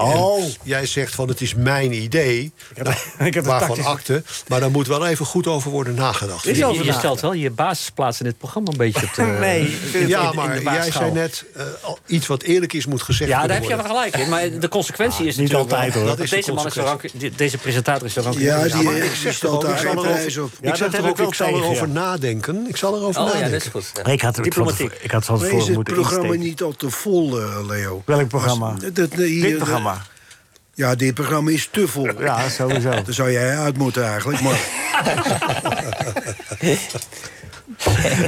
Speaker 4: Oh.
Speaker 6: En jij zegt van het is mijn idee.
Speaker 4: ik heb een
Speaker 6: waarvan
Speaker 4: tactisch-
Speaker 6: akte. Maar daar moet wel even goed over worden nagedacht.
Speaker 4: Is
Speaker 5: Je- je,
Speaker 4: over
Speaker 5: eh, je
Speaker 4: na-
Speaker 5: stelt wel je basisplaats in dit programma een beetje op de...
Speaker 4: Nee, ik vind het-
Speaker 6: Eh, Ja,
Speaker 5: in de
Speaker 6: maar jij
Speaker 5: waagschaal.
Speaker 6: zei net eh, al- iets wat eerlijk is moet gezegd
Speaker 5: Ja, daar
Speaker 6: kunnen
Speaker 5: heb je wel
Speaker 6: worden.
Speaker 5: gelijk in. Maar de consequentie is
Speaker 4: niet
Speaker 5: natuurlijk wel-
Speaker 4: altijd, hoor.
Speaker 5: dat
Speaker 6: Dat is de
Speaker 5: deze, man is zo rank, di- deze presentator is zo rank.
Speaker 7: Ja, die,
Speaker 6: maar
Speaker 7: eh,
Speaker 6: ik
Speaker 7: die
Speaker 6: zeg
Speaker 7: stelt
Speaker 6: toch ook,
Speaker 7: daar
Speaker 6: ik zal
Speaker 7: geen
Speaker 6: erover-
Speaker 7: prijs op.
Speaker 4: Ja,
Speaker 6: ik zeg
Speaker 4: dat
Speaker 6: toch
Speaker 4: heb
Speaker 6: ook,
Speaker 4: ik wel
Speaker 6: ik zal
Speaker 4: tegen,
Speaker 6: erover
Speaker 4: ja.
Speaker 6: nadenken. Ik zal erover
Speaker 5: Oh ja,
Speaker 6: nadenken.
Speaker 5: dat is goed. Ja.
Speaker 4: Ik had het van
Speaker 5: Diplomatiek.
Speaker 4: tevoren- ik had van
Speaker 7: Maar is
Speaker 4: tevoren
Speaker 7: het
Speaker 4: moeten
Speaker 7: programma
Speaker 4: insteken.
Speaker 7: niet al te vol, eh, Leo?
Speaker 4: Welk programma?
Speaker 7: Als- dat- dat- hier,
Speaker 4: Dit
Speaker 7: eh,
Speaker 4: programma.
Speaker 7: Ja, dit programma is te vol.
Speaker 4: Ja, sowieso.
Speaker 7: Daar zou jij uit moeten eigenlijk. Maar,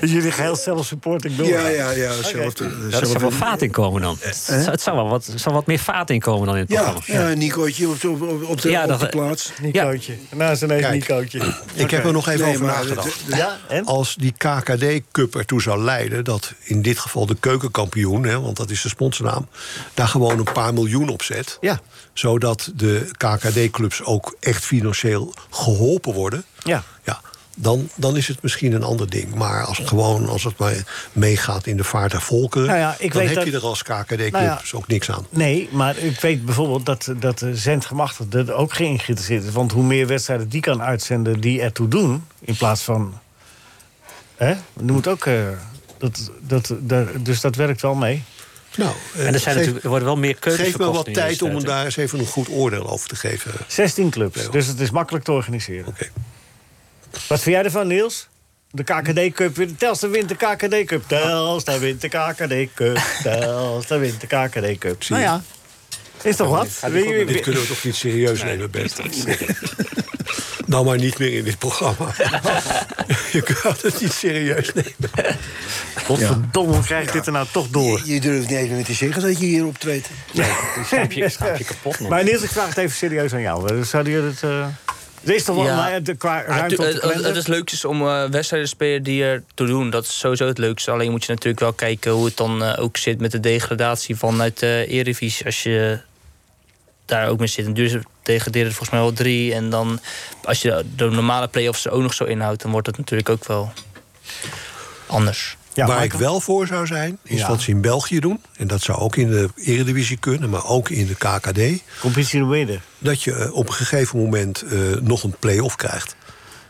Speaker 4: Jullie geheel zelfsupporting door.
Speaker 7: ja, ja, ja. Zelf,
Speaker 5: Daar zou wel
Speaker 7: zelf-
Speaker 5: vaat in komen dan. Het zou- Het zou wel wat, er zou wat meer vaat in komen dan in het
Speaker 7: ja,
Speaker 5: programma.
Speaker 7: ja, Nicootje op, de- op, op, op de,
Speaker 5: Ja,
Speaker 7: op
Speaker 5: dat-
Speaker 7: de plaats.
Speaker 4: Nicootje. Nou, ze ineens
Speaker 6: Kijk.
Speaker 4: Nicootje.
Speaker 6: Ik heb er nog even
Speaker 7: Nee,
Speaker 6: over
Speaker 7: maar
Speaker 6: nagedacht.
Speaker 7: het-
Speaker 4: Ja, en?
Speaker 6: Als die KKD-cup ertoe zou leiden dat in dit geval de keukenkampioen, hè, want dat is de sponsornaam, daar gewoon een paar miljoen op zet.
Speaker 4: Ja.
Speaker 6: Zodat de KKD-clubs ook echt financieel geholpen worden.
Speaker 4: Ja.
Speaker 6: ja Dan, dan is het misschien een ander ding. Maar als het gewoon als het maar meegaat in de vaart der volkeren...
Speaker 4: Nou ja, ik
Speaker 6: dan
Speaker 4: weet
Speaker 6: heb
Speaker 4: dat-
Speaker 6: je er als KKD-clubs
Speaker 4: Nou ja.
Speaker 6: ook niks aan.
Speaker 4: Nee, maar ik weet bijvoorbeeld dat, dat de zendgemachtigde er ook geen geïnteresseerd is. Want hoe meer wedstrijden die kan uitzenden die ertoe doen... in plaats van... Hè? Er moet ook... eh, dat, dat, daar- dus dat werkt wel mee.
Speaker 6: Nou, eh,
Speaker 5: En er,
Speaker 6: geef-
Speaker 5: zijn natuurlijk, er worden wel meer keuzes
Speaker 6: Geef me
Speaker 5: verkocht
Speaker 6: wat
Speaker 5: in de
Speaker 6: tijd om
Speaker 5: universiteit,
Speaker 6: daar eens even een goed oordeel over te geven.
Speaker 4: 16 clubs, dus het is makkelijk te organiseren. Wat vind jij ervan, Niels? De KKD Cup, weer- Telstar wint de KKD Cup. Telstar wint de KKD Cup. Telstar wint de KKD Cup.
Speaker 6: Zie
Speaker 4: Nou
Speaker 6: je.
Speaker 4: ja, is toch wat? Wil je-
Speaker 6: Dit kunnen we toch niet serieus nemen, Bert? Nou, maar niet meer in dit programma. Je kunt het niet serieus nemen.
Speaker 4: Godverdomme, hoe krijg ik dit er nou toch door?
Speaker 7: Je, je durft niet even meer te zeggen dat je hier optreedt.
Speaker 5: je- schaap je kapot nog.
Speaker 4: Maar Niels, ik vraag het even serieus aan jou. Zouden jullie het... eh, Er is toch wel
Speaker 9: Ja.
Speaker 4: maar, eh, de- qua
Speaker 9: Maar
Speaker 4: ruimte op de
Speaker 9: het- het, het
Speaker 4: kalender?
Speaker 9: is leuk is om eh, wedstrijden te spelen die er toe doen. Dat is sowieso het leukste. Alleen moet je natuurlijk wel kijken hoe het dan eh, ook zit met de degradatie vanuit de Eredivisie. Als je daar ook mee zit. En duurzaam degraderen er volgens mij wel drie. En dan als je de normale play-offs er ook nog zo inhoudt... dan wordt het natuurlijk ook wel anders.
Speaker 6: Waar ik wel voor zou zijn, is
Speaker 9: Ja.
Speaker 6: wat ze in België doen. En dat zou ook in de Eredivisie kunnen, maar ook in de KKD.
Speaker 4: Competitie in
Speaker 6: Dat je eh, op een gegeven moment eh, nog een play-off krijgt.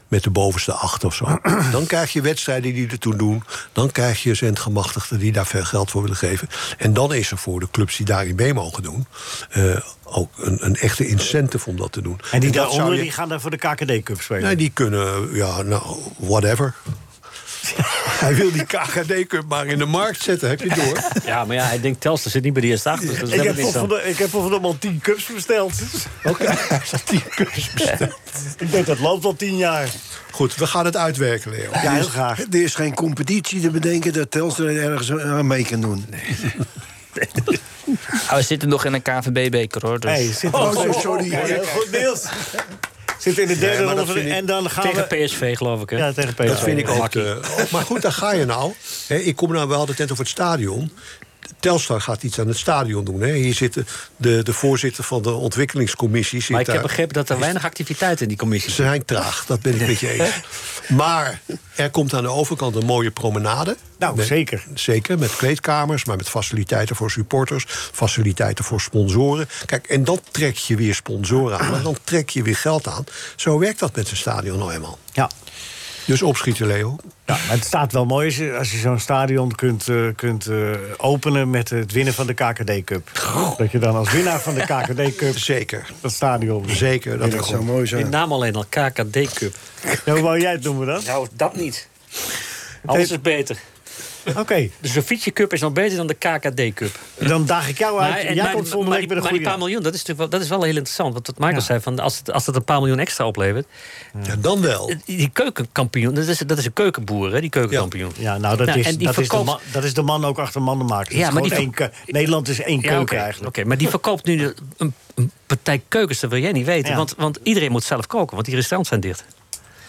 Speaker 6: Met de bovenste acht of zo. Dan krijg je wedstrijden die er toe doen. Dan krijg je zendgemachtigden die daar veel geld voor willen geven. En dan is er voor de clubs die daarin mee mogen doen... eh, ook een, een echte incentive om dat te doen.
Speaker 4: En die
Speaker 6: dat zou
Speaker 4: daaronder
Speaker 6: je-
Speaker 4: die gaan daar voor de KKD Cup spelen.
Speaker 6: Nee, die kunnen, ja, nou, whatever. Hij wil die KKD-cup maar in de markt zetten, heb je door.
Speaker 5: Ja, maar ja, ik denk Telstar zit niet bij de eerste acht. Dus
Speaker 4: ik,
Speaker 5: dat hebben
Speaker 4: heb
Speaker 5: we niks
Speaker 4: voor
Speaker 5: aan.
Speaker 4: de, ik heb voor van al tien cups besteld.
Speaker 6: Oké, tien cups besteld.
Speaker 4: ik denk, dat loopt al tien jaar.
Speaker 6: Goed, we gaan het uitwerken, Leo.
Speaker 4: Ja, heel graag.
Speaker 7: Er is geen competitie te bedenken dat Telstra ergens eh, aan mee kan doen.
Speaker 9: Ah, we zitten nog in een KVB-beker, hoor. Dus.
Speaker 4: Hey, zit er nog steeds- oh, Ja, heel goed, Niels. Zit in de derde
Speaker 9: maar dat
Speaker 4: ronde van de-
Speaker 9: vind ik-
Speaker 4: en dan gaan
Speaker 5: Tegen
Speaker 4: we...
Speaker 5: PSV, geloof ik. Hè?
Speaker 4: Ja, tegen PSV.
Speaker 6: Dat vind ik ook.
Speaker 5: Makkie.
Speaker 6: eh, maar goed, daar ga je nou. Hè, ik kom nou, we hadden het net over het stadion. Telstar gaat iets aan het stadion doen. Hè. Hier zitten de, de voorzitter van de ontwikkelingscommissie. Zit
Speaker 5: Maar ik heb
Speaker 6: daar.
Speaker 5: begrepen dat er weinig activiteit in die commissie is.
Speaker 6: Ze zijn traag, dat ben ik met je eens. Maar er komt aan de overkant een mooie promenade.
Speaker 4: Nou,
Speaker 6: Met-
Speaker 4: zeker.
Speaker 6: Zeker, met kleedkamers, maar met faciliteiten voor supporters... faciliteiten voor sponsoren. Kijk, en dan trek je weer sponsoren aan. Maar dan trek je weer geld aan. Zo werkt dat met een stadion nou eenmaal.
Speaker 4: Ja.
Speaker 6: Dus opschieten, Leo.
Speaker 4: Ja, maar het staat wel mooi als je, als je zo'n stadion kunt, eh, kunt eh, openen met het winnen van de KKD Cup. Dat je dan als winnaar van de KKD Cup
Speaker 6: Zeker.
Speaker 4: dat stadion...
Speaker 6: Zeker, dat kan.
Speaker 7: mooi
Speaker 5: Die naam alleen al, KKD Cup.
Speaker 4: Ja, hoe wou jij het noemen dan?
Speaker 5: Nou, dat niet. Alles is beter.
Speaker 4: Oké,
Speaker 5: De Sofietje Cup is nog beter dan de KKD Cup.
Speaker 4: dan daag ik jou uit.
Speaker 5: Maar, en-
Speaker 4: oh, jij
Speaker 5: maar-
Speaker 4: komt volgende
Speaker 5: maar
Speaker 4: week
Speaker 5: die-
Speaker 4: met een
Speaker 5: maar die paar
Speaker 4: goede.
Speaker 5: miljoen, dat is, natuurlijk wel, dat is wel heel interessant. Want wat Michael zei, van, als, het, als het een paar miljoen extra oplevert...
Speaker 6: Ja, dan wel.
Speaker 5: Die keukenkampioen, dat is, dat is een keukenboer, hè, die keukenkampioen.
Speaker 4: Ja, nou, dat,
Speaker 5: Nou,
Speaker 4: is,
Speaker 5: en die
Speaker 4: dat, is de
Speaker 5: verkoopt-
Speaker 4: man, dat is de man ook achter mannen maken.
Speaker 5: Ja,
Speaker 4: Ja,
Speaker 5: maar
Speaker 4: maar
Speaker 5: die
Speaker 4: Nederland is één keuken
Speaker 5: oké,
Speaker 4: eigenlijk.
Speaker 5: oké, maar die verkoopt nu de- een, een partij keukens, dat wil jij niet weten.
Speaker 4: Ja.
Speaker 5: Want, want iedereen moet zelf koken, want die restaurants zijn dicht.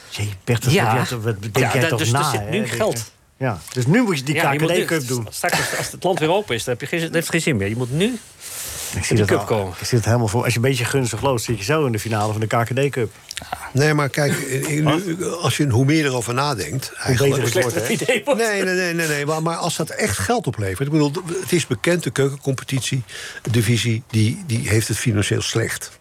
Speaker 4: Jee, Bert, dat
Speaker 5: Ja.
Speaker 4: ja. wat denk
Speaker 5: Ja,
Speaker 4: jij
Speaker 5: dat-
Speaker 4: toch
Speaker 5: dus
Speaker 4: na,
Speaker 5: er zit
Speaker 4: hè?
Speaker 5: nu
Speaker 4: Dat-
Speaker 5: geld.
Speaker 4: Ja, dus nu moet je die
Speaker 5: Ja, je moet
Speaker 4: KKD
Speaker 5: nu-
Speaker 4: Cup doen.
Speaker 5: Straks, als- als het land weer open is, dan heb je geen, dan heeft het geen zin meer. Je moet nu
Speaker 4: Ik
Speaker 5: in
Speaker 4: zie,
Speaker 5: de
Speaker 4: dat
Speaker 5: cup
Speaker 4: al.
Speaker 5: komen.
Speaker 4: ik zie het helemaal voor. Als je een beetje gunstig loopt, zit je zo in de finale van de KKD Cup.
Speaker 6: Nee, maar kijk, eh, eh, nu, als je hoe meer erover nadenkt... eigenlijk-
Speaker 4: beter het wordt, hè?
Speaker 6: Nee, nee, nee, nee, nee. Maar, maar als dat echt geld oplevert... Ik bedoel, het is bekend, de keukencompetitie, divisie... die, die heeft het financieel slecht.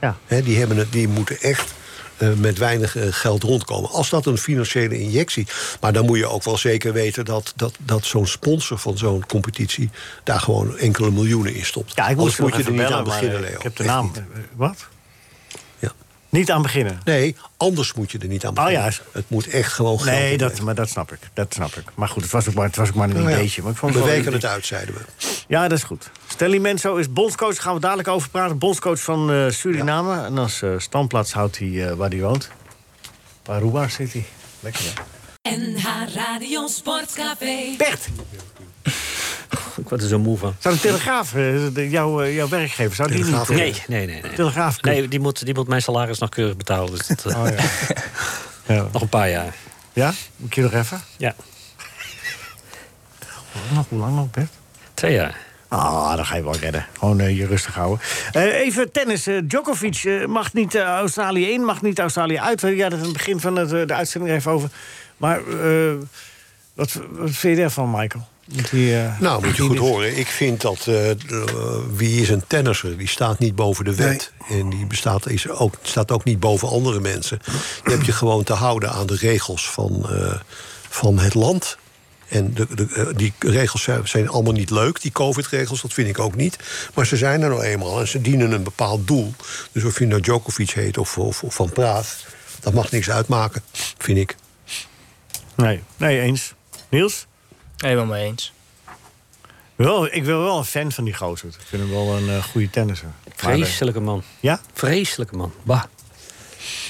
Speaker 4: Ja.
Speaker 6: Hè, die, hebben het, die moeten echt eh, met weinig eh, geld rondkomen. Als dat een financiële injectie... maar dan moet je ook wel zeker weten... dat, dat, dat zo'n sponsor van zo'n competitie... daar gewoon enkele miljoenen in stopt.
Speaker 4: Ja, ik
Speaker 6: Anders
Speaker 4: moest
Speaker 6: moet je
Speaker 4: nog even
Speaker 6: er niet
Speaker 4: bellen,
Speaker 6: aan
Speaker 4: maar,
Speaker 6: beginnen,
Speaker 4: eh,
Speaker 6: Leo.
Speaker 4: Ik heb de
Speaker 6: Echt
Speaker 4: naam.
Speaker 6: niet.
Speaker 4: Eh, Wat?
Speaker 6: Ja.
Speaker 4: Niet aan beginnen.
Speaker 6: Nee, anders moet je er niet aan
Speaker 4: Oh
Speaker 6: beginnen.
Speaker 4: ja.
Speaker 6: Het moet echt gewoon geld
Speaker 4: Nee,
Speaker 6: opleveren.
Speaker 4: dat, maar dat snap ik. Dat snap ik. Maar goed, het was ook maar, het was ook maar een
Speaker 6: Nou ja,
Speaker 4: ideetje. Maar ik vond
Speaker 6: we
Speaker 4: het wel
Speaker 6: werken
Speaker 4: een
Speaker 6: het uit, zeiden we.
Speaker 4: Ja, dat is goed. Stanley Menso is bondscoach. Daar gaan we dadelijk over praten. Bondscoach van eh, Suriname. En als eh, standplaats houdt hij eh, waar hij woont. Paruba zit hij. Lekker, hè?
Speaker 1: NH Radio Sportcafé.
Speaker 4: Bert!
Speaker 5: Ik word er zo moe van.
Speaker 4: Zou de Telegraaf, eh, de- jouw, eh, jouw werkgever, zou die niet...
Speaker 6: Telegraaf.
Speaker 4: eh,
Speaker 5: Nee, nee, nee. nee.
Speaker 4: Telegraaf.
Speaker 5: Nee, die moet, die moet mijn salaris nog keurig betalen. Dus dat, eh,
Speaker 4: Oh, ja. ja.
Speaker 5: Nog een paar jaar.
Speaker 4: ja? Moet ik je nog even?
Speaker 5: Ja,
Speaker 4: Nog, hoe lang nog, Bert?
Speaker 5: twee jaar.
Speaker 4: Ah, dat ga je wel redden.
Speaker 6: Oh,
Speaker 4: Gewoon eh, je rustig houden. Eh, even tennis. eh, Djokovic eh, mag niet eh, Australië in, mag niet Australië uit. Ja, dat in het begin van het, eh, de uitzending even over. Maar eh, wat, wat vind je daarvan, Michael? Moet hij, eh,
Speaker 6: Nou, moet je goed
Speaker 4: dit-
Speaker 6: horen. Ik vind dat eh, eh, wie is een tennisser, die staat niet boven de wet. En die bestaat, is ook, staat ook niet boven andere mensen. Je hebt je gewoon te houden aan de regels van, eh, van het land. En de, de, eh, die regels zijn, zijn allemaal niet leuk, die COVID-regels, dat vind ik ook niet. Maar ze zijn er nou eenmaal en ze dienen een bepaald doel. Dus of je nou Djokovic heet of, of, of Van Praat, dat mag niks uitmaken, vind ik.
Speaker 4: Nee, nee, eens. Niels?
Speaker 9: Helemaal mee eens.
Speaker 4: Wel, ik ben wel een fan van die gozer. Ik vind hem wel een eh, goede tennisser. eh,
Speaker 5: Vreselijke man.
Speaker 4: Ja?
Speaker 5: Vreselijke man. Bah.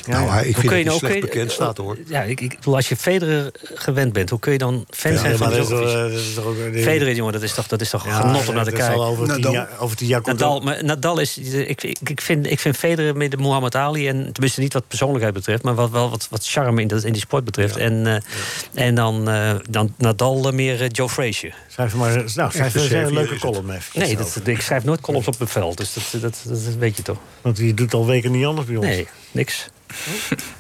Speaker 6: Nou, hij- ik vind
Speaker 5: Hoe kun
Speaker 6: dat
Speaker 5: je
Speaker 6: hij
Speaker 5: nou-
Speaker 6: slecht
Speaker 5: hoe kun je-
Speaker 6: bekend staat, hoor.
Speaker 5: Ja, ik, ik, bedoel, als je Federer gewend bent, hoe kun je dan fan
Speaker 4: Ja,
Speaker 5: zijn van
Speaker 4: maar dat is
Speaker 5: Djokovic?
Speaker 4: wel, eh, dat is toch ook een ding.
Speaker 5: Federer, jongen, dat is toch, dat is toch
Speaker 4: Ja,
Speaker 5: genot om naar te
Speaker 4: dat is
Speaker 5: kijken. Nou,
Speaker 4: al over tien Nadal. jaar- over tien jaar komt
Speaker 5: Nadal,
Speaker 4: dat-
Speaker 5: maar Nadal is... Ik, ik, ik, vind, ik vind Federer met de Muhammad Ali... En, tenminste niet wat persoonlijkheid betreft... maar wat, wel wat, wat charme in, dat, in die sport betreft. En, eh, en dan, eh, dan Nadal eh, meer eh, Joe Frazier.
Speaker 4: Schrijf maar, nou, schrijf
Speaker 5: Echt, de
Speaker 4: eens een
Speaker 5: zeven
Speaker 4: leuke
Speaker 5: is
Speaker 4: column
Speaker 5: het.
Speaker 4: even
Speaker 5: Nee,
Speaker 4: over.
Speaker 5: dat, ik schrijf nooit columns op het veld. Dus dat, dat, dat, weet je toch.
Speaker 4: Want die doet al weken niet anders bij ons.
Speaker 5: Nee, niks. Op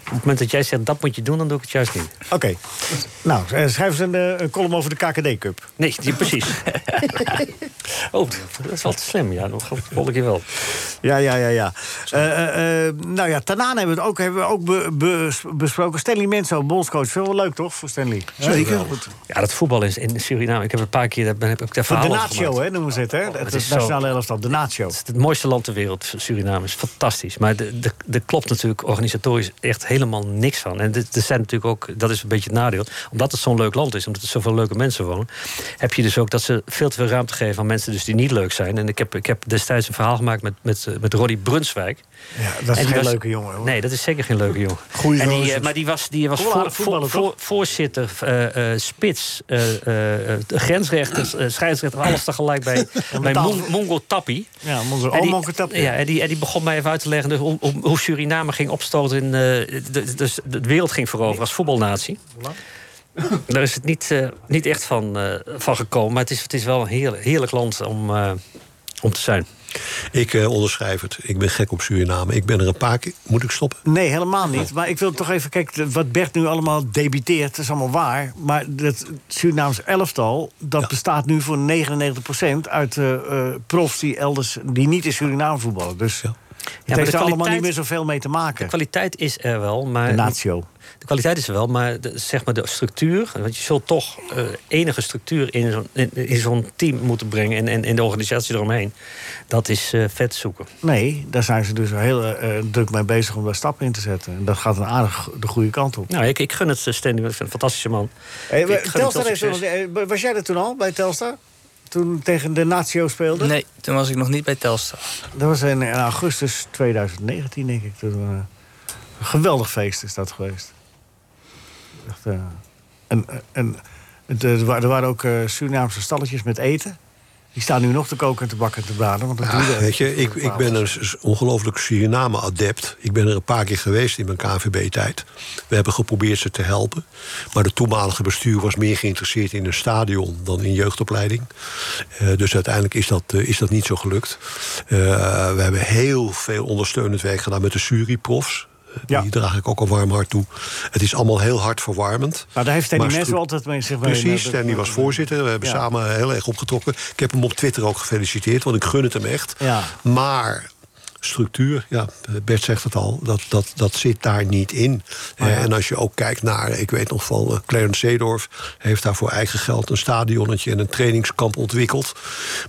Speaker 5: het moment dat jij zegt, dat moet je doen, dan doe ik het juist niet.
Speaker 4: Oké. Nou, eh, schrijf eens een, eh, een column over de KKD-cup.
Speaker 5: Nee, die, precies. oh, dat is wel te slim. Ja, dat volg ik je wel.
Speaker 4: Ja, ja, ja, ja. Eh, eh, eh, nou ja, Tanaan hebben we het ook, hebben we ook be- bes- besproken. Stanley Menzo, bondscoach. Veel wel leuk, toch, voor Stanley?
Speaker 5: Zeker. Ja, dat voetbal is in Suriname. Ik heb een paar keer daar ben, heb ik daar
Speaker 4: Voor de
Speaker 5: verhalen over
Speaker 4: Natio,
Speaker 5: gemaakt. Oh,
Speaker 4: hè, noemen ze het, hè?
Speaker 5: het
Speaker 4: Het
Speaker 5: is
Speaker 4: is
Speaker 5: zo-
Speaker 4: nationale elftal, de Natio.
Speaker 5: Het is het mooiste land ter wereld, Suriname. is fantastisch. Maar de- de- er klopt natuurlijk organisatorisch echt helemaal niks van. En dit- er zijn natuurlijk ook, dat is een beetje het nadeel. Omdat het zo'n leuk land is, omdat er zoveel leuke mensen wonen... heb je dus ook dat ze veel te veel ruimte geven aan mensen dus die niet leuk zijn. En ik heb, ik heb destijds een verhaal gemaakt met, met, eh, met Roddy Brunswijk.
Speaker 4: Ja,
Speaker 5: En
Speaker 4: dat is
Speaker 5: die
Speaker 4: geen
Speaker 5: was-
Speaker 4: leuke jongen, hoor.
Speaker 5: Nee, dat is zeker geen leuke jongen.
Speaker 4: Goeie
Speaker 5: en die,
Speaker 4: gozer.
Speaker 5: eh, Maar die was, die was
Speaker 4: Kom,
Speaker 5: voor,
Speaker 4: aardig voetballer,
Speaker 5: voor, voor- voorzitter, eh, eh, spits, eh eh, eh, grensrechters, eh, scheidsrechter... alles tegelijk bij, bij
Speaker 4: betaal-
Speaker 5: Mon- Mongo Tappi.
Speaker 4: Ja, onze
Speaker 5: En die-
Speaker 4: oom ook een tapje.
Speaker 5: Ja, en die, en die begon mij even uit te leggen dus hoe, hoe- hoe Suriname ging opstoten. In, eh, de, dus de wereld ging veroveren als voetbalnatie. Daar is het niet, eh, niet echt van, eh, van gekomen. Maar het is, het is wel een heerlijk, heerlijk land om, eh, om te zijn.
Speaker 6: Ik eh, onderschrijf het. Ik ben gek op Suriname. Ik ben er een paar keer. Moet ik stoppen?
Speaker 4: Nee, helemaal niet. Maar ik wil toch even kijken, wat Bert nu allemaal debiteert, is allemaal waar. Maar dat Surinaams elftal, dat bestaat nu voor 99% uit eh, eh, profs die elders, die niet in Suriname voetballen. Dus het
Speaker 5: maar de
Speaker 4: heeft er allemaal niet
Speaker 5: kwaliteit-
Speaker 4: meer zoveel mee te maken.
Speaker 5: De kwaliteit is er wel, maar...
Speaker 4: De natio.
Speaker 5: De kwaliteit is er wel, maar de, zeg maar de structuur... want je zult toch eh, enige structuur in zo'n in, in zo'n team moeten brengen... en, en, en de organisatie eromheen. Dat is eh, vet zoeken.
Speaker 4: Nee, daar zijn ze dus heel eh, druk mee bezig om daar stappen in te zetten. En dat gaat een aardig go- de goede kant op.
Speaker 5: Nou, ik, ik gun het eh, Stanley, ik vind het een fantastische man. Ik gun hem veel
Speaker 4: Eh, Telstar heeft
Speaker 5: succes.
Speaker 4: nog- eh, was jij er toen al bij Telstar? Toen tegen de Natio speelde?
Speaker 9: Nee, toen was ik nog niet bij Telstar.
Speaker 4: Dat was in, in augustus 2019, denk ik. Toen, eh, een geweldig feest is dat geweest. Echt, eh, en en het, eh, er wa- er waren ook eh, Surinaamse stalletjes met eten. Die staan nu nog te koken en te bakken en te braden. Want dat
Speaker 6: Ja,
Speaker 4: duurde
Speaker 6: weet je,
Speaker 4: even
Speaker 6: ik,
Speaker 4: een
Speaker 6: ik
Speaker 4: paar
Speaker 6: ben
Speaker 4: maanden.
Speaker 6: een s- ongelooflijk Suriname-adept. Ik ben er een paar keer geweest in mijn KNVB-tijd. We hebben geprobeerd ze te helpen. Maar het toenmalige bestuur was meer geïnteresseerd in een stadion dan in jeugdopleiding. Eh, dus uiteindelijk is dat, eh, is dat niet zo gelukt. Eh, we hebben heel veel ondersteunend werk gedaan met de Suri-profs. Eh, Die draag ik ook een warm hart toe. Het is allemaal heel hard verwarmend.
Speaker 4: Nou, daar heeft Stanley
Speaker 6: Maar
Speaker 4: Menzo
Speaker 6: stru-
Speaker 4: altijd mee zich mee-
Speaker 6: Precies,
Speaker 4: eh,
Speaker 6: Stanley was voorzitter. We hebben
Speaker 4: Ja.
Speaker 6: samen heel erg opgetrokken. Ik heb hem op Twitter ook gefeliciteerd, want ik gun het hem echt.
Speaker 4: Ja.
Speaker 6: Maar structuur, ja, Bert zegt het al, dat, dat, dat zit daar niet in. Eh, En als je ook kijkt naar, ik weet nog van eh, Clarence Seedorf... heeft daar voor eigen geld een stadionnetje en een trainingskamp ontwikkeld.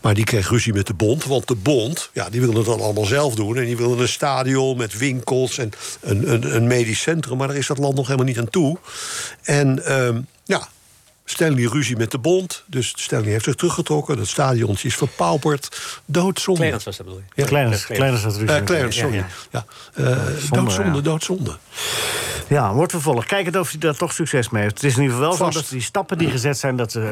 Speaker 6: Maar die kreeg ruzie met de bond, want de bond... Ja, die wilde het dan allemaal zelf doen. En die wilde een stadion met winkels en een, een, een medisch centrum. Maar daar is dat land nog helemaal niet aan toe. En ehm, ja, Stanley ruzie met de bond. Dus Stanley heeft zich teruggetrokken. Dat stadiontje is verpauperd. Doodzonde.
Speaker 5: Clarence was dat, bedoel je?
Speaker 6: Ja.
Speaker 4: Clarence, Clarence had ruzie
Speaker 6: Eh,
Speaker 4: met-
Speaker 6: Clarence,
Speaker 4: ja,
Speaker 6: sorry. Ja,
Speaker 4: ja.
Speaker 6: Eh,
Speaker 4: Doodzonde,
Speaker 6: doodzonde,
Speaker 4: ja.
Speaker 6: doodzonde.
Speaker 4: Ja, wordt vervolgd. Kijk het of hij daar toch succes mee heeft. Het is in ieder geval wel
Speaker 6: Vast.
Speaker 4: zo dat die stappen die gezet zijn... dat eh,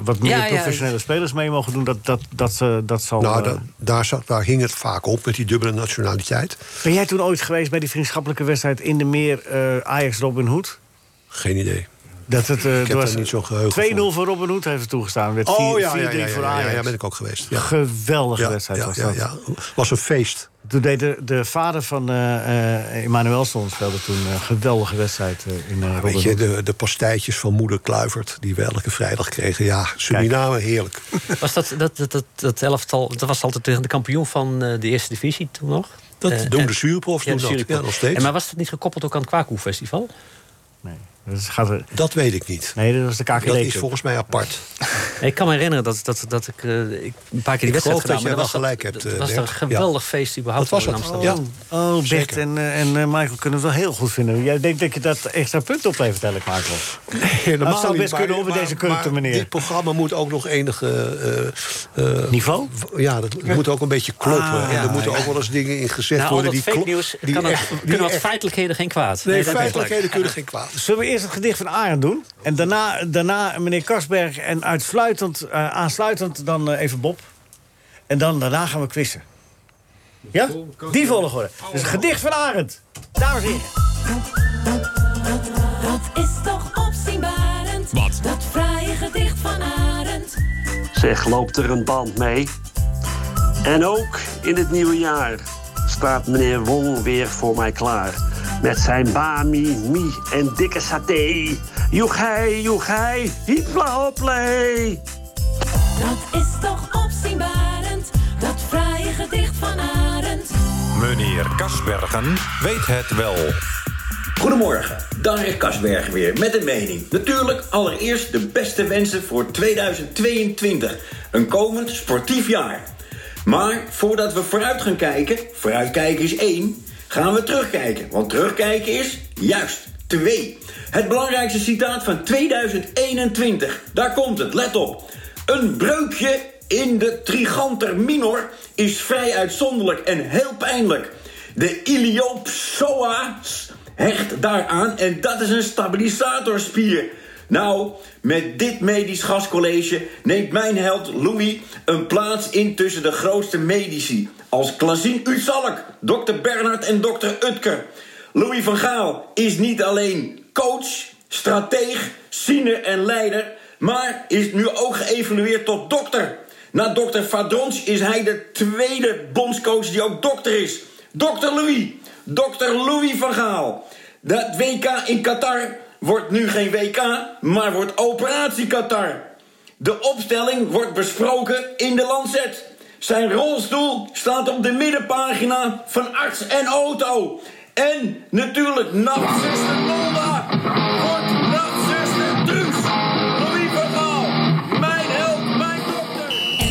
Speaker 4: wat meer
Speaker 5: Ja, ja.
Speaker 4: professionele spelers mee mogen doen... dat, dat, dat, ze- dat zal... eh,
Speaker 6: Nou, da- daar, zat, daar hing het vaak op met die dubbele nationaliteit.
Speaker 4: Ben jij toen ooit geweest bij die vriendschappelijke wedstrijd in de meer eh, Ajax Robin Hood?
Speaker 6: Geen idee.
Speaker 4: Dat het, eh,
Speaker 6: Ik
Speaker 4: het
Speaker 6: heb
Speaker 4: was
Speaker 6: daar niet zo'n geheugen
Speaker 4: 2-0 voor Robin Hood heeft er toegestaan. Werd 4-3
Speaker 6: Oh ja, ja, ja, ja,
Speaker 4: voor
Speaker 6: ja, ja,
Speaker 4: Ajax.
Speaker 6: ja, ben ik ook geweest. Ja.
Speaker 4: Geweldige
Speaker 6: Ja,
Speaker 4: wedstrijd
Speaker 6: ja,
Speaker 4: was
Speaker 6: ja,
Speaker 4: dat.
Speaker 6: ja. Was een feest.
Speaker 4: Toen deed de, de vader van eh eh Emmanuel Stons speelde toen eh, een geweldige wedstrijd eh, in eh Robin
Speaker 6: Weet je,
Speaker 4: Hood.
Speaker 6: de, de pastijtjes van moeder Kluivert, die we elke vrijdag kregen. Ja, Suriname, heerlijk.
Speaker 5: Was dat, dat, dat, dat, dat elftal, dat was altijd de de kampioen van eh, de eerste divisie toen nog?
Speaker 6: Dat
Speaker 5: Eh,
Speaker 6: doen
Speaker 5: en-
Speaker 6: de Zuurprofs,
Speaker 5: Ja,
Speaker 6: doen
Speaker 5: de
Speaker 6: dat.
Speaker 5: Zuurprof.
Speaker 6: Ja, nog steeds.
Speaker 5: En, maar was dat niet gekoppeld ook aan het Kwaku-festival?
Speaker 4: Dat, gaat er...
Speaker 6: dat weet ik niet.
Speaker 4: Nee, dat was de KKD.
Speaker 6: Dat is volgens mij apart.
Speaker 5: Ik kan me herinneren dat, dat, dat ik, eh, ik een paar keer die
Speaker 6: Ik
Speaker 5: wedstrijd
Speaker 6: geloof dat
Speaker 5: gedaan,
Speaker 6: jij
Speaker 5: maar
Speaker 6: wel
Speaker 5: dat was
Speaker 6: gelijk
Speaker 5: dat-
Speaker 6: hebt.
Speaker 5: dat
Speaker 6: eh,
Speaker 5: was
Speaker 6: Bert.
Speaker 5: een geweldig feest überhaupt
Speaker 6: Dat was
Speaker 5: in
Speaker 6: het.
Speaker 5: Amsterdam.
Speaker 6: Ja.
Speaker 4: Oh, Bert en, eh, en eh, Michael kunnen het wel heel goed vinden. Jij denkt dat je dat extra punt oplevert, eigenlijk, Michael.
Speaker 6: Helemaal
Speaker 4: dat zou
Speaker 6: niet,
Speaker 4: best
Speaker 6: maar-
Speaker 4: kunnen over
Speaker 6: maar-
Speaker 4: deze corrupte
Speaker 6: maar
Speaker 4: meneer.
Speaker 6: Dit programma moet ook nog enige... eh, eh,
Speaker 4: Niveau?
Speaker 6: w- Ja, dat moet ook een beetje kloppen.
Speaker 5: Ah,
Speaker 6: en er
Speaker 5: ja,
Speaker 6: moeten
Speaker 5: ja.
Speaker 6: ook wel eens dingen in gezegd
Speaker 5: Na al
Speaker 6: worden
Speaker 5: dat
Speaker 6: die
Speaker 5: fake
Speaker 6: klo-
Speaker 5: nieuws
Speaker 6: die
Speaker 5: kan het-
Speaker 6: echt- die
Speaker 5: kunnen wat
Speaker 6: echt-
Speaker 5: feitelijkheden geen kwaad.
Speaker 6: Nee,
Speaker 5: dat is
Speaker 6: feitelijkheden
Speaker 5: gelijk.
Speaker 6: kunnen geen kwaad.
Speaker 4: Zullen we eerst het gedicht van Arend doen? En daarna, daarna meneer Karsberg en uitsluitend, eh, aansluitend dan eh, even Bob. En dan, daarna gaan we quizzen. Ja? Die volgorde. Dus het gedicht van Arend. Dames en heren.
Speaker 1: Dat is toch opzienbarend. Wat? Dat fraaie gedicht van Arend.
Speaker 14: Zeg, loopt er een band mee? En ook in het nieuwe jaar staat meneer Wong weer voor mij klaar. Met zijn bami, mi en dikke saté. Joegij, joegij, hiepla hoplei.
Speaker 1: Dat is toch opzienbarend. Dat fraaie gedicht van Arend.
Speaker 2: Meneer Kasbergen weet het wel.
Speaker 15: Goedemorgen, Darek Kasberg weer met een mening. Natuurlijk allereerst de beste wensen voor 2022. Een komend sportief jaar. Maar voordat we vooruit gaan kijken, vooruitkijken is één, gaan we terugkijken. Want terugkijken is juist twee. Het belangrijkste citaat van 2021. Daar komt het, let op. Een breukje in de triganter minor is vrij uitzonderlijk en heel pijnlijk. De iliopsoa hecht daaraan en dat is een stabilisatorspier. Nou, met dit medisch gascollege neemt mijn held Louis een plaats in tussen de grootste medici. Als Klaasien Uzalk, Dr. Bernhard en Dr. Utker. Louis van Gaal is niet alleen coach, strateeg, ziener en leider, maar is nu ook geëvalueerd tot dokter. Na dokter Fadrons is hij de tweede bondscoach die ook dokter is. Dokter Louis. Dokter Louis van Gaal. Dat WK in Qatar wordt nu geen WK, maar wordt operatie Qatar. De opstelling wordt besproken in de Lancet. Zijn rolstoel staat op de middenpagina van arts en auto. En natuurlijk nachtzuster Lola wordt nachtzuster Truus. Louis van Gaal, mijn held, mijn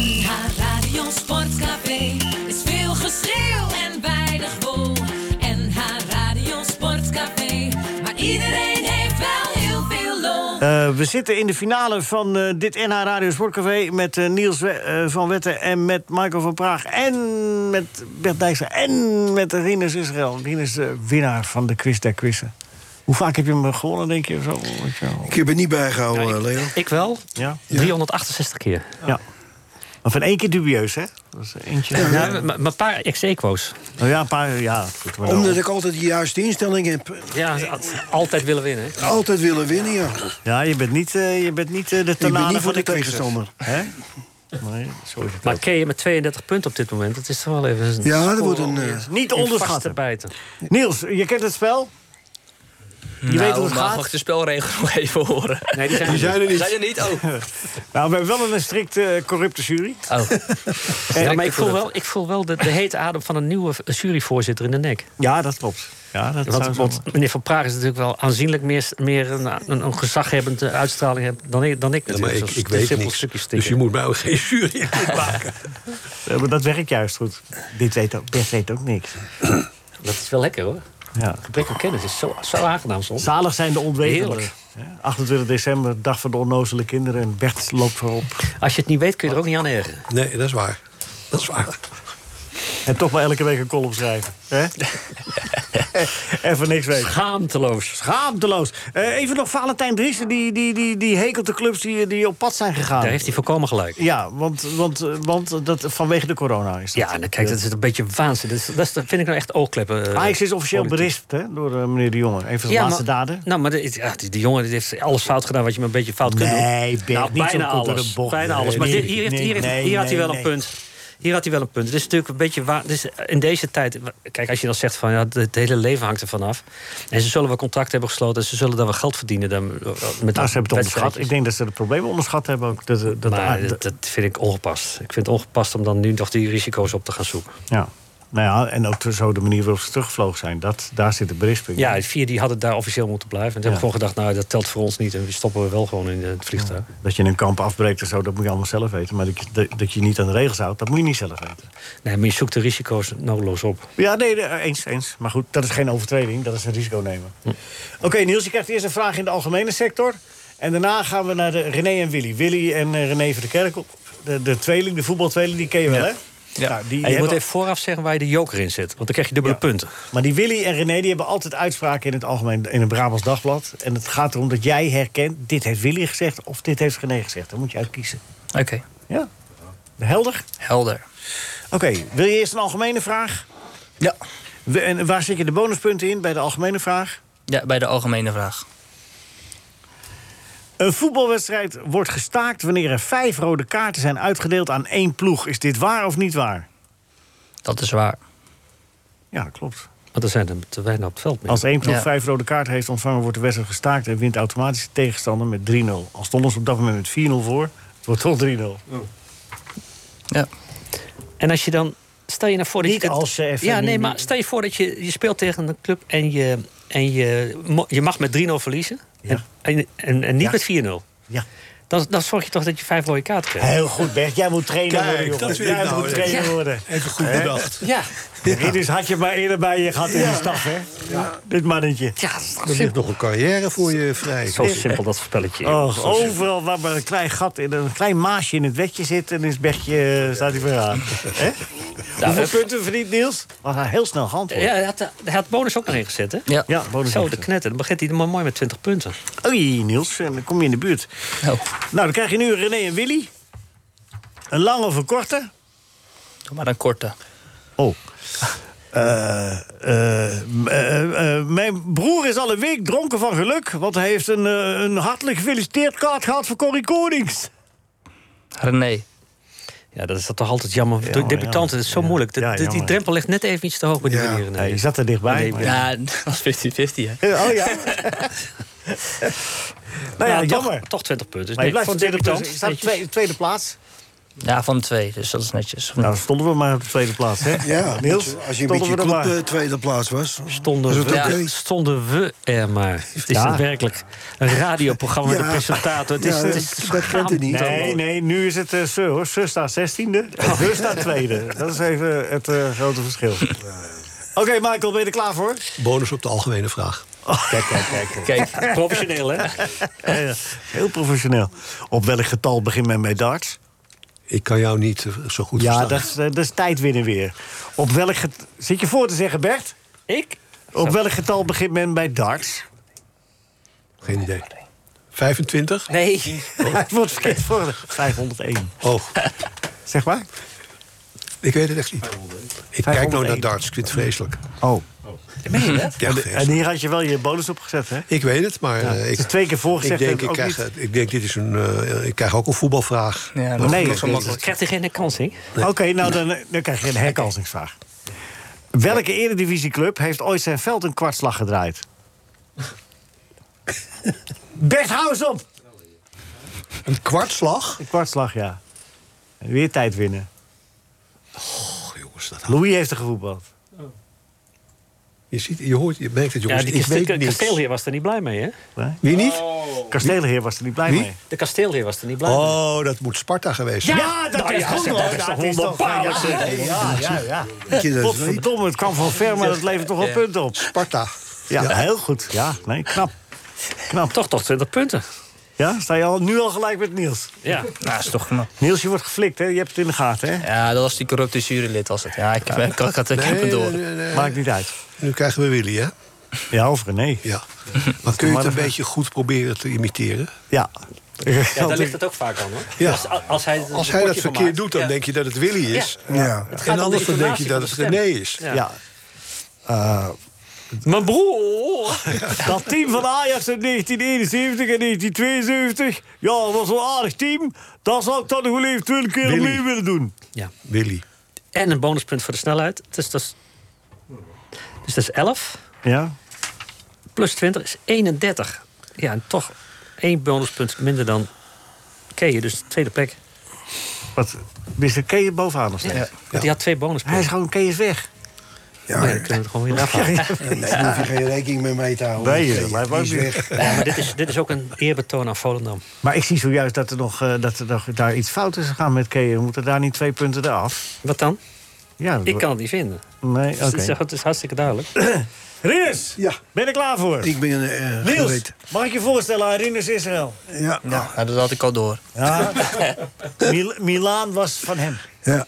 Speaker 1: NH Radio Sportcafé is veel geschreeuw en weinig wol. NH Radio Sportcafé, maar iedereen heeft wel heel veel lol.
Speaker 4: Eh, we zitten in de finale van eh, dit NH Radio Sportcafé... met eh, Niels We- eh, van Wetten en met Michael van Praag... en met Bert Dijkstra en met Rinus Israël. Rinus, de winnaar van de quiz der quizzen. Hoe vaak heb je hem gewonnen, denk je? of Zo?
Speaker 7: Ik heb het niet bijgehouden, Leo.
Speaker 5: Ik wel.
Speaker 4: Ja.
Speaker 5: 368 keer.
Speaker 4: Ja. Maar van één keer dubieus, hè? Dat is eentje.
Speaker 5: Ja, maar- maar maar een paar ex-equo's.
Speaker 4: Nou ja, een paar, ja. goed, maar dan-
Speaker 7: Omdat ik altijd de juiste instelling heb.
Speaker 5: Ja, altijd willen winnen.
Speaker 7: Altijd willen winnen, ja.
Speaker 4: Ja, je bent niet, eh, je bent niet eh, de
Speaker 7: ben
Speaker 4: tanane
Speaker 7: niet
Speaker 4: van
Speaker 7: voor
Speaker 4: de
Speaker 7: de tegenstander.
Speaker 4: tegenstander. Hè? Nee, zo is het
Speaker 5: Maar Kea met 32 punten op dit moment, dat is toch wel even...
Speaker 4: Ja, dat
Speaker 5: score
Speaker 4: wordt een,
Speaker 5: om
Speaker 4: eh,
Speaker 5: in-
Speaker 4: niet
Speaker 5: in vast
Speaker 4: onderschatten.
Speaker 5: te bijten.
Speaker 4: Niels, je kent het spel? Je
Speaker 9: Nou,
Speaker 4: weet hoe het
Speaker 9: mag
Speaker 4: gaat?
Speaker 9: ik de spelregels nog even horen? Nee,
Speaker 4: die zijn er Die zijn er niet.
Speaker 9: Zijn er niet? Oh.
Speaker 4: Nou, we hebben wel een strikt eh, corrupte jury. Eh,
Speaker 5: Oh. Ja, maar ik voel
Speaker 4: corrupt.
Speaker 5: wel, ik voel wel de, de hete adem van een nieuwe juryvoorzitter in de nek.
Speaker 4: Ja, dat klopt. Ja, dat zou
Speaker 5: Want,
Speaker 4: zo
Speaker 5: want meneer Van Praag is natuurlijk wel aanzienlijk meer, meer een, een, een gezaghebbende uitstraling hebben dan ik, dan ik
Speaker 6: Ja, maar
Speaker 5: natuurlijk.
Speaker 6: ik,
Speaker 5: Zo'n
Speaker 6: ik
Speaker 5: een
Speaker 6: weet
Speaker 5: simpel
Speaker 6: niks.
Speaker 5: stukje
Speaker 6: Dus
Speaker 5: stikken.
Speaker 6: je moet mij ook geen jury
Speaker 4: Ja, maar dat werkt juist goed. Dit weet ook, Bert weet ook niks.
Speaker 5: Dat is wel lekker hoor.
Speaker 4: Ja.
Speaker 5: Gebrek aan kennis is zo, zo aangenaam soms.
Speaker 4: Zalig zijn de ontwetenden.
Speaker 5: Heerlijk.
Speaker 4: Ja, 28 december, dag van de onnozele kinderen. En Bert loopt voorop.
Speaker 5: Als je het niet weet kun je er ook niet aan ergeren.
Speaker 6: Nee, dat is waar. Dat is waar.
Speaker 4: En toch maar elke week een column schrijven. Hè? even niks weten.
Speaker 5: Schaamteloos.
Speaker 4: Schaamteloos. Eh, even nog Valentijn Driessen, die, die, die, die hekelt de clubs die, die op pad zijn gegaan.
Speaker 5: Daar heeft hij voorkomen gelijk.
Speaker 4: Ja, want, want, eh, want dat, vanwege de corona is dat.
Speaker 5: Ja, nou, kijk, dat is een beetje waanzin. Dat, is- dat is- dat vind ik nou echt oogkleppen. eh,
Speaker 4: Ajax is officieel
Speaker 5: politiek.
Speaker 4: berispt hè, door eh, meneer De Jonge. Een van de
Speaker 5: Ja,
Speaker 4: laatste
Speaker 5: maar-
Speaker 4: daden.
Speaker 5: Nou, maar de, ja, die, die jongen die heeft alles fout gedaan wat je maar een beetje fout kunt doen.
Speaker 4: Nee, Bert,
Speaker 5: nou,
Speaker 4: niet zo
Speaker 5: bijna
Speaker 4: kort door
Speaker 5: alles.
Speaker 4: de bocht.
Speaker 5: Bijna
Speaker 4: Nee,
Speaker 5: alles. Maar
Speaker 4: nee,
Speaker 5: dit- hier, heeft- hier, heeft-
Speaker 4: nee,
Speaker 5: hier had hij
Speaker 4: nee,
Speaker 5: wel een
Speaker 4: nee.
Speaker 5: punt. Hier had hij wel een punt. Het is natuurlijk een beetje waar. Dus in deze tijd. Kijk, als je dan zegt van ja, het hele leven hangt ervan af. En ze zullen wel contract hebben gesloten. En ze zullen dan wel geld verdienen. Dan, eh, met
Speaker 4: Nou, ze hebben het onderschat.
Speaker 5: wedstrijdjes.
Speaker 4: Ik denk dat ze de problemen onderschat hebben ook. Dat, dat, ah,
Speaker 5: maar
Speaker 4: dat-
Speaker 5: dat, dat vind ik ongepast. Ik vind het ongepast om dan nu nog die risico's op te gaan zoeken.
Speaker 4: ja. Nou ja, en ook zo de manier waarop ze terugvlogen zijn. Dat, daar zit de berisping.
Speaker 5: Ja, die vier die hadden daar officieel moeten blijven. En toen
Speaker 4: Ja.
Speaker 5: hebben we gewoon gedacht, nou, dat telt voor ons niet. En die stoppen we wel gewoon in het vliegtuig.
Speaker 4: Dat je een kamp afbreekt en zo, dat moet je allemaal zelf weten. Maar dat je, dat- dat je niet aan de regels houdt, dat moet je niet zelf weten.
Speaker 5: Nee, maar je zoekt de risico's nodeloos op.
Speaker 4: Ja, nee, nee, eens, eens. Maar goed, dat is geen overtreding, dat is een risico nemen. Oké, Niels, je krijgt eerst een vraag in de algemene sector. En daarna gaan we naar de René en Willy. Willy en eh, René van de Kerkhof. De, de tweeling, de voetbaltweeling, die ken je wel, hè?
Speaker 5: Ja.
Speaker 4: Nou, die
Speaker 5: en je moet
Speaker 4: hebben-
Speaker 5: even vooraf zeggen waar je de joker in zit. Want dan krijg je dubbele punten.
Speaker 4: Maar die Willy en René die hebben altijd uitspraken in het algemeen in het Brabants Dagblad. En het gaat erom dat jij herkent, dit heeft Willy gezegd of dit heeft René gezegd. Dan moet je uitkiezen.
Speaker 9: Oké.
Speaker 4: Ja? Helder?
Speaker 9: Helder.
Speaker 4: Oké, wil je eerst een algemene vraag?
Speaker 9: Ja.
Speaker 4: En waar zit je de bonuspunten in bij de algemene vraag?
Speaker 9: Ja, bij de algemene vraag.
Speaker 4: Een voetbalwedstrijd wordt gestaakt wanneer er vijf rode kaarten zijn uitgedeeld aan één ploeg. Is dit waar of niet waar?
Speaker 9: Dat is waar.
Speaker 4: Ja, klopt.
Speaker 5: Want er zijn er te weinig op het veld. meer.
Speaker 4: Als één ploeg
Speaker 5: Ja.
Speaker 4: vijf rode kaarten heeft ontvangen, wordt de wedstrijd gestaakt en wint automatisch de tegenstander met 3-0. Al stonden ze op dat moment met 4-0 voor, het wordt toch 3-0.
Speaker 5: En als je dan... Stel je nou voor dat
Speaker 4: Niet
Speaker 5: je... kunt-
Speaker 4: als ze even
Speaker 5: Ja,
Speaker 4: nu
Speaker 5: nee,
Speaker 4: niet-
Speaker 5: maar stel je voor dat je, je speelt tegen een club... en je, en je, mo- je mag met 3-0 verliezen. En, en, en, en
Speaker 4: Ja.
Speaker 5: niet met 4-0.
Speaker 4: Ja.
Speaker 5: Dan, dan zorg je toch dat je vijf rode kaarten krijgt.
Speaker 4: Heel goed, Bert. Jij moet trainen
Speaker 5: Kijk,
Speaker 4: worden, jongen.
Speaker 5: dat vind ik
Speaker 4: Jij
Speaker 5: nou
Speaker 4: moet
Speaker 5: eens.
Speaker 4: trainer
Speaker 5: Ja.
Speaker 4: worden.
Speaker 5: Even goed
Speaker 4: Hè?
Speaker 5: bedacht. Ja.
Speaker 4: Ja. Dus had je maar eerder bij je gehad in de staf, hè? Dit mannetje.
Speaker 5: Ja, dat is toch
Speaker 6: Er ligt nog een carrière voor je vrij.
Speaker 4: Zo simpel
Speaker 5: dat spelletje.
Speaker 4: Och, overal waar maar een klein gat in een klein maasje in het wetje zit, en is Bertje, staat hij vooraan. Hè? Hoeveel
Speaker 5: dat-
Speaker 4: punten verdient Niels? Was hij heel snel geantwoord.
Speaker 5: Ja, hij had, hij had bonus ook nog ingezet, hè?
Speaker 9: Ja,
Speaker 4: bonus
Speaker 5: Zo, de
Speaker 4: ingezet.
Speaker 5: knetter. Dan begint hij er maar mooi met 20 punten.
Speaker 4: Oei, Niels, en dan kom je in de buurt. Nou, dan krijg je nu René en Willy. Een lange of een korte?
Speaker 9: Doe maar een korte.
Speaker 4: Oh. Eh, eh, eh, eh, mijn broer is al een week dronken van geluk... want hij heeft een, eh, een hartelijk gefeliciteerd kaart gehad voor Corrie Konings.
Speaker 9: René.
Speaker 5: Ja, dat is dat toch altijd jammer. voor
Speaker 4: Jammer,
Speaker 5: debutanten, dat is zo moeilijk. De, de- die
Speaker 4: jammer.
Speaker 5: drempel ligt net even iets te hoog bij die manier.
Speaker 4: Ja, je zat er dichtbij. maar-
Speaker 9: Ja, dat was 50-50, hè?
Speaker 4: Oh ja. nou ja,
Speaker 5: Nou, toch-
Speaker 4: jammer.
Speaker 5: Toch 20 punten.
Speaker 4: Maar je
Speaker 5: Nee,
Speaker 4: blijft
Speaker 5: voor
Speaker 4: op
Speaker 5: een
Speaker 4: tweede
Speaker 5: debutant.
Speaker 4: plaats. Je staat op
Speaker 5: netjes.
Speaker 4: tweede, tweede plaats.
Speaker 9: Ja, van twee, dus dat is netjes.
Speaker 4: Nou, dan stonden we maar op de tweede plaats, hè?
Speaker 7: Ja,
Speaker 4: Niels,
Speaker 7: als je een beetje
Speaker 4: stonden we er
Speaker 7: club
Speaker 4: maar.
Speaker 7: eh, tweede plaats was.
Speaker 5: Stonden
Speaker 7: Is het
Speaker 5: we,
Speaker 7: oké?
Speaker 5: ja, stonden we er maar. Het is
Speaker 7: Ja.
Speaker 5: een werkelijk een radioprogramma met
Speaker 7: Ja.
Speaker 5: een presentator. Het is,
Speaker 7: Ja,
Speaker 5: het
Speaker 7: dat-
Speaker 5: is
Speaker 7: dat kent u niet.
Speaker 5: schaamte.
Speaker 4: Nee, nee, nu is het eh Seur, hoor. Seur staat zestiende,
Speaker 5: Oh.
Speaker 4: e Seur staat tweede. Dat is even het eh, grote verschil. Oké, Michael, ben je er klaar voor? Oh.
Speaker 6: Bonus op de algemene vraag.
Speaker 4: Kijk, kijk, kijk.
Speaker 5: Kijk, professioneel, hè?
Speaker 4: Heel professioneel. Op welk getal begint men met darts?
Speaker 6: Ik kan jou niet eh, zo goed
Speaker 4: Ja,
Speaker 6: verstaan.
Speaker 4: dat is, eh, dat is tijd winnen weer. Op welk get- Zit je voor te zeggen, Bert?
Speaker 5: Ik?
Speaker 4: Op welk getal begint men bij darts?
Speaker 6: Geen idee. 25?
Speaker 5: Nee.
Speaker 4: Hij wordt verkeerd voor 501.
Speaker 6: Oh,
Speaker 4: Zeg maar.
Speaker 6: ik weet het echt niet. Ik kijk nou naar darts, ik vind het vreselijk.
Speaker 4: Oh.
Speaker 5: Meen je dat?
Speaker 6: Ja,
Speaker 4: En hier had je wel je bonus op gezet, hè?
Speaker 6: Ik weet het, maar
Speaker 4: Ja,
Speaker 6: eh,
Speaker 4: het
Speaker 6: ik,
Speaker 4: is twee keer
Speaker 6: ik
Speaker 4: voorgezegd,
Speaker 6: denk,
Speaker 4: heb
Speaker 6: ik,
Speaker 4: ik ook
Speaker 6: krijg, eh, ik denk, dit is een, eh, ik krijg ook een voetbalvraag.
Speaker 9: Ja,
Speaker 6: Dat-
Speaker 4: nee,
Speaker 6: dat is
Speaker 4: dat
Speaker 6: makkelijk.
Speaker 5: Krijgt hij geen kans, hè?
Speaker 4: Oké, nou dan, dan krijg je een herkansingsvraag. Welke eredivisieclub heeft ooit zijn veld een kwartslag gedraaid? Bert, hou eens op!
Speaker 6: Een kwartslag?
Speaker 4: Een kwartslag, ja. En weer tijd winnen.
Speaker 6: Och, Oh, jongens, dat Oh.
Speaker 4: Louis heeft er gevoetbald.
Speaker 6: je, ziet, je, hoort, je merkt het,
Speaker 5: Ja,
Speaker 6: jongens.
Speaker 5: die
Speaker 6: ik
Speaker 5: kaste-
Speaker 6: weet
Speaker 5: die
Speaker 6: niks.
Speaker 5: kasteelheer was er niet blij mee, hè? Oh.
Speaker 6: Wie niet?
Speaker 4: Kasteelheer was er niet blij
Speaker 6: Wie?
Speaker 4: mee.
Speaker 5: De kasteelheer was er niet blij mee.
Speaker 6: Oh, dat moet Sparta geweest zijn.
Speaker 4: dat
Speaker 5: Nou ja, zeg, dat is toch wonderbaarlijk,
Speaker 4: Ja,
Speaker 5: zeg.
Speaker 4: ja, ja. ja.
Speaker 7: Dat je dat weet.
Speaker 4: Godverdomme, het kwam van ver, maar dat levert toch wel punten op.
Speaker 6: Sparta.
Speaker 4: Ja, heel goed. Ja, nee, knap. Knap.
Speaker 5: Toch toch 20 punten.
Speaker 4: Ja, sta je al, nu al gelijk met Niels?
Speaker 9: Ja. Nou, is toch knap.
Speaker 4: Niels, je wordt geflikt, hè? Je hebt het in de gaten, hè?
Speaker 9: Ja, dat was die corrupte jurylid, was het. Ja, ik, ik, ik had de
Speaker 6: Nee,
Speaker 9: keeper door.
Speaker 6: nee, nee, nee.
Speaker 4: Maakt niet uit.
Speaker 6: Nu krijgen we Willy, hè?
Speaker 4: Ja, of nee.
Speaker 6: Ja. Maar kun je het
Speaker 4: maar
Speaker 6: een
Speaker 4: even-
Speaker 6: beetje goed proberen te imiteren?
Speaker 4: Ja.
Speaker 5: Ja, daar ligt het ook vaak aan, hoor.
Speaker 6: Ja.
Speaker 5: Als, als hij, het
Speaker 6: Als
Speaker 5: een
Speaker 6: hij dat
Speaker 5: potje van
Speaker 6: verkeerd
Speaker 5: maakt.
Speaker 6: doet, dan
Speaker 5: Ja.
Speaker 6: denk je dat het Willy is.
Speaker 5: Ja. Ja. Het gaat om
Speaker 6: En
Speaker 5: de
Speaker 6: anders dan denk je
Speaker 5: intonatie
Speaker 6: dat
Speaker 5: van
Speaker 6: het
Speaker 5: de stem.
Speaker 6: René is.
Speaker 5: Ja.
Speaker 4: Ja. Eh,
Speaker 5: Mijn broer!
Speaker 4: dat team van Ajax uit 1971 en 1972... Ja, dat was een aardig team. Dat zou ik dan nog wel even twintig keer
Speaker 5: Willy.
Speaker 4: opnieuw willen doen.
Speaker 5: Ja.
Speaker 6: Willy.
Speaker 5: En een bonuspunt voor de snelheid. Dus dat is, dus dat is 11.
Speaker 4: Ja.
Speaker 5: Plus 20 is 31. Ja, en toch één bonuspunt minder dan Keeën. Dus de tweede plek.
Speaker 4: Wat? Wist er Keeën bovenaan nog steeds?
Speaker 5: Ja. Want Die had twee bonuspunten.
Speaker 4: Hij is gewoon Keeën weg.
Speaker 5: Ja, nee, dan kunnen we het gewoon weer afhalen.
Speaker 7: Nee, daar hoef je geen rekening mee mee te houden.
Speaker 4: Nee,
Speaker 7: Die
Speaker 4: dat lijkt me ook
Speaker 7: is
Speaker 4: niet.
Speaker 7: weg.
Speaker 5: Ja, maar dit is, dit is ook een eerbetoon aan Volendam.
Speaker 4: Maar ik zie zojuist dat er nog, eh, dat er nog daar iets fout is gegaan met Keeën. We moeten daar niet twee punten eraf.
Speaker 5: Wat dan?
Speaker 4: Ja, dat
Speaker 5: Ik kan het niet vinden.
Speaker 4: Nee,
Speaker 5: Dus het, is,
Speaker 4: oké.
Speaker 5: het is hartstikke duidelijk.
Speaker 4: Rinus, ben je er klaar voor?
Speaker 7: Ik ben eh
Speaker 4: Niels,
Speaker 7: geweten.
Speaker 4: mag ik je voorstellen aan Rinus Israël?
Speaker 7: Ja.
Speaker 9: Ja, nou, dat had ik al door.
Speaker 4: Ja. Mil- Milaan was van hem.
Speaker 7: Ja.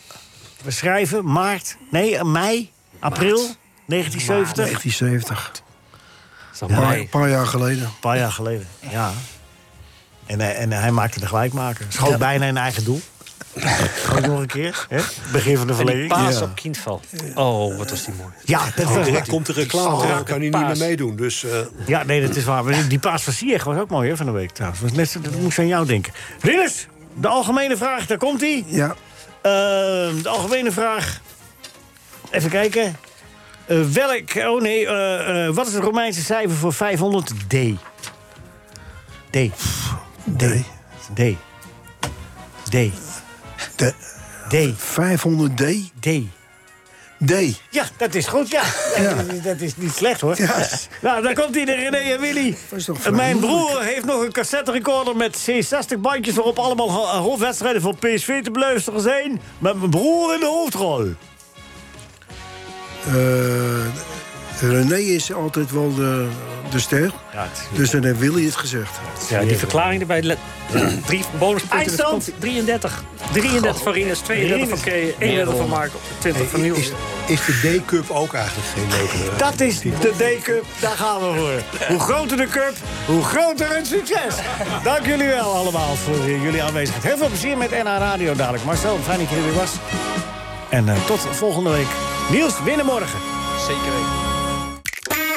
Speaker 4: We schrijven maart, nee, eh, mei, april 1970.
Speaker 7: 1970.
Speaker 5: Zo
Speaker 7: Ja,
Speaker 4: mooi.
Speaker 7: een paar jaar geleden.
Speaker 4: Een paar jaar geleden, ja. En, eh, en hij maakte de gelijkmaker. Schoot bijna in eigen doel. Ook nog een keer. Hè? Begin van de
Speaker 5: En die
Speaker 4: verlenging.
Speaker 5: paas
Speaker 4: Ja.
Speaker 5: op Kindval. Oh, wat was die mooi. Oh,
Speaker 4: Ja, dat was
Speaker 6: Direct Oh, komt de reclame,
Speaker 4: Die
Speaker 6: dan kan hij niet meer
Speaker 5: paas.
Speaker 6: meedoen. Dus eh,
Speaker 4: Ja, nee, dat is waar. Maar Die paas van Sieg was ook mooi hè, van de week trouwens. Was net, zo- dat moest aan jou denken. Ridders, de algemene vraag, daar komt ie. Ehm,
Speaker 7: Ja.
Speaker 4: de algemene vraag. Even kijken. Eh, welk, oh nee, eh, eh, wat is het Romeinse cijfer voor 500? D. D. D. D. D.
Speaker 7: De
Speaker 4: D.
Speaker 7: 500D?
Speaker 4: D.
Speaker 7: D.
Speaker 4: Ja, dat is goed, ja. Dat, is, dat is niet slecht, hoor. Nou, daar komt hij, de René en Willy.
Speaker 7: Dat is toch
Speaker 4: Eh, Mijn
Speaker 7: moeilijk.
Speaker 4: broer heeft nog een cassette recorder met C60 bandjes... waarop allemaal ho- eh, hoofdwedstrijden van PSV te beluisteren zijn... met mijn broer in de hoofdrol.
Speaker 7: Eh, René is altijd wel de, de ster.
Speaker 4: Ja, het
Speaker 7: Dus dan heeft Willy het gezegd.
Speaker 5: Ja, die verklaring erbij. le- Drie bonuspunten. dus
Speaker 4: Eindstand?
Speaker 5: komt- 33. 33 van Rinus, 32 van Keeën, 31 van Marco, 20 van Niels.
Speaker 6: is, is de D-Cup ook eigenlijk geen leuke...
Speaker 4: Dat is de D-Cup, daar gaan we voor. Hoe groter de cup, hoe groter het succes. Dank jullie wel allemaal voor eh, jullie aanwezigheid. Heel veel plezier met NH Radio dadelijk. Marcel, fijn dat je er weer was. En eh, tot volgende week. Niels, winnen morgen.
Speaker 9: Zeker weten.